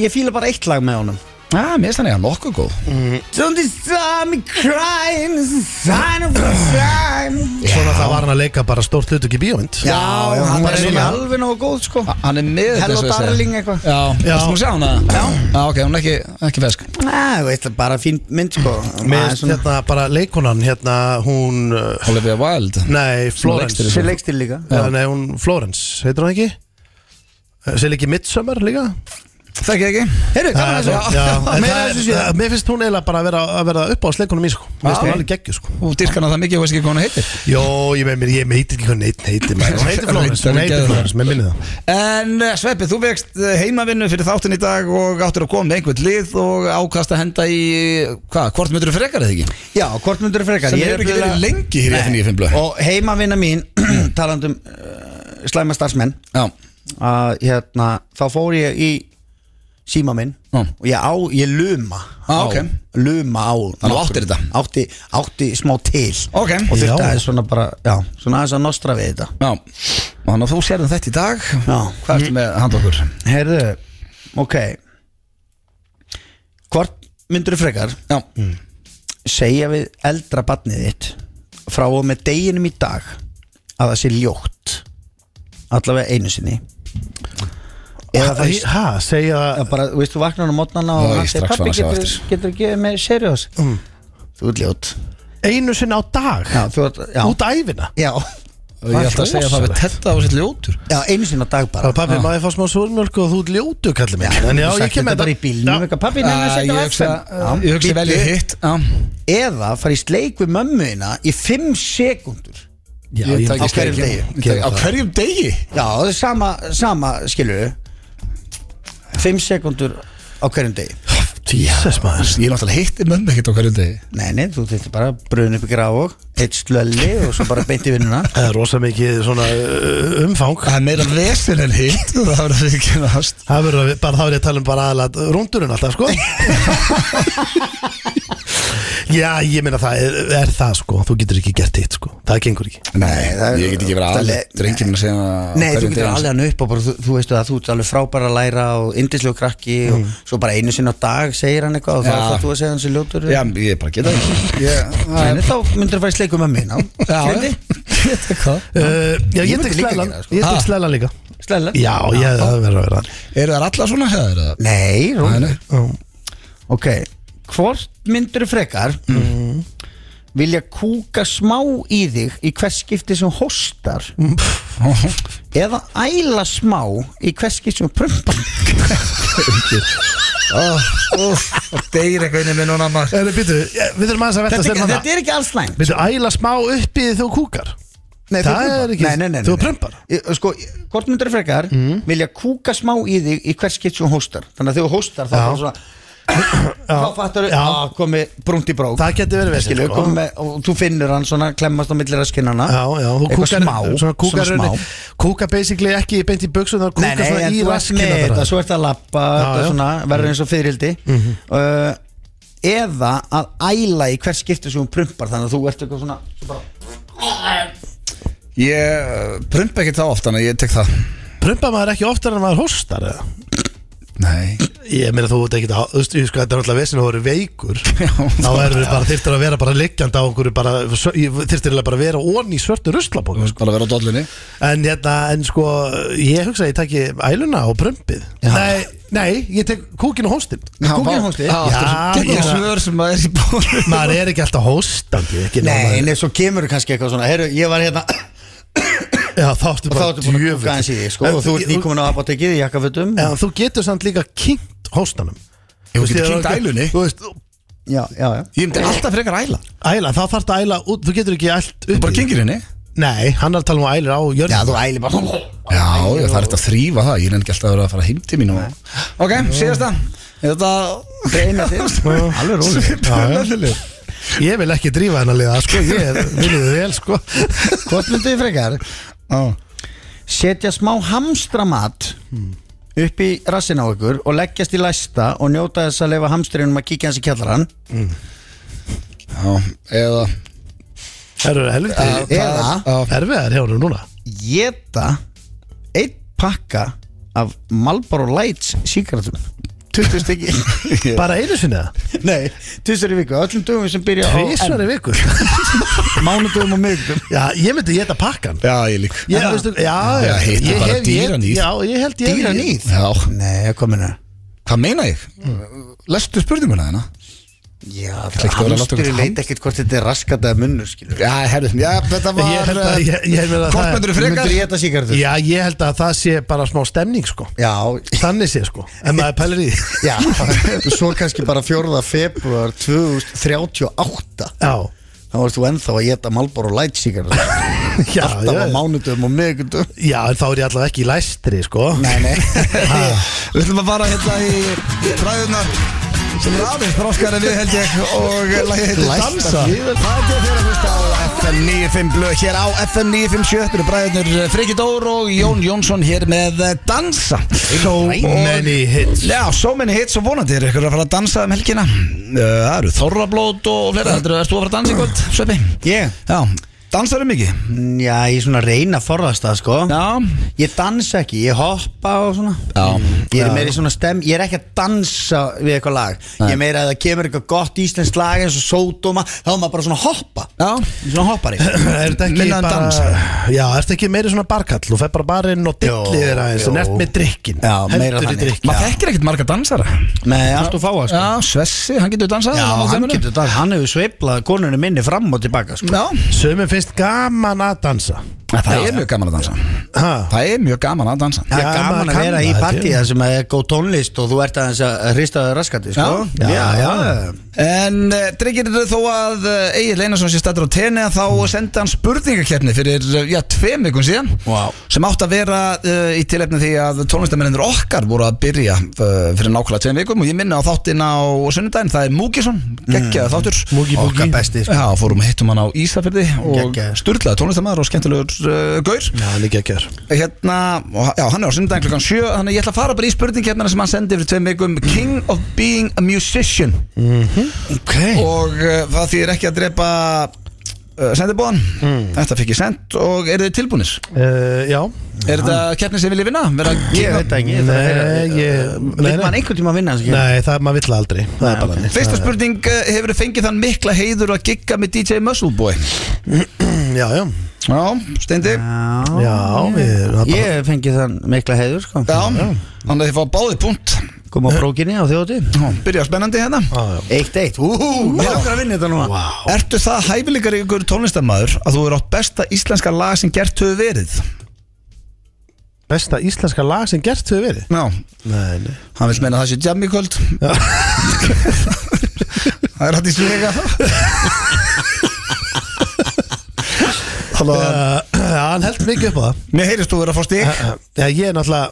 Speaker 2: ég fíla bara eitt lag með honum
Speaker 1: Já, mér finnst hann eða nokkuð góð
Speaker 2: Don't you stop me crying, it's a sign of the time
Speaker 3: Svona það var hann að leika bara stórt hlut ekki bíómynd
Speaker 2: Já, já,
Speaker 1: er
Speaker 2: hann var
Speaker 1: svona-
Speaker 2: svona alveg nógu góð, sko
Speaker 1: Ha- Hann er með
Speaker 2: Hello
Speaker 1: þessu, ég segi.
Speaker 2: Darling eitthvað.
Speaker 1: Já,
Speaker 3: Já.
Speaker 1: þú sjá hana Já Já, ok, hún er ekki, ekki fesk
Speaker 2: Nei, þú veist, bara fín mynd, sko
Speaker 3: Með
Speaker 2: Maður svona-
Speaker 3: hérna bara leikonan hérna hún uh,
Speaker 1: Olivia Wilde
Speaker 3: Nei,
Speaker 1: leikstýrir
Speaker 3: Florence
Speaker 1: þessu.
Speaker 2: Sér leikstil líka
Speaker 3: Já, Nei, hún Florence, heitir hún ekki? Uh, Sér ekki Midsommar líka?
Speaker 1: Þekki ekki
Speaker 2: Heyrðu, gaman að
Speaker 3: já,
Speaker 2: þessu
Speaker 3: já, en
Speaker 2: Meira
Speaker 3: það
Speaker 2: af
Speaker 3: er-
Speaker 2: þessu sé
Speaker 3: það- Mér finnst hún eiginlega bara að vera, að vera upp á sleikunum í sko Mér finnst
Speaker 1: Já.
Speaker 3: hún alveg geggju sko
Speaker 1: Þú dýrkana það mikið, ég veist ekki hvað hann heitir
Speaker 3: Jó, ég með mér, ég meit ekki hvað neitt heitir maður. Hún heitir Florence, hún heitir Florence, mér minni það
Speaker 1: En eh, Sveppi, þú vekst eh, heimavinnu fyrir þáttin í dag og áttur að koma með einhvern lið og ákast að henda í, hvað, hvort myndur þú frekar eða ekki?
Speaker 2: Já, hvort myndur er frekar
Speaker 1: Sem
Speaker 2: Ég er
Speaker 1: hefur ekki verið
Speaker 2: nefnilega-
Speaker 1: lengi hér í
Speaker 2: Nei.
Speaker 1: FNÍ fimm blöð.
Speaker 2: Og heimavinna mín, talandum uh, slæma starfsmenn
Speaker 1: Já,
Speaker 2: að hérna, þá fór ég í síma minn
Speaker 1: Já.
Speaker 2: og ég á, ég luma
Speaker 1: Ah,
Speaker 2: á,
Speaker 1: ok.
Speaker 2: luma á
Speaker 1: Þannig þú áttir þetta?
Speaker 2: átti, átti smá til
Speaker 1: ok
Speaker 2: og
Speaker 1: Já,
Speaker 2: þurfti
Speaker 3: Já.
Speaker 2: aðeins svona bara, já, svona aðeins að nostra við þetta
Speaker 1: og þannig að þú sérðum þetta í dag
Speaker 2: Já.
Speaker 1: Hvað ertu með handa okkur?
Speaker 2: heyrðu, ok hvort myndur frekar Mm.
Speaker 1: Já,
Speaker 2: segja við eldra barnið þitt frá og með deginum í dag að það sé ljótt allavega einu sinni eða það
Speaker 3: Hæ, segja
Speaker 2: Það bara, þú veist, þú vaknar á
Speaker 1: Já,
Speaker 2: mótnana og hann
Speaker 1: ég
Speaker 2: segir
Speaker 1: strax fann
Speaker 2: Pappi,
Speaker 1: að sjá
Speaker 2: getur,
Speaker 1: eftir."
Speaker 2: getur gefið mig seriós mm. Þú ert ljót
Speaker 3: einu sinni á dag
Speaker 2: Já, þú ert, já
Speaker 3: út æfina
Speaker 2: Já,
Speaker 1: ég ætla að segja það við tetta á sitt ljótur
Speaker 2: já einu sinna dag bara
Speaker 3: Það pappi, maður fá smá súrmjölk og þú ert ljótu, kallir mig En já, ég kem
Speaker 2: með
Speaker 3: með
Speaker 2: bara í bílnum eitthvað, Pappi, nefnir að
Speaker 1: Æ, Ég
Speaker 2: setja
Speaker 1: hugsa
Speaker 2: vaxin
Speaker 1: ég hugsa vel í hitt Já,
Speaker 2: Eða fara í sleik við mömmuina í 5 sekundur
Speaker 3: Já,
Speaker 1: ég
Speaker 3: ég
Speaker 1: tæki
Speaker 2: á hverjum
Speaker 1: sleikinn.
Speaker 2: degi.
Speaker 1: Ég tæki- Á hverjum degi?
Speaker 2: Já, það er sama, sama skilur 5 sekundur á hverjum degi
Speaker 3: Jesus, maður
Speaker 1: Ég er náttúrulega hitti mömmu ekkert á hverjum degi
Speaker 2: Nei, nei, þú þurfti bara brun upp í graf og Eitt slölli og svo bara beint í vinnuna
Speaker 3: Það er rosa mikið svona uh, umfang
Speaker 1: Það er meira vesen en hitt Það verður að viðkennast
Speaker 3: Það verður að- bara, þá er ég að tala um bara aðalega rúndurinn alltaf, sko Já, ég meina það er, er það, sko Þú getur ekki gert hitt, sko Það gengur ekki
Speaker 1: Nei,
Speaker 2: það er-
Speaker 1: ég get ekki verið
Speaker 2: það er-
Speaker 1: aðlega Drengir minn að segja á
Speaker 2: Nei, þú
Speaker 1: hverjum
Speaker 2: getur
Speaker 1: degi.
Speaker 2: alveg hann upp og bara, þú, þú veistu að þú ert alveg frábæra að læra og indislegu krakki og svo bara einu sinni á dag segir hann eitthvað og þá
Speaker 1: Mm. Já.
Speaker 2: þarf þú að segja hann sér ljótur
Speaker 1: Já, ég bara geta það Ég- það
Speaker 2: Þannig þá myndir að fara í sleikum með mig
Speaker 1: er-
Speaker 2: ná
Speaker 1: Já, geta hvað
Speaker 3: uh, Já,
Speaker 2: Ég
Speaker 3: ég
Speaker 2: myndi
Speaker 3: tek
Speaker 2: líka
Speaker 3: slælan
Speaker 2: gera það, sko.
Speaker 3: Ég
Speaker 1: Ha?
Speaker 3: tek slælan líka
Speaker 2: Slæla
Speaker 3: Já, ég hefði það verið að vera
Speaker 1: Eru þær allar svona hefðar? eða?
Speaker 2: Nei,
Speaker 1: Nei,
Speaker 2: rúm
Speaker 1: nei.
Speaker 3: þannig.
Speaker 2: Ok, hvort myndir frekar vilja kúka smá í þig í hvers skipti sem hóstar eða æla smá í hvers skipti sem prumpa
Speaker 1: Ah, Það deyr eitthvað inn í minn og annar
Speaker 3: Er, býtu, Við þurfum aðeins að velta
Speaker 2: þetta,
Speaker 3: stefna
Speaker 2: þetta er ekki alls næm
Speaker 3: Býtu, æla smá upp í þú kúkar
Speaker 2: Nei, þú
Speaker 3: Það
Speaker 2: prumpar.
Speaker 3: er ekki-
Speaker 2: nei, nei, nei, nei.
Speaker 3: þú Mm. prumpar.
Speaker 2: Ég- Sko, ég- hvort myndir frekar vilja kúka smá í þig í hvers skipt sem þú hóstar Þannig að þegar þú hóstar þá
Speaker 3: Já.
Speaker 2: bara svona Þá fattar
Speaker 3: Já.
Speaker 2: þú komið brúnt í brók
Speaker 3: Það getur verið vesen,
Speaker 2: Skilu,
Speaker 3: sko.
Speaker 2: sko. með, Og þú finnur hann svona klemmast á millir að skinnana
Speaker 3: Já, já, þú
Speaker 2: Eitthvað
Speaker 3: kúkar
Speaker 2: smá,
Speaker 3: Svona kúkar,
Speaker 2: svona smá.
Speaker 3: rauninni- kúkar basically ekki beint í buksu Það
Speaker 2: Nei,
Speaker 3: kúkar
Speaker 2: nei,
Speaker 3: svona
Speaker 2: en
Speaker 3: í
Speaker 2: þú ert með þetta,
Speaker 3: raskina
Speaker 2: svo ert að lappa
Speaker 3: já. Mhm.
Speaker 2: Svona, verður eins og fyririldi uh, Eða að æla í hvers skipti sem hún prumpar Þannig að þú ert eitthvað svona
Speaker 1: Ég uh, prumpa ekki þá oft, þannig að ég tek það
Speaker 3: Prumpa maður ekki oftar en maður hóstar eða?
Speaker 1: Nei
Speaker 3: Ég meina þú ert ekkert að, þú veist, ég sko, þetta er náttúrulega vesen að þú eru veikur Þá
Speaker 1: það-
Speaker 3: erum við bara, þyrftir að vera bara liggjandi á okkur bara, Þyrftir að bara vera onni í svörtu ruslabók
Speaker 1: Þú veist bara að vera á dollunni
Speaker 3: En hérna, en sko, ég hugsa að ég taki æluna og prumpið Nei, nei, ég tek kúkin og hóstinn
Speaker 2: Kúkinn hósti
Speaker 1: Já,
Speaker 3: Já,
Speaker 1: ég
Speaker 3: já.
Speaker 1: svör sem maður er í bóru
Speaker 3: Maður er ekki alltaf hóstandi ekki
Speaker 2: Nei,
Speaker 3: nema-
Speaker 2: nei, svo kemur kannski eitthvað svona Herru, ég var hérna
Speaker 3: Já, þá ertu
Speaker 2: og þá
Speaker 3: bara
Speaker 2: ertu búin að
Speaker 3: djöfull.
Speaker 2: kúka eins í því sko,
Speaker 3: En
Speaker 2: og þú ert
Speaker 3: ég-
Speaker 2: nýkomin á apotekið í jakkafötum
Speaker 3: En þú getur samt líka kynnt hóstanum
Speaker 1: Ég
Speaker 3: Þú
Speaker 1: get
Speaker 3: veist, ég er
Speaker 1: kynnt
Speaker 3: alveg-
Speaker 1: ælunni
Speaker 3: Þú veist,
Speaker 2: já, já, já
Speaker 1: Ég myndi alltaf frekar æla
Speaker 3: æla, þá þarf að æla út Þú getur ekki ælt
Speaker 1: Þú
Speaker 3: upp
Speaker 1: bara
Speaker 3: í-
Speaker 1: gengir henni
Speaker 3: Nei, hann er að tala um að æla á jörn
Speaker 2: já, þú æli bara
Speaker 1: Já, ég, það er þetta að þrýfa það Ég er ekki alltaf að vera að fara heim til mín og... Ok, síðasta Þetta
Speaker 2: reyna þig alveg róli
Speaker 1: um Svipur
Speaker 3: Ég vil ekki drífa hennar liða, sko Ég er viljið vel, sko
Speaker 2: hvort myndu þið frekar setja smá hamstramat upp í rassin á ykkur og leggjast í læsta og njóta þess að leifa hamstrinum að kíkja hans í kjallaran
Speaker 1: Já, eða
Speaker 3: Það eru helviti
Speaker 2: eða
Speaker 3: Erfiðar hjá hennar núna
Speaker 2: geta einn pakka af Marlboro Lights síkartum 20 stykki
Speaker 3: Bara einu sinni það
Speaker 2: nei, tvisar í viku, öllum dögum sem byrja á
Speaker 3: Tvísvar í viku
Speaker 2: mánudögum og miðugum
Speaker 3: Já, ég myndi geta pakkan
Speaker 1: Já, ég lík
Speaker 3: Ég, veistu, já,
Speaker 1: Já, hitt er
Speaker 3: ég
Speaker 1: bara
Speaker 3: hef- ég-
Speaker 1: dýraníð.
Speaker 3: Já, ég held ég
Speaker 2: Dýraníð?
Speaker 1: Já,
Speaker 2: Nei, ég kom hérna
Speaker 1: hvað meina ég? Lestu spurninguna þarna?
Speaker 2: Já,
Speaker 1: ætla ekki að vera að láta
Speaker 2: hamstur
Speaker 1: ykkur
Speaker 2: leit ekkert hvort þetta er raskat eða munnur skilur
Speaker 1: Já, herrið, já, þetta var eh,
Speaker 3: Ég held að- ég- ég held að það-
Speaker 1: Hvort myndirðu frekar?
Speaker 2: Mundur ég þetta síkartur?
Speaker 3: Já, ég held að það sé bara smá stemning, sko
Speaker 2: Já,
Speaker 3: Þannig sé, sko En maður pælir í því
Speaker 2: já Svo kannski bara 4. februar 2038
Speaker 3: Já,
Speaker 2: Þá varst þú ennþá að geta Malboro Light síkartur
Speaker 3: já,
Speaker 2: Alltaf á
Speaker 3: já.
Speaker 2: mánudum og miðgundum
Speaker 3: já, en þá er ég allavega ekki í læstri, sko
Speaker 2: Nei, nei
Speaker 1: Við ætlum að fara hérna í ræðunar sem er aðeins þróskar en við held ég og lagið heitir Dansa Það er til þér að hlusta á FM 95 blöð hér á FM 957 Þetta eru bræðinur Friki Dór og Jón Jónsson hér með eh, Dansa So
Speaker 3: many hits.
Speaker 1: Já, so many hits og vonandi er ykkur að fara að dansa um helgina Eh, Það eru Þorrablót og fleira Þetta eru ertu að fara að dansa í kvöld, Sveppi?
Speaker 2: Ég?
Speaker 1: Já, dansaðu mikið?
Speaker 2: Já, ég er svona að reyna að forðast það sko
Speaker 1: Já
Speaker 2: Ég dansa ekki, ég hoppa og svona
Speaker 1: Já.
Speaker 2: Ég er
Speaker 1: Já.
Speaker 2: meira í svona stem, ég er ekki að dansa við eitthvað lag Ég er meira að það kemur eitthvað gott íslensk lag eins og sódóma Þá er maður bara svona að hoppa
Speaker 1: Já
Speaker 2: Ég er Svona hoppari
Speaker 3: Er þetta ekki
Speaker 1: Minna en dans.
Speaker 3: Já, er þetta ekki meiri svona barkall Þú fer bara barinn og
Speaker 2: Jó,
Speaker 3: dillið þér aðeins Og
Speaker 2: jó.
Speaker 3: nert með drikkin
Speaker 2: Já, meira
Speaker 3: Hendur í
Speaker 2: þannig.
Speaker 3: drikkin
Speaker 1: Maður þekkir ekkert marga dansara
Speaker 2: Nei, allt og fáa sko
Speaker 1: Já, Svessi, hann getur dansað
Speaker 2: Já,
Speaker 1: á
Speaker 2: hann
Speaker 1: þeimunum.
Speaker 2: getur það, hann hefur sveiplað konunni minni fram og tilbaka sko
Speaker 1: Já,
Speaker 3: Sumum finnst gaman að dansa
Speaker 1: það er mjög gaman að dansa
Speaker 3: Ha?
Speaker 1: Það er mjög gaman að dansa
Speaker 2: Það
Speaker 3: Já,
Speaker 2: er gaman
Speaker 3: maður
Speaker 2: að
Speaker 3: kann
Speaker 2: vera
Speaker 3: það,
Speaker 2: í
Speaker 3: þetta er-
Speaker 2: partíða sem er góð tónlist og þú ert aðeins að hrista það raskati sko
Speaker 1: Já,
Speaker 2: já,
Speaker 1: En uh, drengir þó að uh, Egil Einarsson sé stættur á tenni þá sendi hann spurningakeppni fyrir uh, já, tveim vikum síðan
Speaker 2: Vá.
Speaker 1: sem átt að vera uh, í tilefni því að tónlistamennir okkar voru að byrja uh, fyrir nákvæmlega tveim vikum og ég minna á þáttin á sunnudaginn, það er Múkisson geggjaði þáttur
Speaker 3: Múki
Speaker 2: Okkar
Speaker 3: búki
Speaker 2: besti sko
Speaker 1: Mm. Já, fórum og hittum hann á Ísafjörði og
Speaker 2: Geggjaður.
Speaker 1: styrlaði tónlistamæður og skemmtilegur uh, gaur
Speaker 3: Já, hann er geggjör
Speaker 1: hérna, og- já, hann er á sundaginn klukkan 7 þannig að ég ætla að fara bara í spurningkefnina sem hann sendi fyrir tveim vikum, King of Being a Musician
Speaker 2: Mhm. Ok
Speaker 1: og uh, það þýðir ekki að drepa uh, sendibóðan
Speaker 2: Mm.
Speaker 1: þetta fikk ég sendt og eru þið tilbúinir?
Speaker 3: uh, Já
Speaker 1: Er þetta keppni sem vilja vinna? Vera
Speaker 2: Ég
Speaker 1: King
Speaker 2: veit
Speaker 1: of...
Speaker 2: það ekki ég þarf að heyra-
Speaker 3: Nei, ég
Speaker 2: Vil maður einhvern tíma vinna þessu hérna?
Speaker 3: Nei, það er maður vill það aldrei Það er bara þannig
Speaker 1: Fyrsta spurning, uh, hefur þið fengið þann mikla heiður að gigga með DJ Muscleboy?
Speaker 3: Já, já
Speaker 1: Já, steindi
Speaker 2: Já,
Speaker 3: Já, við erum það bara-
Speaker 2: Ég fengi þann mikla heiður sko
Speaker 1: Já, þannig að þið fá báðið punkt
Speaker 2: Kom á brókinni á þjóti
Speaker 1: Já, Byrja spennandi hérna
Speaker 3: Já, já.
Speaker 2: Eitt eitt, úhú, mér langar að vinna þetta núna
Speaker 3: Vá.
Speaker 1: Ertu það hæfileikar ykkur tónlistamæður að þú eru átt besta íslenska lag sem gert höfu verið?
Speaker 3: Besta íslenska lag sem gert hefur verið
Speaker 1: Já,
Speaker 3: Nei, nei
Speaker 1: hann vil meina að það sé jam í kvöld Það er hægt í svega Halló
Speaker 3: Uh, Hann heldur mikið upp á það
Speaker 1: Mér heyrist þú verið að fá stík
Speaker 3: Uh, Já, ég er náttúrulega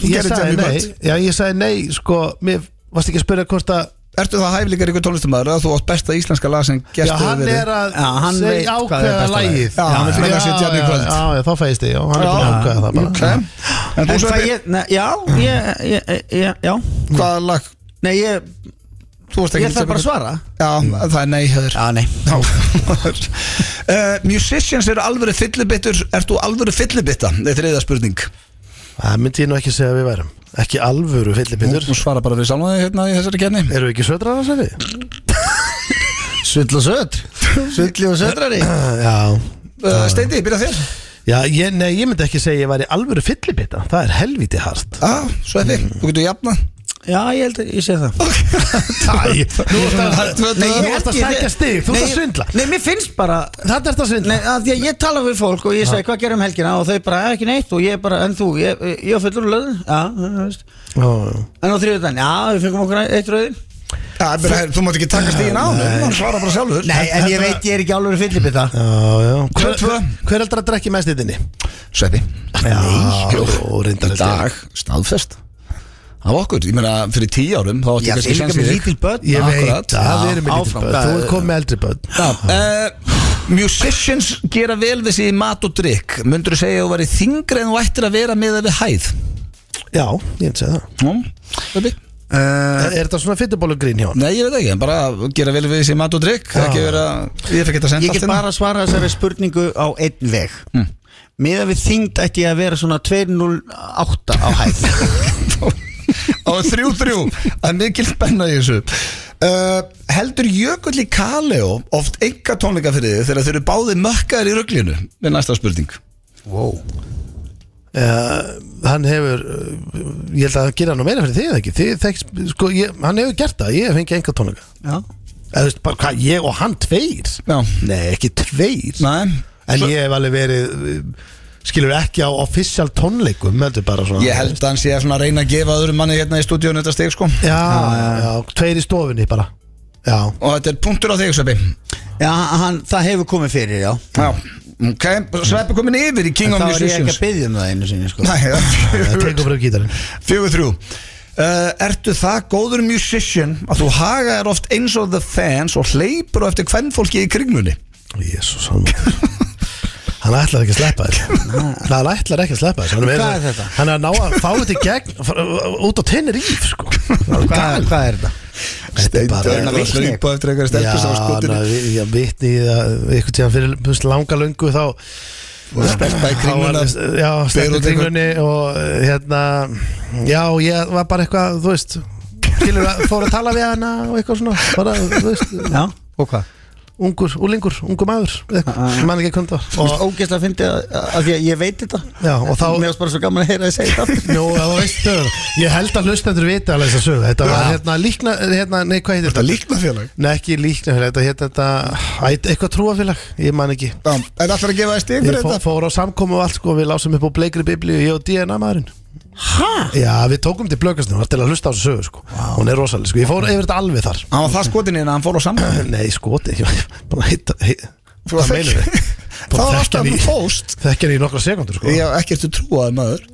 Speaker 3: Ég
Speaker 1: gerðir
Speaker 3: sagði
Speaker 1: jam í
Speaker 3: nei
Speaker 1: kvöld.
Speaker 3: Já, ég sagði nei, sko Mér varst ekki að spyrja hvort að
Speaker 1: Ertu það hæfileikar ykkur tónlistamæður að þú átt besta íslenska lag sem
Speaker 3: Já,
Speaker 1: gert höfu
Speaker 3: hann
Speaker 1: verið?
Speaker 3: er að
Speaker 2: Já, hann veit
Speaker 3: segja
Speaker 2: hvað er
Speaker 3: ákveða
Speaker 2: besta lagið.
Speaker 3: lægið
Speaker 1: Já, hann vill meina að sé jam í kvöld.
Speaker 3: Já, já, þá fæðist ég, já, hann er búin að ákveða það bara
Speaker 1: okay. En
Speaker 2: En
Speaker 1: þú
Speaker 2: það
Speaker 1: sagði,
Speaker 2: ég, ne, já, ég, ég, ég, já
Speaker 1: hvaða lag?
Speaker 2: Nei, ég,
Speaker 1: Þú varst ekki
Speaker 2: ég þarf bara að svara
Speaker 1: Já, það er nei höfður
Speaker 2: Já, nei
Speaker 1: Já uh, Musicians eru alvöru fyllibittur Ert þú alvöru fyllibitta? Þetta er reyða spurning
Speaker 3: Það myndi ég nú ekki segja að við værum Ekki alvöru fyllibindur
Speaker 1: Þú svara bara við sjálfnaði hérna í þessari kenni
Speaker 3: Erum við ekki södraðar að segja?
Speaker 2: Sull og sötr Sulli og sötrari
Speaker 3: Já
Speaker 1: uh, Steindi, byrja þér
Speaker 3: Já, ég, nei, ég myndi ekki segja að ég væri alvöru fyllibitta Það er helviti hart
Speaker 1: ah, Sveppi, þú getur jafna
Speaker 2: Já, ég held að ég sé það
Speaker 3: Æ, nú ertu að-
Speaker 1: Nei,
Speaker 3: þú
Speaker 2: ég
Speaker 3: varst
Speaker 2: held
Speaker 3: að
Speaker 2: ég-
Speaker 3: sækja stig, þú ert
Speaker 2: Nei,
Speaker 3: að svindla.
Speaker 2: Nei, mér finnst bara
Speaker 3: Þetta er þetta svindl
Speaker 2: Nei, að því að ég tala við fólk og ég segi hvað gerum helgina og þau bara "Eh, ekki neitt og ég bara, en þú, ég, ég á fullur löðu Já, þú veist En á þriðutan, já, við fengum okkur eitt rauðin
Speaker 1: ja, byrja, her, Þú mátt ekki taka stíðin á Þú svara bara sjálfur
Speaker 2: Nei, en ég veit ég er ekki alveg fyllibita
Speaker 3: Já, já Hver,
Speaker 1: Tvö, tvö.
Speaker 3: hver heldur að drekki mest í þinni?
Speaker 1: Sveppi
Speaker 3: Já, og reyndar
Speaker 1: Í dag, staðfest Af okkur, ég meina fyrir tíu árum Þá átti
Speaker 2: Já,
Speaker 1: ég
Speaker 2: þið
Speaker 1: kannski
Speaker 2: líka
Speaker 1: sjans í
Speaker 2: með
Speaker 1: þig
Speaker 2: lítil börn
Speaker 3: Ég
Speaker 1: Akkurat.
Speaker 3: veit að
Speaker 2: Já,
Speaker 3: við erum með lítið
Speaker 2: áfram.
Speaker 3: börn Þú er komið með eldri börn
Speaker 1: Já, uh, Musicians gera vel við sig í mat og drikk Mundur þú segja að þú væri þingri en þú ættir að vera með það við hæð
Speaker 3: Já, ég myndi segja það
Speaker 1: Nú, Sveppi
Speaker 2: Eh.
Speaker 3: Er er þetta svona fyttubólugrín hjá hann?
Speaker 1: Nei, ég veit ekki, en bara gera vel við sig í mat og drikk Það er ekki vera, ég fekk þetta senda
Speaker 2: Ah. Ég get bara að svara þessari spurningu á einn veg mm. Miðan við þyngd ætti ég að vera svona 208 á hæð
Speaker 1: á 3-3 það er mikil spenna í þessu uh, heldur Jökull í Kaleo oft enga tónleika fyrir þið þegar þeir eru báði mökkaðir í rugglinu við næsta spurning
Speaker 2: wow.
Speaker 3: Uh, hann hefur uh, Ég held að hann gera nú meira fyrir þig eða ekki þið, þekkt, sko, ég, Hann hefur gert það, ég hef fengið enga tónleika
Speaker 2: Já
Speaker 3: Eða þú veist bara hvað, ég og hann tveir
Speaker 1: já,
Speaker 3: Nei, ekki tveir
Speaker 1: næ
Speaker 3: En ég hef alveg verið uh, Skilur ekki á official tónleikum Heldur bara svona
Speaker 1: ég held að hann sé að svona reyna að gefa öðrum manni hérna í stúdíónu þetta steg sko
Speaker 3: Já, já, tveir í stofunni bara Já,
Speaker 1: og þetta er punktur á þig Sveppi
Speaker 2: Já, hann, það hefur komið fyrir, já
Speaker 1: já, ok, Sveppi komin yfir í King
Speaker 2: En
Speaker 1: of
Speaker 2: þá er ég ekki
Speaker 1: Musicians
Speaker 2: að byggja um það einu sinni, sko
Speaker 1: Næ, já,
Speaker 3: það tekur fyrir gítarinn
Speaker 1: fjögur þrjú uh, Ertu það góður musician að þú haga er oft eins og the fans og hleypur á eftir hvern fólki í kringmunni
Speaker 3: Jésús, hann Hann ætlar ekki að sleppa þér Hann ætlar ekki að sleppa þér Hann
Speaker 2: Hvað er þetta?
Speaker 3: Hann er að ná að fá þetta í gegn fara- út á tennir íf sko.
Speaker 2: Hvað, hvað er þetta?
Speaker 3: Þetta er bara-
Speaker 1: Steindar að hlaupa eftir einhverja
Speaker 3: Já,
Speaker 1: stelpur sem var
Speaker 3: hann
Speaker 1: skotinu
Speaker 3: að vi- já, vitni í það einhvern tíðan fyrir pust, langa löngu þá
Speaker 1: Stelpa í
Speaker 3: þá var
Speaker 1: kringluna
Speaker 3: þess- Já,
Speaker 1: ber
Speaker 3: stendur
Speaker 1: út einhvern-
Speaker 3: kringlunni og eh, hérna Já, ég var bara eitthvað, þú veist Skilur að fór að tala við hana og eitthvað svona bara, þú veist,
Speaker 2: Já, og hvað?
Speaker 3: ungur, úlingur, ungur maður eitthvað, ég man ekki hvernig það
Speaker 2: Þú
Speaker 3: var
Speaker 2: veist, ógeðslega fyndi að, að því að ég veit þetta
Speaker 3: Já, og þá-
Speaker 2: Mér varst bara svo gaman að heyra þið segja þetta aftur.
Speaker 3: Jó, það veistu Ég held að hlustendur vita alveg þess að sögu Þetta var hérna líkna, hérna, nei hvað heitir
Speaker 1: Þetta
Speaker 3: þetta?
Speaker 1: líkna félag
Speaker 3: Nei, ekki líkna, þetta hérna þetta Æ, Eitthvað trúafélag, ég man ekki
Speaker 1: Já, En ætlar að gefa þér stig
Speaker 3: Ég
Speaker 1: fyrir
Speaker 3: fó,
Speaker 1: þetta
Speaker 3: fór á samkomu og allt sko, við lásum upp á bleikri biblíu, ég og DNA maðurinn Hæ? Já, við tókum til blökastinu, var til að hlusta á þessu sögu sko Hún er rosaleg sko, ég fór yfir þetta alveg þar
Speaker 1: Hann var það skotinu en hann fór á samkvæm
Speaker 3: Nei, skoti, ég var bara að heita hei,
Speaker 1: Þú var
Speaker 3: Hvað
Speaker 1: þekk-
Speaker 3: meinar þið?
Speaker 1: Það var alltaf þú fóst
Speaker 3: Þekkir í nokkra sekundur sko
Speaker 1: Ég hef ekkert þú trúaði maður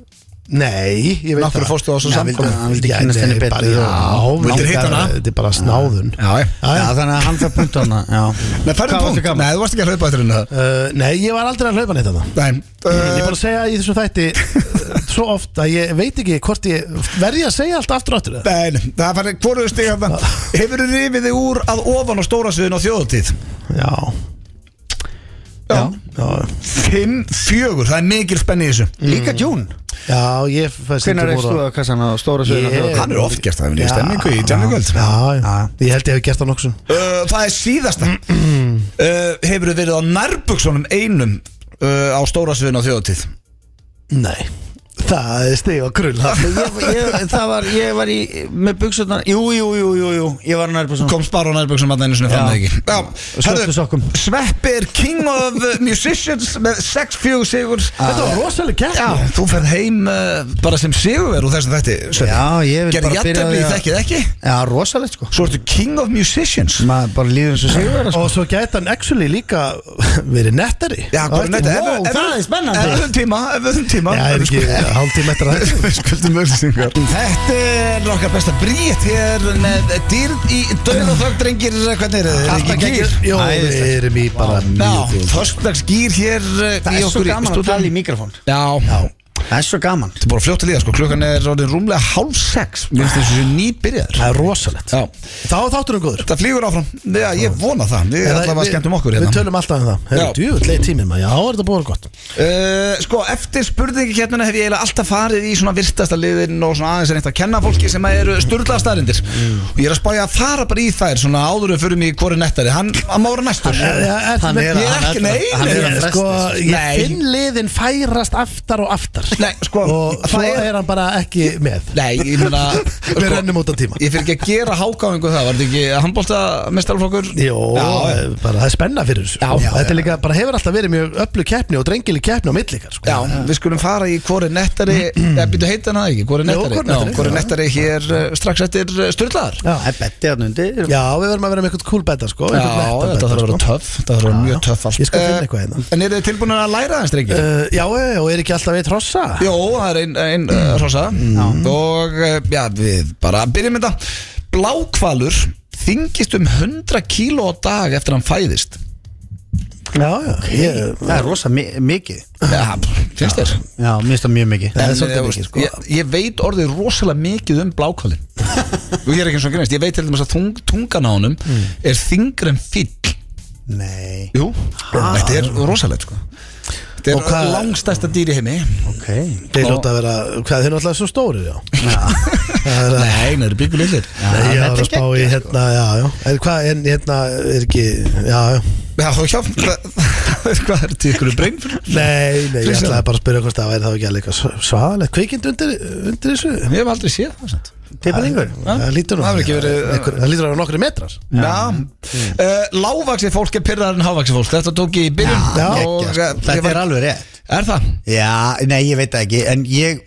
Speaker 3: Nei, ég veit
Speaker 1: Af hverju fórstu á þessu
Speaker 3: Já,
Speaker 1: samkomu?
Speaker 3: vildi- hann vildi
Speaker 2: Já,
Speaker 3: kynnast
Speaker 2: nei,
Speaker 3: henni
Speaker 2: bara-
Speaker 3: betur
Speaker 2: já,
Speaker 3: Já,
Speaker 1: vildir
Speaker 3: langar-
Speaker 1: hitta hana?
Speaker 3: Þetta er bara snáðun
Speaker 1: Já, já
Speaker 2: Já, þannig að hann fær punkt á hana Já,
Speaker 1: Nei, færðu
Speaker 2: Hvað varstu
Speaker 1: punkt
Speaker 2: gaman?
Speaker 1: Nei, þú varst ekki að hlaupa eftir henni
Speaker 3: Uh, Nei, ég var aldrei að hlaupa neitt að það
Speaker 1: Nei,
Speaker 3: Ég er
Speaker 1: uh,
Speaker 3: bara að segja í þessu þætti uh, Svo oft að ég veit ekki hvort ég Verði að segja allt aftur og aftur eða?
Speaker 1: nei, nei, það fann hvoruðu stig hann Hefur þú rifið þig úr að ofan á stóra sviðin á þjóðutíð?
Speaker 3: Já,
Speaker 1: Já
Speaker 3: já,
Speaker 1: Fimm, fjögur, það er mikil spenni í þessu
Speaker 2: líka June
Speaker 3: já ég fæst
Speaker 2: Hvenær reykst þú að kassan á stóra söguna?
Speaker 3: Ég-
Speaker 2: þjóðatíð?
Speaker 1: Hann er oft gert það, hefur nýja stemmingu í Jammingöld
Speaker 3: Já, já, ég held ég hef gert það nokkuð sem
Speaker 1: Uh, það er síðasta uh, Hefur þið verið á nærbuksunum einum uh, á stóra sviðin á þjóðutíð?
Speaker 3: Nei, það er stig og krull það.
Speaker 2: ég, ég, það var, ég var í, með buksutnar Jú, jú, jú, jú, jú, ég var nær svona
Speaker 1: Komst bara á nærbuksunum að það einu sinni fann það ekki Já,
Speaker 2: Svörtu sokkum.
Speaker 1: Sveppi er king of uh, musicians með 6-4 sigur
Speaker 2: Ah.
Speaker 3: Þetta var rosalega kert
Speaker 1: Já, þú ferð heim uh, bara sem sigur úr þessu þætti Sveppi.
Speaker 2: Já, ég vil
Speaker 1: Gerði
Speaker 2: bara byrja á
Speaker 1: jafntefli
Speaker 2: því
Speaker 1: í
Speaker 2: að-
Speaker 1: þekkið ekki
Speaker 2: Já, rosalegt sko
Speaker 1: Svo ertu king of musicians
Speaker 2: Maður bara líður eins og sigur
Speaker 3: Og svo gæti hann actually líka verið nettari
Speaker 1: Já, bara
Speaker 3: Á
Speaker 1: netta
Speaker 3: eftir.
Speaker 2: Wow, það er spennandi.
Speaker 1: Ef við höfum tíma, ef við höfum tíma
Speaker 3: Já, er ekki hálftíma eftir að
Speaker 1: Við skuldum öllisingar Þetta er okkar besta bríett hér með dýrð í döð og þögg drengir Hvernig er þetta?
Speaker 3: Alltaf
Speaker 1: Ekki
Speaker 3: geggjur Jó, við erum í bara mjög
Speaker 1: Já,
Speaker 3: góð
Speaker 1: þöskdags gýr hér eh,
Speaker 2: Það
Speaker 1: í
Speaker 2: er svo
Speaker 1: okkur í
Speaker 2: gaman að
Speaker 1: stúdíóinu.
Speaker 2: tala í mikrofón
Speaker 1: Já, þetta
Speaker 2: Það er svo gaman
Speaker 1: er bara fljótt að líða sko Klukkan er orðin rúmlega hálf sex Mér finnst þessu nýbyrjaður
Speaker 3: Það er rosalegt
Speaker 1: Já,
Speaker 3: Þá er þátturinn góður
Speaker 1: það flýgur áfram Já, ég vona það Við
Speaker 3: Eða
Speaker 1: allavega
Speaker 3: við-
Speaker 1: skemmtum okkur
Speaker 3: Við
Speaker 1: hérna
Speaker 3: tölum alltaf um það
Speaker 1: Já.
Speaker 3: Herru, djúvillegi tíminn maður Já, er þetta búið að vera gott
Speaker 1: Uh, sko, eftir spurningakernuna hef ég eiginlega alltaf farið í svona virtasta liðin og svona aðeins er eitt að kenna fólki sem að eru sturlaða staðrindir og ég er að spája að fara bara í þær svona áður við fyrir mig í hvori nettari hann, hann má vera næstur
Speaker 2: Hann er
Speaker 1: Ég er
Speaker 2: hann
Speaker 1: ekki-
Speaker 2: ætlar-
Speaker 1: nei,
Speaker 2: hann
Speaker 1: nei,
Speaker 2: er
Speaker 1: nei,
Speaker 2: að fresta
Speaker 3: Sko,
Speaker 2: þessu.
Speaker 3: ég
Speaker 1: Nei.
Speaker 3: finn liðin færast aftar og aftar
Speaker 1: Nei, sko,
Speaker 3: Og
Speaker 1: það
Speaker 3: svo
Speaker 1: er-
Speaker 3: er hann bara ekki með
Speaker 1: Nei, ég meina sko,
Speaker 3: Við rennum út á tíma.
Speaker 1: Ég fyrir ekki að gera hákáðingu það, var þetta ekki handbólta mestarflokkur?
Speaker 3: Jó,
Speaker 1: já,
Speaker 3: eh, bara það er spenna fyrir þessu sko.
Speaker 1: Já, já,
Speaker 3: Þetta er líka, bara hefur alltaf verið mjög öllu keppni og drengili keppni á millikar sko.
Speaker 1: Já, við skulum fara í hvori nettari eða byrju heita hann það ekki, hvori
Speaker 3: Jó,
Speaker 1: nettari
Speaker 3: Hvor er nettari?
Speaker 1: hvori nettari hér uh, strax eftir styrlaðar
Speaker 3: Já.
Speaker 2: Það er bettið hann undir
Speaker 3: Já, við verðum að vera með eitthvað cool betta sko,
Speaker 1: Já,
Speaker 3: eitthvað netta
Speaker 1: þetta þarf að
Speaker 3: betta,
Speaker 1: vera
Speaker 3: sko.
Speaker 1: töff Þetta þarf að vera
Speaker 3: Já,
Speaker 1: mjög
Speaker 3: já.
Speaker 1: töff allt
Speaker 3: Ég skal finna
Speaker 1: Eh,
Speaker 3: eitthvað hérna.
Speaker 1: En eru þið tilbúin að læra aðeins, drengi?
Speaker 3: Uh, Já, já, já, og er ekki alltaf eitt hrossa
Speaker 1: Jó, Eh, það er einn ein, uh, rosa Og eh, já, við bara byrjum með þetta Blákvalur þingist um 100 kíló á dag eftir að hann fæðist
Speaker 3: Já, já, ég,
Speaker 2: Það er rosa mi mikið
Speaker 1: Já, finnst þér?
Speaker 2: Já, mér finnst það mjög mikið
Speaker 3: Það er
Speaker 1: En,
Speaker 3: svolítið
Speaker 1: eh,
Speaker 3: mikið,
Speaker 1: veist,
Speaker 3: sko.
Speaker 1: ég, ég veit orðið rosalega mikið um blákvalin Og ég er ekki eins og greinist Ég veit til dæmis að tung, tungan á honum er þingri en fýll
Speaker 2: eh, Nei
Speaker 1: Jú, þetta er rosalegt sko Þetta
Speaker 3: Og hvað-
Speaker 1: er langstæsta dýr í heimi
Speaker 2: Ok
Speaker 3: Þeir hljóta að vera, hvað þeir eru alltaf svo stóri já Það er að
Speaker 1: Nei, það eru byggur lillir
Speaker 3: Nei, ég
Speaker 2: þetta er
Speaker 3: var að spá í
Speaker 2: geggjað,
Speaker 3: hérna, já, já En hvað, en hérna, er ekki, já, já
Speaker 1: Já, þú hjá Hvað er til ykkur um breyn fyrir?
Speaker 3: Nei, nei, ég
Speaker 1: Frísjón.
Speaker 3: ætlaði bara að spyrja hvort það væri þá ekki alveg eitthvað svaðalegt Kveikind undir, undir þessu
Speaker 1: Ég hef aldrei séð það sant.
Speaker 2: Tippalingur
Speaker 3: Það lítur nú
Speaker 1: Það hefur ekki verið-
Speaker 3: Einhver- Það lítur að vera nokkri metrar
Speaker 1: Já, uh, Lávaxið fólk er pyrrar en hávaxið fólk Þetta tók ég í byrjun
Speaker 3: Já,
Speaker 1: og,
Speaker 2: Geggjað, sko.
Speaker 1: eh, ég
Speaker 2: Þetta
Speaker 1: var-
Speaker 2: er alveg rétt
Speaker 1: Er það?
Speaker 2: Já, nei, ég veit það ekki En ég,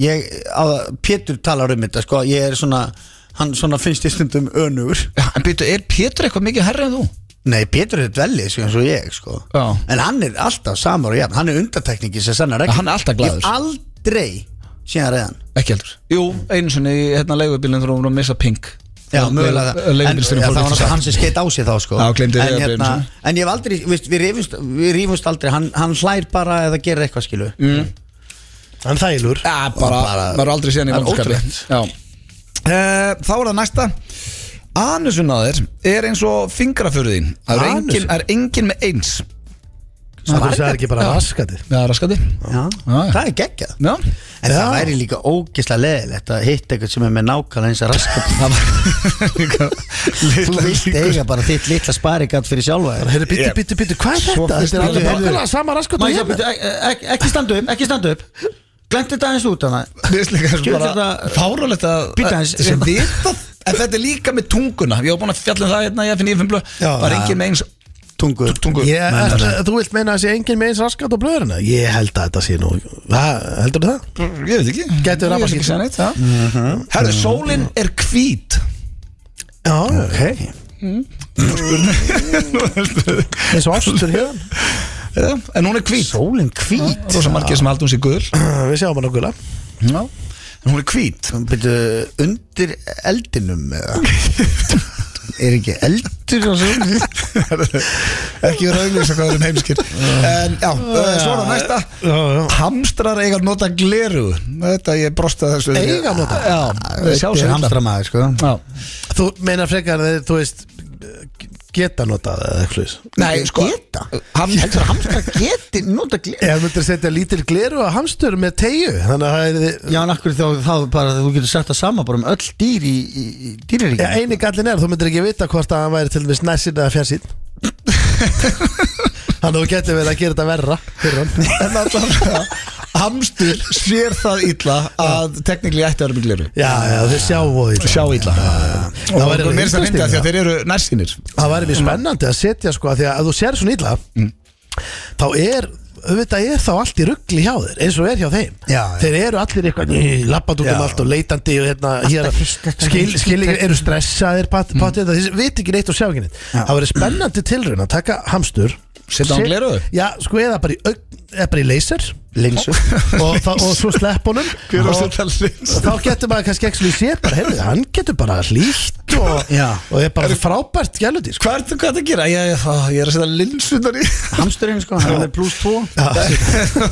Speaker 2: ég á, Pétur talar um þetta sko Ég er svona Hann svona finnst ég stundum önugur
Speaker 1: Já, en byrju, er Pétur eitthvað mikið herri en þú?
Speaker 2: Nei, Pétur er dvelið sko eins og ég sko
Speaker 1: Já.
Speaker 2: En hann er alltaf samar og jafn Hann er undartekningi sem sannar ekki
Speaker 1: Hann er alltaf glaður.
Speaker 2: Ég hef aldrei síðan reyðan
Speaker 1: Ekki heldur Jú, einu sinni í hérna leigubílinn þurfum við að missa pink
Speaker 2: Já, mögulega
Speaker 1: Le-
Speaker 2: það En
Speaker 1: leigubílstjórinn
Speaker 2: ja,
Speaker 1: fór
Speaker 2: það var
Speaker 1: ekki
Speaker 2: náttúrulega
Speaker 1: saman.
Speaker 2: hann sem skeitt á sig þá sko
Speaker 1: Já, gleymdi
Speaker 2: en,
Speaker 1: Viðari
Speaker 2: hérna,
Speaker 1: Brimson.
Speaker 2: en ég hef aldrei, við, við, rifumst, við rifumst aldrei Hann, hann hlær bara eða gerir eitthvað skilu
Speaker 3: Hann þælur
Speaker 1: Já, bara,
Speaker 2: bara-
Speaker 1: maður er aldrei síðan í
Speaker 2: Það er
Speaker 1: vondskapi Já Eh, Þá er það næsta Anusun að þér er eins og fingrafurðin Það er
Speaker 3: Anusun?
Speaker 1: engin, er engin með eins
Speaker 3: Það er það ekki bara
Speaker 1: Já.
Speaker 3: raskati
Speaker 1: Já, raskandi Já,
Speaker 2: Já,
Speaker 1: já.
Speaker 2: það er geggjað
Speaker 1: Já
Speaker 2: En það væri líka ógeðslega leðilegt að hitta eitthvað sem er með nákvæmlega eins að raska Þú vilt eiga bara þitt litla sparigat fyrir sjálfa þér
Speaker 3: Herri, bitti, bitti, bitti, hvað er þetta?
Speaker 2: fyrst-
Speaker 3: Þetta er
Speaker 2: Bíddu,
Speaker 3: alveg
Speaker 2: heyrðu.
Speaker 3: nákvæmlega sama raskati
Speaker 2: Mæja, bíddu, ek- ek- Ekki standa upp, ekki standa upp Glemt þetta aðeins út hana Skilur
Speaker 1: Bara
Speaker 2: þetta-
Speaker 1: fáralegt að
Speaker 2: hérna- Bíddu aðeins. sko.
Speaker 1: Þessi vitað En þetta er líka með tunguna Ég var búin að fjalla um það hérna Ég finn ég finn blöð
Speaker 2: Já,
Speaker 1: Það er
Speaker 2: já.
Speaker 1: engin með eins
Speaker 2: Tungu
Speaker 1: tungu
Speaker 3: Ég, ætla- þú vilt meina að sé enginn meins raskat á blöðurina? Ég held að þetta sé nú Það, heldur það?
Speaker 1: Ég veit ekki Ég
Speaker 3: Gæti verið
Speaker 1: veit
Speaker 3: rabaskýrt.
Speaker 1: ekki segja neitt já.
Speaker 2: Mhm.
Speaker 1: Herðu, sólin er hvít
Speaker 3: Já,
Speaker 2: Ok
Speaker 3: eins og ástur hér
Speaker 1: Já, En hún er hvít
Speaker 2: Sólin hvít
Speaker 1: Rósa margir sem haldum sér guður
Speaker 3: Við sjáum hann okkurlega
Speaker 1: Já En hún er hvít
Speaker 2: Byrju, undir eldinum eða Er ekki eldur og svo
Speaker 1: Ekki verið að auglýsa hvað er um heimskir En já, eh, svona næsta
Speaker 3: Já, já.
Speaker 1: Hamstrar eiga að nota gleru Þetta ég brosta þessu
Speaker 3: Eiga að nota?
Speaker 1: Já, sjá
Speaker 2: Þetta
Speaker 1: sér
Speaker 2: er
Speaker 1: hamstra
Speaker 2: hamstramæður sko
Speaker 3: Þú meinar frekar þeir, þú veist geta notað eða eitthvað svoleiðis?
Speaker 1: Nei, sko
Speaker 2: Geta?
Speaker 1: ham,
Speaker 2: Heldur að hamstra geti nota gleði
Speaker 3: Ef þú myndir setja lítil gleru á hamstur með tegju Þannig að það er
Speaker 2: Já, en akkur þá, þá bara þú getur sett það sama bara um öll dýr í, í, í dýraríkinu
Speaker 3: Já, eini gallin er, þú myndir ekki vita hvort að hann væri til dæmis næsinn eða fjarsinn Þannig að þú getur verið að gera þetta verra fyrir hann
Speaker 1: En allavega Hamstur sér það illa að teknikli ætti að vera með gleru
Speaker 3: Já, já, þeir sjá og ítla
Speaker 1: Sjá illa
Speaker 3: Það
Speaker 1: Það
Speaker 3: væri
Speaker 1: verður mér sem
Speaker 3: interesting,
Speaker 1: myndi að því
Speaker 3: já.
Speaker 1: að þeir eru nærsinir
Speaker 3: Það væri mjög spennandi að setja sko af Því að ef þú sér svona illa Þá er, auðvitað er þá allt í ruggli hjá þér Eins og er hjá þeim
Speaker 2: Já, já.
Speaker 3: Þeir eru allir eitthvað Lappand út um
Speaker 2: Já.
Speaker 3: allt og leitandi og hérna, hér,
Speaker 2: fyrst, þetta
Speaker 3: skil,
Speaker 2: fyrst,
Speaker 3: skil,
Speaker 2: þetta-
Speaker 3: Eru stressaðir pat, pat, mm. Þeir veit ekki neitt og sjá ekki neitt
Speaker 2: Já.
Speaker 3: Það væri spennandi tilraun að taka hamstur
Speaker 1: Setja á hann
Speaker 3: set-
Speaker 1: gleraugu?
Speaker 3: Já, sko eða bara í, augn- eða bara í laser
Speaker 2: Linsu
Speaker 3: og, þá- og svo slepp honum
Speaker 1: Hver á
Speaker 3: og,
Speaker 1: setja lins
Speaker 3: og þá getur maður kannski ekki sér bara, heyrðu, hann getur bara hlýtt og,
Speaker 2: Já.
Speaker 3: og er bara frábært gæludýr sko.
Speaker 1: Hvað ertu hvað ertu að gera? Ég, ég, það- ég er að setja linsundar í
Speaker 2: Hamsturinn sko, hann er pluss 2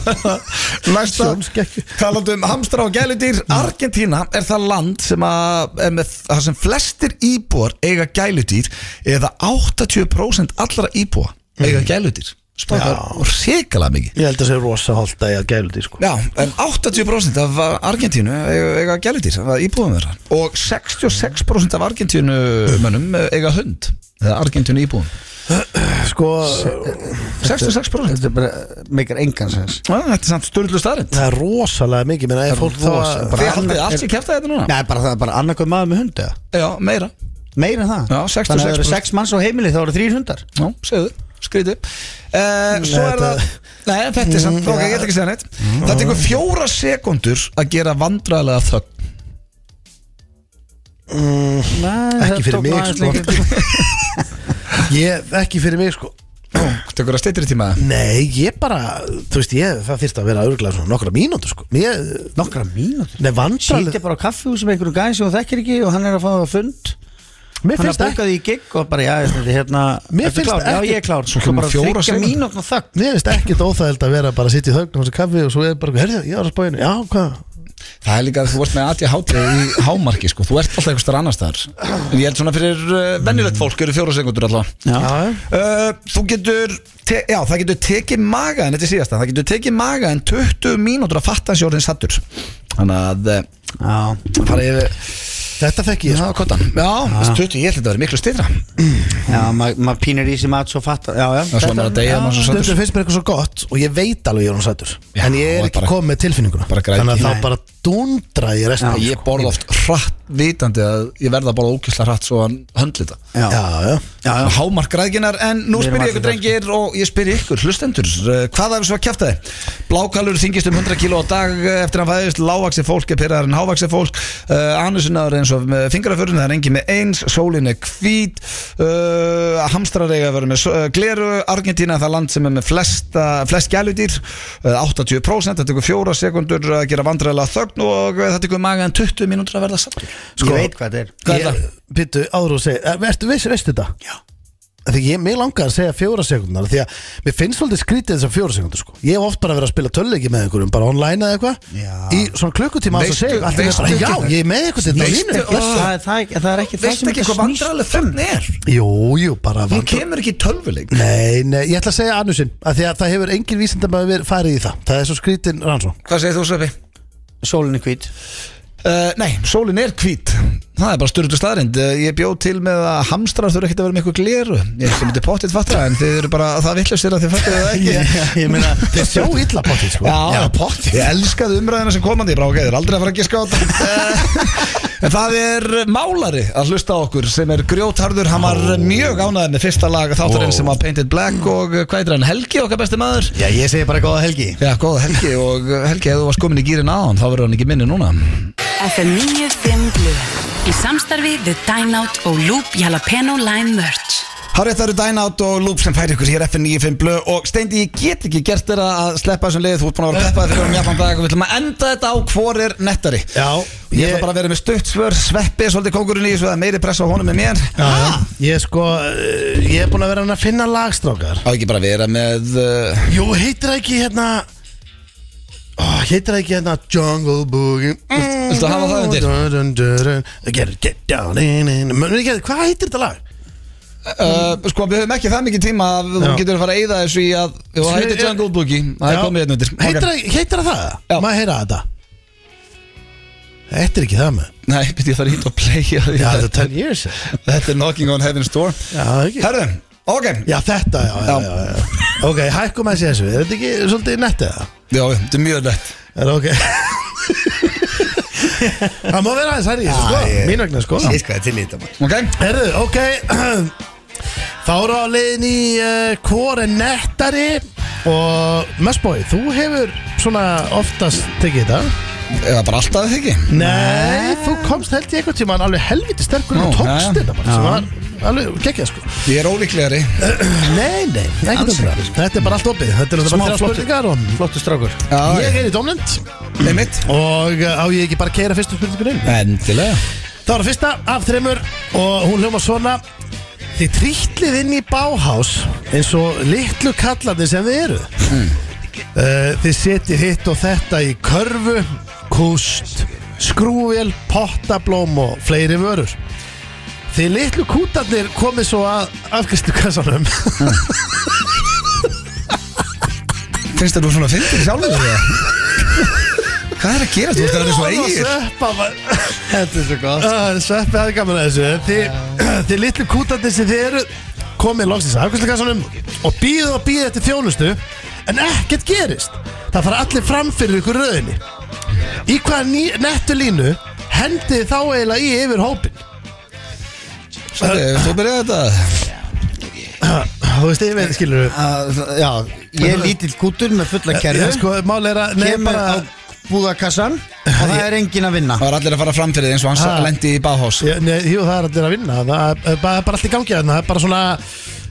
Speaker 1: Næsta
Speaker 3: Sjónskekkju.
Speaker 1: Talandi um hamstra og gæludýr Argentína er það land sem að er með, það sem flestir íbúar eiga gæludýr eða 80% allra íbúa eiga gæludýr Spáðar hrikalega mikið
Speaker 3: Ég held að það sé rosa holdt að ég að gælu því sko
Speaker 1: Já, en 80% af Argentínu eiga, eiga gæludýr, það íbúðum þeirra og 66% af Argentínu mönnum eiga hund eða Argentínu íbúðum
Speaker 3: Sko,
Speaker 1: 66%
Speaker 2: Þetta er bara, meikar engan sens
Speaker 1: Já, Þetta er samt störlu starrend
Speaker 3: það er rosalega mikið Menna, er fólk þá
Speaker 2: rosa-
Speaker 3: að
Speaker 2: bara-
Speaker 1: Þið haldið allt sem kæfti þetta núna?
Speaker 2: Nei, bara það er bara annarkoð maður með hundu
Speaker 1: Já, meira
Speaker 2: Meir en það
Speaker 1: Já, 66%.
Speaker 2: Þannig að það eru 6 manns á heimili þá eru 3 hundar
Speaker 1: Já, segðu, skrítið uh, Svo er
Speaker 3: þetta- Mm,
Speaker 1: það Nei, þetta er samt, ok, ég get ekki að segja neitt Það tekur fjóra sekundur að gera vandræðlega þögn
Speaker 2: Nei,
Speaker 3: Ekki fyrir mig, sko. Ég, ekki fyrir mig sko
Speaker 1: Tekur það steytri tíma
Speaker 3: Nei, ég bara, þú veist ég Það þyrfti að vera örglega svona nokkra mínútur sko Mér,
Speaker 2: Nokkra mínútur
Speaker 3: nei, vandraleg
Speaker 2: Sýtja bara á kaffihús með einhverjum gæði sem þú þekkir ekki og hann er að fá það á fund
Speaker 3: Mér
Speaker 2: Hann er
Speaker 3: finnst ekki
Speaker 2: bókað í gig og bara, já, þetta er hérna
Speaker 3: Mér
Speaker 2: ertu
Speaker 3: finnst
Speaker 2: klár?
Speaker 3: ekki-
Speaker 2: Já, ég er klár
Speaker 1: Svo kemur
Speaker 2: bara
Speaker 1: fjóra
Speaker 2: þriggja
Speaker 1: sekúndur.
Speaker 2: mínútna þögn
Speaker 3: Mér finnst ekkert óþægild að vera bara að sitja í þögn og þessi kaffi og svo er bara, herðu, ég var að spáinu Já, hvað,
Speaker 1: Það er líka að þú ert með ADHD í hámarki sko. Þú ert alltaf einhver starf annars staðar En ég held svona fyrir uh, venjulegt fólk eru fjóra sekundur allavega
Speaker 2: Já.
Speaker 3: Já,
Speaker 1: uh, Þú getur te- Já, það getur tekið maga en þetta er síðasta Það getur tekið maga en 20 mínútur að fatta hans jórðin sattur Þannig að uh,
Speaker 2: Já,
Speaker 1: fara yfir
Speaker 3: þetta fekk Ah. ég sko. Ah.
Speaker 1: Já, kottan Já, þessi 20, ég held að þetta verið miklu styrra
Speaker 2: já, maður ma pínir í sig mat svo fattar Já, já,
Speaker 1: Það er svona að deyja maður svo sattur
Speaker 3: Stundum finnst mér eitthvað svo gott og ég veit alveg ég er hún sætur
Speaker 1: Já,
Speaker 3: En ég
Speaker 1: og
Speaker 3: er ekki
Speaker 1: bara-
Speaker 3: komið með tilfinninguna
Speaker 1: bara græðgi.
Speaker 3: Þannig að
Speaker 1: Nei.
Speaker 3: þá bara dundra ég restina sko.
Speaker 1: Ég borð oft hratt vitandi að ég verða bara ókesslega hratt svo hann höndli þetta
Speaker 2: Já,
Speaker 3: já, já.
Speaker 2: já,
Speaker 1: Hámark ræðginar en nú
Speaker 2: Við erum
Speaker 1: spyr ég
Speaker 2: allir sko.
Speaker 1: ykkur drengir og ég spyr ykkur hlustendur uh, hvað er svo að kjæfta þið? Blákalur þingist um 100 kíló á dag uh, eftir að hann fæðist lágvaxi fólk er pyrraðar en hávaxi fólk uh, anusinaður eins og með fingraförun það er engin með eins, sólin er hvít uh, hamstrareiga verður með uh, gleru, Argentína er það land sem er með flesta, flest gæludýr uh, 80% þetta tekur fjóra sekundur að gera vandræðilega þögn og uh, þetta tekur maga en 20 mínútur að verða sattur
Speaker 3: Sko,
Speaker 2: Ég veit hvað þetta er
Speaker 1: Hvað er
Speaker 3: Ég-
Speaker 1: það?
Speaker 3: Bíddu, áður og segja, veistu, veistu, veistu þetta? Já Því ég, mér langar að segja fjóra sekundar Því að mér finnst svolítið skrítið þessar fjóra sekundar sko. Ég hef oft bara verið að spila tölleiki með einhverjum Bara online eða
Speaker 2: Já.
Speaker 3: eitthvað Í svona klukkutíma að
Speaker 1: Veistu-
Speaker 3: segja allt í einu
Speaker 1: veistu
Speaker 3: bara,
Speaker 1: ekki-
Speaker 3: Já, ég er með eitthvað þetta á
Speaker 1: Veistu-
Speaker 3: línu
Speaker 1: Ó.
Speaker 2: Það er- það er- það er ekki það
Speaker 1: Veistu
Speaker 2: sem
Speaker 1: ekki hvað
Speaker 2: þetta snýst
Speaker 1: vandræðilega þögn er?
Speaker 3: Jú, jú, bara
Speaker 1: Hún
Speaker 3: vandr-
Speaker 1: kemur ekki í tölvuleik
Speaker 3: Nei, nei, ég ætla að segja annusinn að Því að það hefur engin vísindamæður verið farið í það Það er svo skrítin rannsókn
Speaker 1: Hvað segir þú Sveppi?
Speaker 2: Sólin er hvít
Speaker 1: Uh, nei, sólin er hvít Það er bara styrtu staðrind uh, Ég bjóð til með að hamstrar þurfa ekkert að vera með eitthvað gleru Ég sem myndi pottitt fatta það, En þið eru bara það villast þér að þið fattu það ekki
Speaker 2: Ég meina
Speaker 3: Þeir sjá illa potið sko
Speaker 1: Já, pottitt Ég elskaði umræðina sem komandi Ég bara ok, þið er aldrei að fara að giska á þetta En það er málari að hlusta á okkur sem er grjótharður, hann var mjög ánæður með fyrsta lag þátturinn sem var Painted Black og uh, hvað er hann, Helgi okkar besti maður?
Speaker 2: Já, ég segi bara góða helgi
Speaker 1: Já, góða Helgi og uh, Helgi, ef þú varst komin í gýrin aðan þá verður hann ekki minni núna
Speaker 6: FM 95 Blu Í samstarfi við Dine Out og Loop Jalapeno Lime Merch
Speaker 1: Hárið það eru Dynout og Loop sem færi ykkur hér FN95 blö og Steindi, ég get ekki gert þér að sleppa þessum leið, þú ert búin að vera peppaði fyrir um jafnum dag og við ætlum að enda þetta á hvor er nettari
Speaker 3: Já,
Speaker 1: Ég
Speaker 3: ég-
Speaker 1: ætla bara að vera með stutt svör, sveppi er svolítið kókurinn í þessu að meiri pressa á honum með mér
Speaker 3: Já, já. Ég sko, eh, ég er búin að vera hann að finna lagstrákar
Speaker 1: Á ekki bara að vera með uh,
Speaker 3: Jú, heitir það ekki hérna oh, Heitir það ekki hérna Jungle Boogie
Speaker 1: viltu hafa það undir?
Speaker 3: undir? Get, get down in, in Mun ekki að- Hvað heitir þetta lag?
Speaker 1: uh, Sko, við höfum ekki það mikið tíma að þú
Speaker 3: Já.
Speaker 1: getur að fara að eyða þessu í að Jú, það heitir Jungle Boogie, það
Speaker 3: Já.
Speaker 1: er komið hérna undir
Speaker 3: Heitir,
Speaker 1: Ok.
Speaker 3: það- heitir það það?
Speaker 1: Já.
Speaker 3: Má ég heyra þetta? Þetta er ekki það með
Speaker 1: Nei, byrja það er hýtt að playa
Speaker 3: Já, þetta er
Speaker 1: þetta
Speaker 3: 10 years
Speaker 1: Þetta er Knocking on Heaven's Door
Speaker 3: Já, það er ekki
Speaker 1: Herðu, ok,
Speaker 3: Já, þetta, já, já,
Speaker 1: Já.
Speaker 3: já, já. Ok, hækkum að sé þessu Er þetta ekki svolítið nettið það?
Speaker 1: já, þetta er mjög lett
Speaker 3: Er það ok? Það má vera aðeins hærri í þessu, sko Mín vegna, sko
Speaker 2: Ég sko, þetta er til í þetta maður.
Speaker 1: Ok,
Speaker 3: Herðu, ok Þá eru á leiðin í uh, Hvor er nettari Og Messboy, þú hefur svona oftast tekið þetta
Speaker 1: eða bara alltaf þig ekki
Speaker 3: Nei, þú komst held ég einhvern tímann alveg helviti sterkur
Speaker 1: Nú,
Speaker 3: og tókst
Speaker 1: já, já.
Speaker 3: þetta bara sem var alveg geggjað sko
Speaker 1: Ég er ólíklegari
Speaker 3: Nei, nei, ekkert
Speaker 1: Alls
Speaker 3: um það Þetta er bara allt opið Þetta er
Speaker 2: Smá
Speaker 3: bara þrjá
Speaker 2: flottur.
Speaker 3: spurningar og
Speaker 2: Flottur strákur
Speaker 1: Já,
Speaker 3: Ég er í domnend
Speaker 1: einmitt
Speaker 3: og uh, á ég ekki bara að keira fyrstu spurningur inn
Speaker 1: Endilega
Speaker 3: Það var fyrsta af þreymur og hún hljóma svona Þið trýtlið inn í báhás eins og litlu kallandi sem þið eru mm. Þið setið hitt og þetta í körfu, kúst, skrúvél, pottablóm og fleiri vörur Þið litlu kútarnir komið svo að afgristu kassanum
Speaker 1: Finnst þér þú svona fyndið sjálfur þegar? Hvað er að gera? Þú ert að vera svo eigir
Speaker 3: eigir
Speaker 2: Þetta er svo gott
Speaker 3: Ah, Sveppi hafði gaman að þessu Þið, þið litlu kútandi sem þið eru komið loksins afkvæmstakassanum og býðu og býðu eftir þjónustu en ekkert gerist það fara allir fram fyrir ykkur röðinni í hvaða ný, nettu línu hendið þið þá eiginlega í yfir hópin
Speaker 1: Þú byrjaði þetta
Speaker 3: þú veist yfir skilur
Speaker 2: Já, ég er lítill kútur með fulla kerfi
Speaker 3: sko, mál er að nei,
Speaker 2: Kemur á
Speaker 3: bara,
Speaker 2: búðakassan og það er engin að vinna
Speaker 1: Það var allir að fara fram fyrir þig eins og hans
Speaker 3: Ha.
Speaker 1: lendi í báhás
Speaker 3: Já, nei, jú, það er allir að vinna það er bara, bara allt í gangi þarna. það er bara svona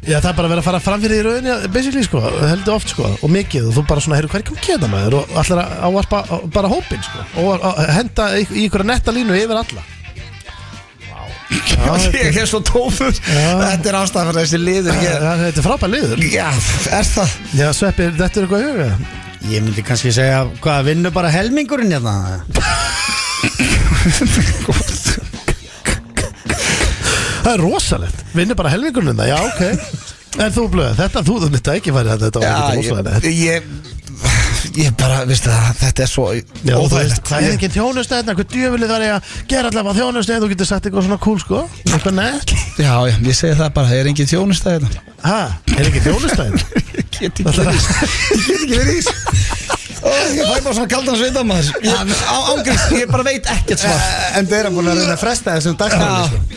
Speaker 3: Já, það er bara að vera að fara fram fyrir í rauninni basically sko, heldur oft sko og mikið og þú bara svona, heyrðu, hvað er ekki að geta maður og allir að ávarpa bara hópin sko og að henda í í einhverja netta línu yfir alla
Speaker 1: Ég er svo tófur Þetta er ástæðan fyrir þessi liður ég-
Speaker 3: Það er þetta er frábær liður
Speaker 1: Já, er það
Speaker 3: Já, Sveppi, þetta er eitthvað í huga
Speaker 2: Ég myndi kannski segja, hvað, vinnu bara helmingurinn hérna?
Speaker 3: Það er rosalegt, vinnur bara helmingurinn um það, já, ok En þú blöð, þetta, þú, þú mitt ekki færi þetta, þetta var
Speaker 1: Já,
Speaker 3: ekki rosalegt
Speaker 1: ég, ég Ég bara, veistu það, þetta er svo
Speaker 3: Já, þú veist,
Speaker 1: óþægilegt
Speaker 3: það er engin hérna, þjónust eða hvað djöfilið þar ég að gera allavega hérna þjónust eða þú getur sagt eitthvað svona cool sko eitthvað nett
Speaker 1: Já, já, ég segi það bara, það er engin hérna. þjónustæði
Speaker 3: ha, er ekki þjónust eða
Speaker 1: Ég get ekki verið í þessu. Ég get ekki verið í þessu. Ég fæ bara svona kaldan sveita maður Ég- á- Ángriðs, ég bara veit ekkert svar
Speaker 7: En þeir eru búin að reyna að fresta þessum
Speaker 2: Ah,
Speaker 7: dagstæðum sko.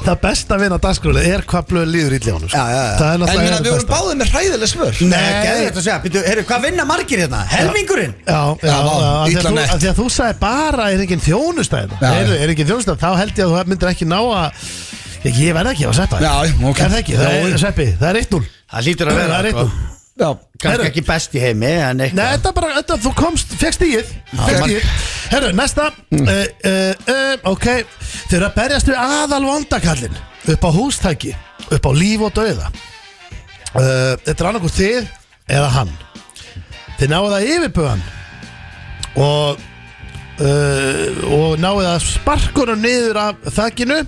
Speaker 3: Það besta við að dagskrúli er hvað blöð líður ítli á hann
Speaker 7: Já, já, já.
Speaker 3: sko. Það er
Speaker 1: En
Speaker 3: náttúrulega
Speaker 1: minna, við vorum
Speaker 3: besta.
Speaker 1: báðið með hræðileg svör
Speaker 7: Nei, geðvægt að segja Býtu, heyrðu, hvað vinna margir hérna? Helmingurinn?
Speaker 3: Já, já, já,
Speaker 1: Já, vá,
Speaker 3: af því að
Speaker 1: illa
Speaker 3: þú-
Speaker 1: nett.
Speaker 3: af því að þú sagði bara er engin þjónustæð
Speaker 1: Já,
Speaker 3: er,
Speaker 1: já.
Speaker 3: er engin þjónustæð, þá held ég að þú myndir ekki ná að Ég, ég verð ekki að seppa
Speaker 1: Já, já, ok.
Speaker 3: Er það ekki, það er, seppi, það er 1-0
Speaker 2: Það lítur að
Speaker 3: Það
Speaker 2: vera
Speaker 3: er 1-0
Speaker 2: sko.
Speaker 1: Já,
Speaker 2: Kannski ekki best í heimi en
Speaker 3: Nei,
Speaker 2: eitthvað
Speaker 3: þetta er bara, þetta, þú komst, fegst stíð Fegst stíð Herru, næsta uh, uh, uh, Ok, þau eru að berjast við aðal vondakallin Upp á hústæki, upp á líf og dauða uh, Þetta er annarkur þið eða hann Þið náðu það yfirbúðan Og uh, Og náðu það sparkunum niður af þakinu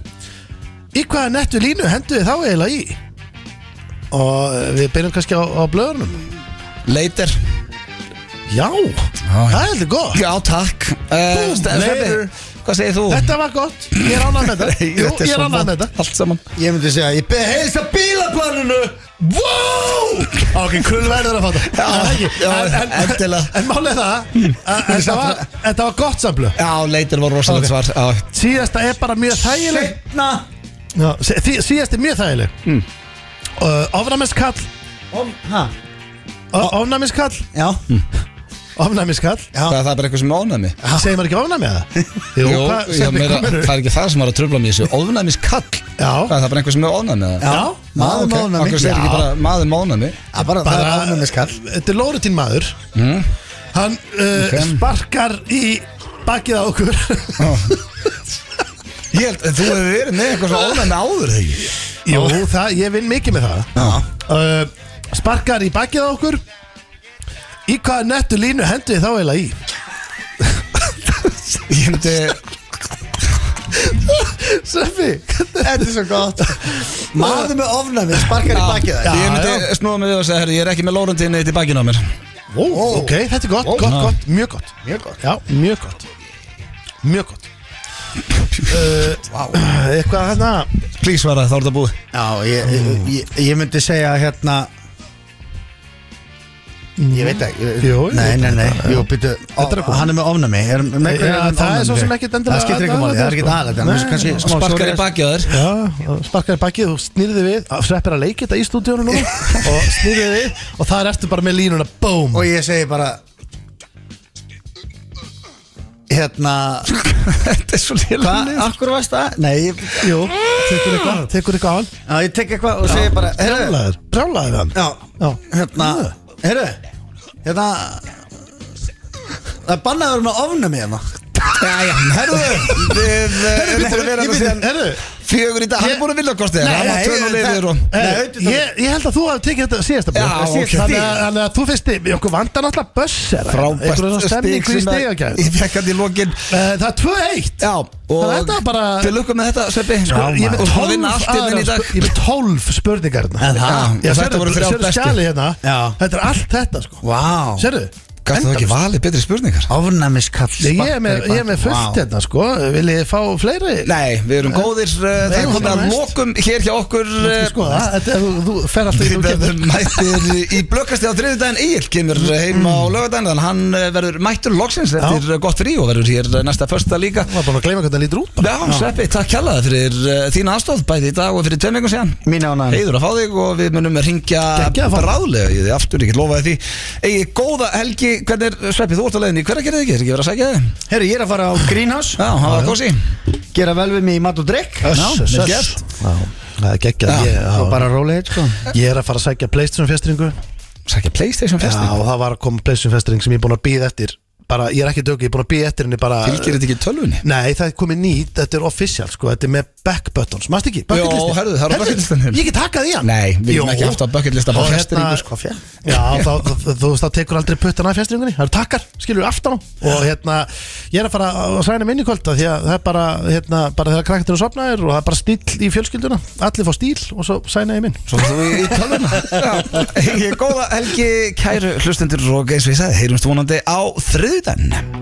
Speaker 3: Í hvaða nettu línu hendu þið þá eiginlega í? Og eh, við byrjum kannski á, á blöðunum
Speaker 1: later
Speaker 3: Já, það er heldur gott
Speaker 1: Já, takk uh,
Speaker 3: later.
Speaker 1: Sveppi, hvað segir þú?
Speaker 3: Þetta var gott, ég er ánægð með þetta
Speaker 1: Nei,
Speaker 3: Jú,
Speaker 1: þetta er
Speaker 3: ég
Speaker 1: svo
Speaker 3: er ánægð með
Speaker 1: vont
Speaker 3: þetta
Speaker 1: Allt saman
Speaker 7: Ég myndi segja, ég beði heilsa bílaplaninu
Speaker 3: Wow! Ok, krull verður að fatta
Speaker 1: Já,
Speaker 3: Það er ekki.
Speaker 1: já,
Speaker 3: En- en-
Speaker 1: endilega.
Speaker 3: En málið er það að Þetta var- þetta var gott samlu
Speaker 1: Já, later var rosalegt svar Já,
Speaker 3: Síðasta er bara mjög þægileg
Speaker 7: Setna
Speaker 3: Já, sí- sí- Síðasta er mjög þægileg Uh, Ofnæmiskall
Speaker 7: Ha?
Speaker 3: o- Ofnæmiskall
Speaker 7: Já
Speaker 3: Ofnæmiskall
Speaker 1: það það er bara eitthvað sem ónæmi
Speaker 3: Segir maður ekki ofnæmi að það? Jú,
Speaker 1: Jó,
Speaker 3: hvað-
Speaker 1: já,
Speaker 3: Sveppi,
Speaker 1: meira,
Speaker 3: hvað meinarðu?
Speaker 1: það er ekki það sem var að tröfla mér þessu Óðnæmis kall
Speaker 3: Já.
Speaker 1: Það er það bara einhver sem er óðnæmi eða?
Speaker 7: Já Maður
Speaker 1: ok.
Speaker 7: okay. mána
Speaker 1: Akkur segir ekki bara maður máðnæmi
Speaker 7: Já, bara það er
Speaker 3: Bara-
Speaker 7: ánum með skall
Speaker 3: Þetta er Lóritín maður Hann uh,
Speaker 1: Ok.
Speaker 3: sparkar í bakið á okkur
Speaker 1: Ég held, þú hefur verið með eitthvað svona óðnæmi áður þegar ekki
Speaker 3: Jú, það, ég vinn mikið með það uh, Sparkar í bakið á okkur Í hvaða nettu línu hendur þið þá eiginlega í?
Speaker 1: Ég myndi,
Speaker 3: Sveppi
Speaker 7: Þetta er svo gott Maður með ofnæmi, sparkar í bakið það
Speaker 1: ég myndi snúa mig við og segja, herri, ég er ekki með Lórentín eitt í bakinu á mér
Speaker 3: Ó, Ok, þetta er gott,
Speaker 7: Ó.
Speaker 3: gott, gott, mjög gott
Speaker 7: Mjög gott
Speaker 3: Já, mjög gott Mjög gott uh, Eitthvað hérna
Speaker 1: Please svara, þá er þetta búið
Speaker 2: Já, ég, ég- ég, ég myndi segja hérna Ég veit ekki ég-
Speaker 3: Jú, ég
Speaker 2: Nei,
Speaker 3: veit
Speaker 2: nei, nei,
Speaker 3: þetta.
Speaker 2: jú, býtu
Speaker 3: Þetta er gott.
Speaker 2: Hann er með ofnami er, með hverju
Speaker 3: Já,
Speaker 2: er hann með
Speaker 3: það er
Speaker 2: ofnæmi
Speaker 3: svo sem
Speaker 2: fyrir?
Speaker 3: ekkert endilega
Speaker 2: Það skiptir ekki máli, það er ekki aðalega
Speaker 3: aðallega,
Speaker 2: Það er
Speaker 3: sko.
Speaker 2: kannski smá
Speaker 1: Sparkar
Speaker 2: sorgar.
Speaker 1: í bakið á þér
Speaker 3: Já, sparkar í bakið, þú snýrði við Sveppir að leiki þetta í stúdíónu núna Og snýrði við Og það ertu bara með línuna, bóm
Speaker 2: Og ég segi bara Hérna
Speaker 1: Þetta er svo lélega
Speaker 2: Hvað, akkur varst það? Nei, ég,
Speaker 3: Jú, tekur eitthvað, tekur eitthvað á hann
Speaker 2: já, ég tek eitthvað og segi bara Herru,
Speaker 3: Brjálaður, brjálaður við hann
Speaker 2: já,
Speaker 3: Já.
Speaker 2: hérna Herru, hérna Það er bannaður með ofnami hérna
Speaker 1: Jæja, herðu, við eh, erum ekki að vera þetta síðan
Speaker 3: Herru,
Speaker 1: fjögur í dag Hann er búin að vilja kosti þér,
Speaker 2: Nei,
Speaker 1: hann var
Speaker 2: nei,
Speaker 1: tvön og
Speaker 2: það-
Speaker 1: leiðir og
Speaker 2: Nei,
Speaker 3: herru
Speaker 2: auðvitað-
Speaker 3: ég, ég held að þú hafi tekið þetta síðasta blöð.
Speaker 1: Já,
Speaker 3: Síðasta
Speaker 1: ok.
Speaker 3: stig. Þannig að, þannig að þú finnst þið, okkur vantar náttúrulega bössir
Speaker 1: frábært
Speaker 3: stemning
Speaker 1: stig
Speaker 3: fyrir
Speaker 1: sem að-
Speaker 3: stigagæð
Speaker 1: ég fekk hann í lokin
Speaker 3: Eh, Það er 2-1
Speaker 1: Já, og
Speaker 3: Þannig að þetta var bara-
Speaker 1: Til lukkum með þetta, Sveppi
Speaker 3: Sko, Ég er með
Speaker 1: Og þú
Speaker 3: 12
Speaker 1: vinna allt í þinn í
Speaker 3: aðra
Speaker 1: dag
Speaker 3: sp- ég er með hérna. 12 spurningarna
Speaker 2: En það-
Speaker 1: Já, þetta
Speaker 3: Þetta
Speaker 1: voru þrjár bestu.
Speaker 3: skjali hérna
Speaker 2: Já.
Speaker 3: Þetta er allt þetta sko
Speaker 2: Vá
Speaker 3: Sérðu?
Speaker 1: Gæstu þú ekki valið betri spurningar?
Speaker 2: Ofnæmiskall
Speaker 3: Ég er með, ég er með fullt hérna sko Viljið þið fá fleiri?
Speaker 1: Nei, við erum góðir uh, Það er
Speaker 3: Nei,
Speaker 1: komið að
Speaker 3: næst.
Speaker 1: lokum hér hjá okkur
Speaker 3: Þú
Speaker 1: uh,
Speaker 3: ert sko, það- þetta er- þú- Þú fer alltaf í
Speaker 1: Við
Speaker 3: núkjöfni
Speaker 1: verðum mættir í blökkasti á þriðudaginn Egil kemur heim á lögadaginn Þannig að hann uh, verður mættur loksins eftir uh, gott frí og verður hér uh, næsta första líka
Speaker 3: Ég var bara að gleyma hvernig það lítur út bara.
Speaker 1: Já, Sveppi, takk kjallaði fyrir uh, þína aðstóð bæði í dag og fyrir tveim veikum síðan
Speaker 2: Mín ánægð.
Speaker 1: Heiður að fá þig og við munum að ringja
Speaker 3: Geggjað Mm. að fá þig.
Speaker 1: bráðlega í því aftur, ég get lofaði því Egi, góða helgi, hvernig er eh, Sveppi, þú ert að leiðin í hverja gerðið ekki, er ekki verið að sækja þig?
Speaker 2: Herru, ég er að fara á Greenhouse
Speaker 1: Já, hann var að kósi
Speaker 2: Gera vel við mig í mat og drikk
Speaker 1: Já,
Speaker 3: Öss,
Speaker 1: vel
Speaker 3: öss.
Speaker 1: gert.
Speaker 3: Já, Það er geggjað Ég- já.
Speaker 2: Og bara róla heit sko
Speaker 3: Ég er að fara að sækja Playstation festringu
Speaker 1: Sækja Playstation
Speaker 3: Já,
Speaker 1: festi
Speaker 3: og það var að koma Playstation festring sem ég er búin að býða eftir bara, Ég er ekki dög, ég er búin að býða eftir henni bara
Speaker 1: Fylgir þetta ekki tölvunni?
Speaker 3: Nei, það er komið nýtt, þetta er official sko, Þetta er með back buttons, maður ekki? bucket
Speaker 1: Jó,
Speaker 3: listinn.
Speaker 1: herðu, það er á
Speaker 3: Herðu,
Speaker 1: bucket listanum.
Speaker 3: Ég get hakkað í hann
Speaker 1: Nei, við erum
Speaker 3: Jó.
Speaker 1: ekki aftur á bucket lista
Speaker 3: Og
Speaker 1: bara
Speaker 3: hérna-
Speaker 1: festeringu, sko.
Speaker 3: Já, þá, þá, þá, þú veist, það tekur aldrei puttan af fjastringunni Það eru takkar, skilur við aftan á Og hérna, ég er að fara að sæna minni kvölda Því að það er bara, hérna, bara þegar krakkarnir sofna er Og það er bara stíl í fjölskylduna Allir fá stíl og svo sæna ég minn
Speaker 1: Svo þú í, í tölvuna Já, Egi, góða helgi, kæru hlustendur og eins og ég sagði, heyrumst vonandi á þriðudann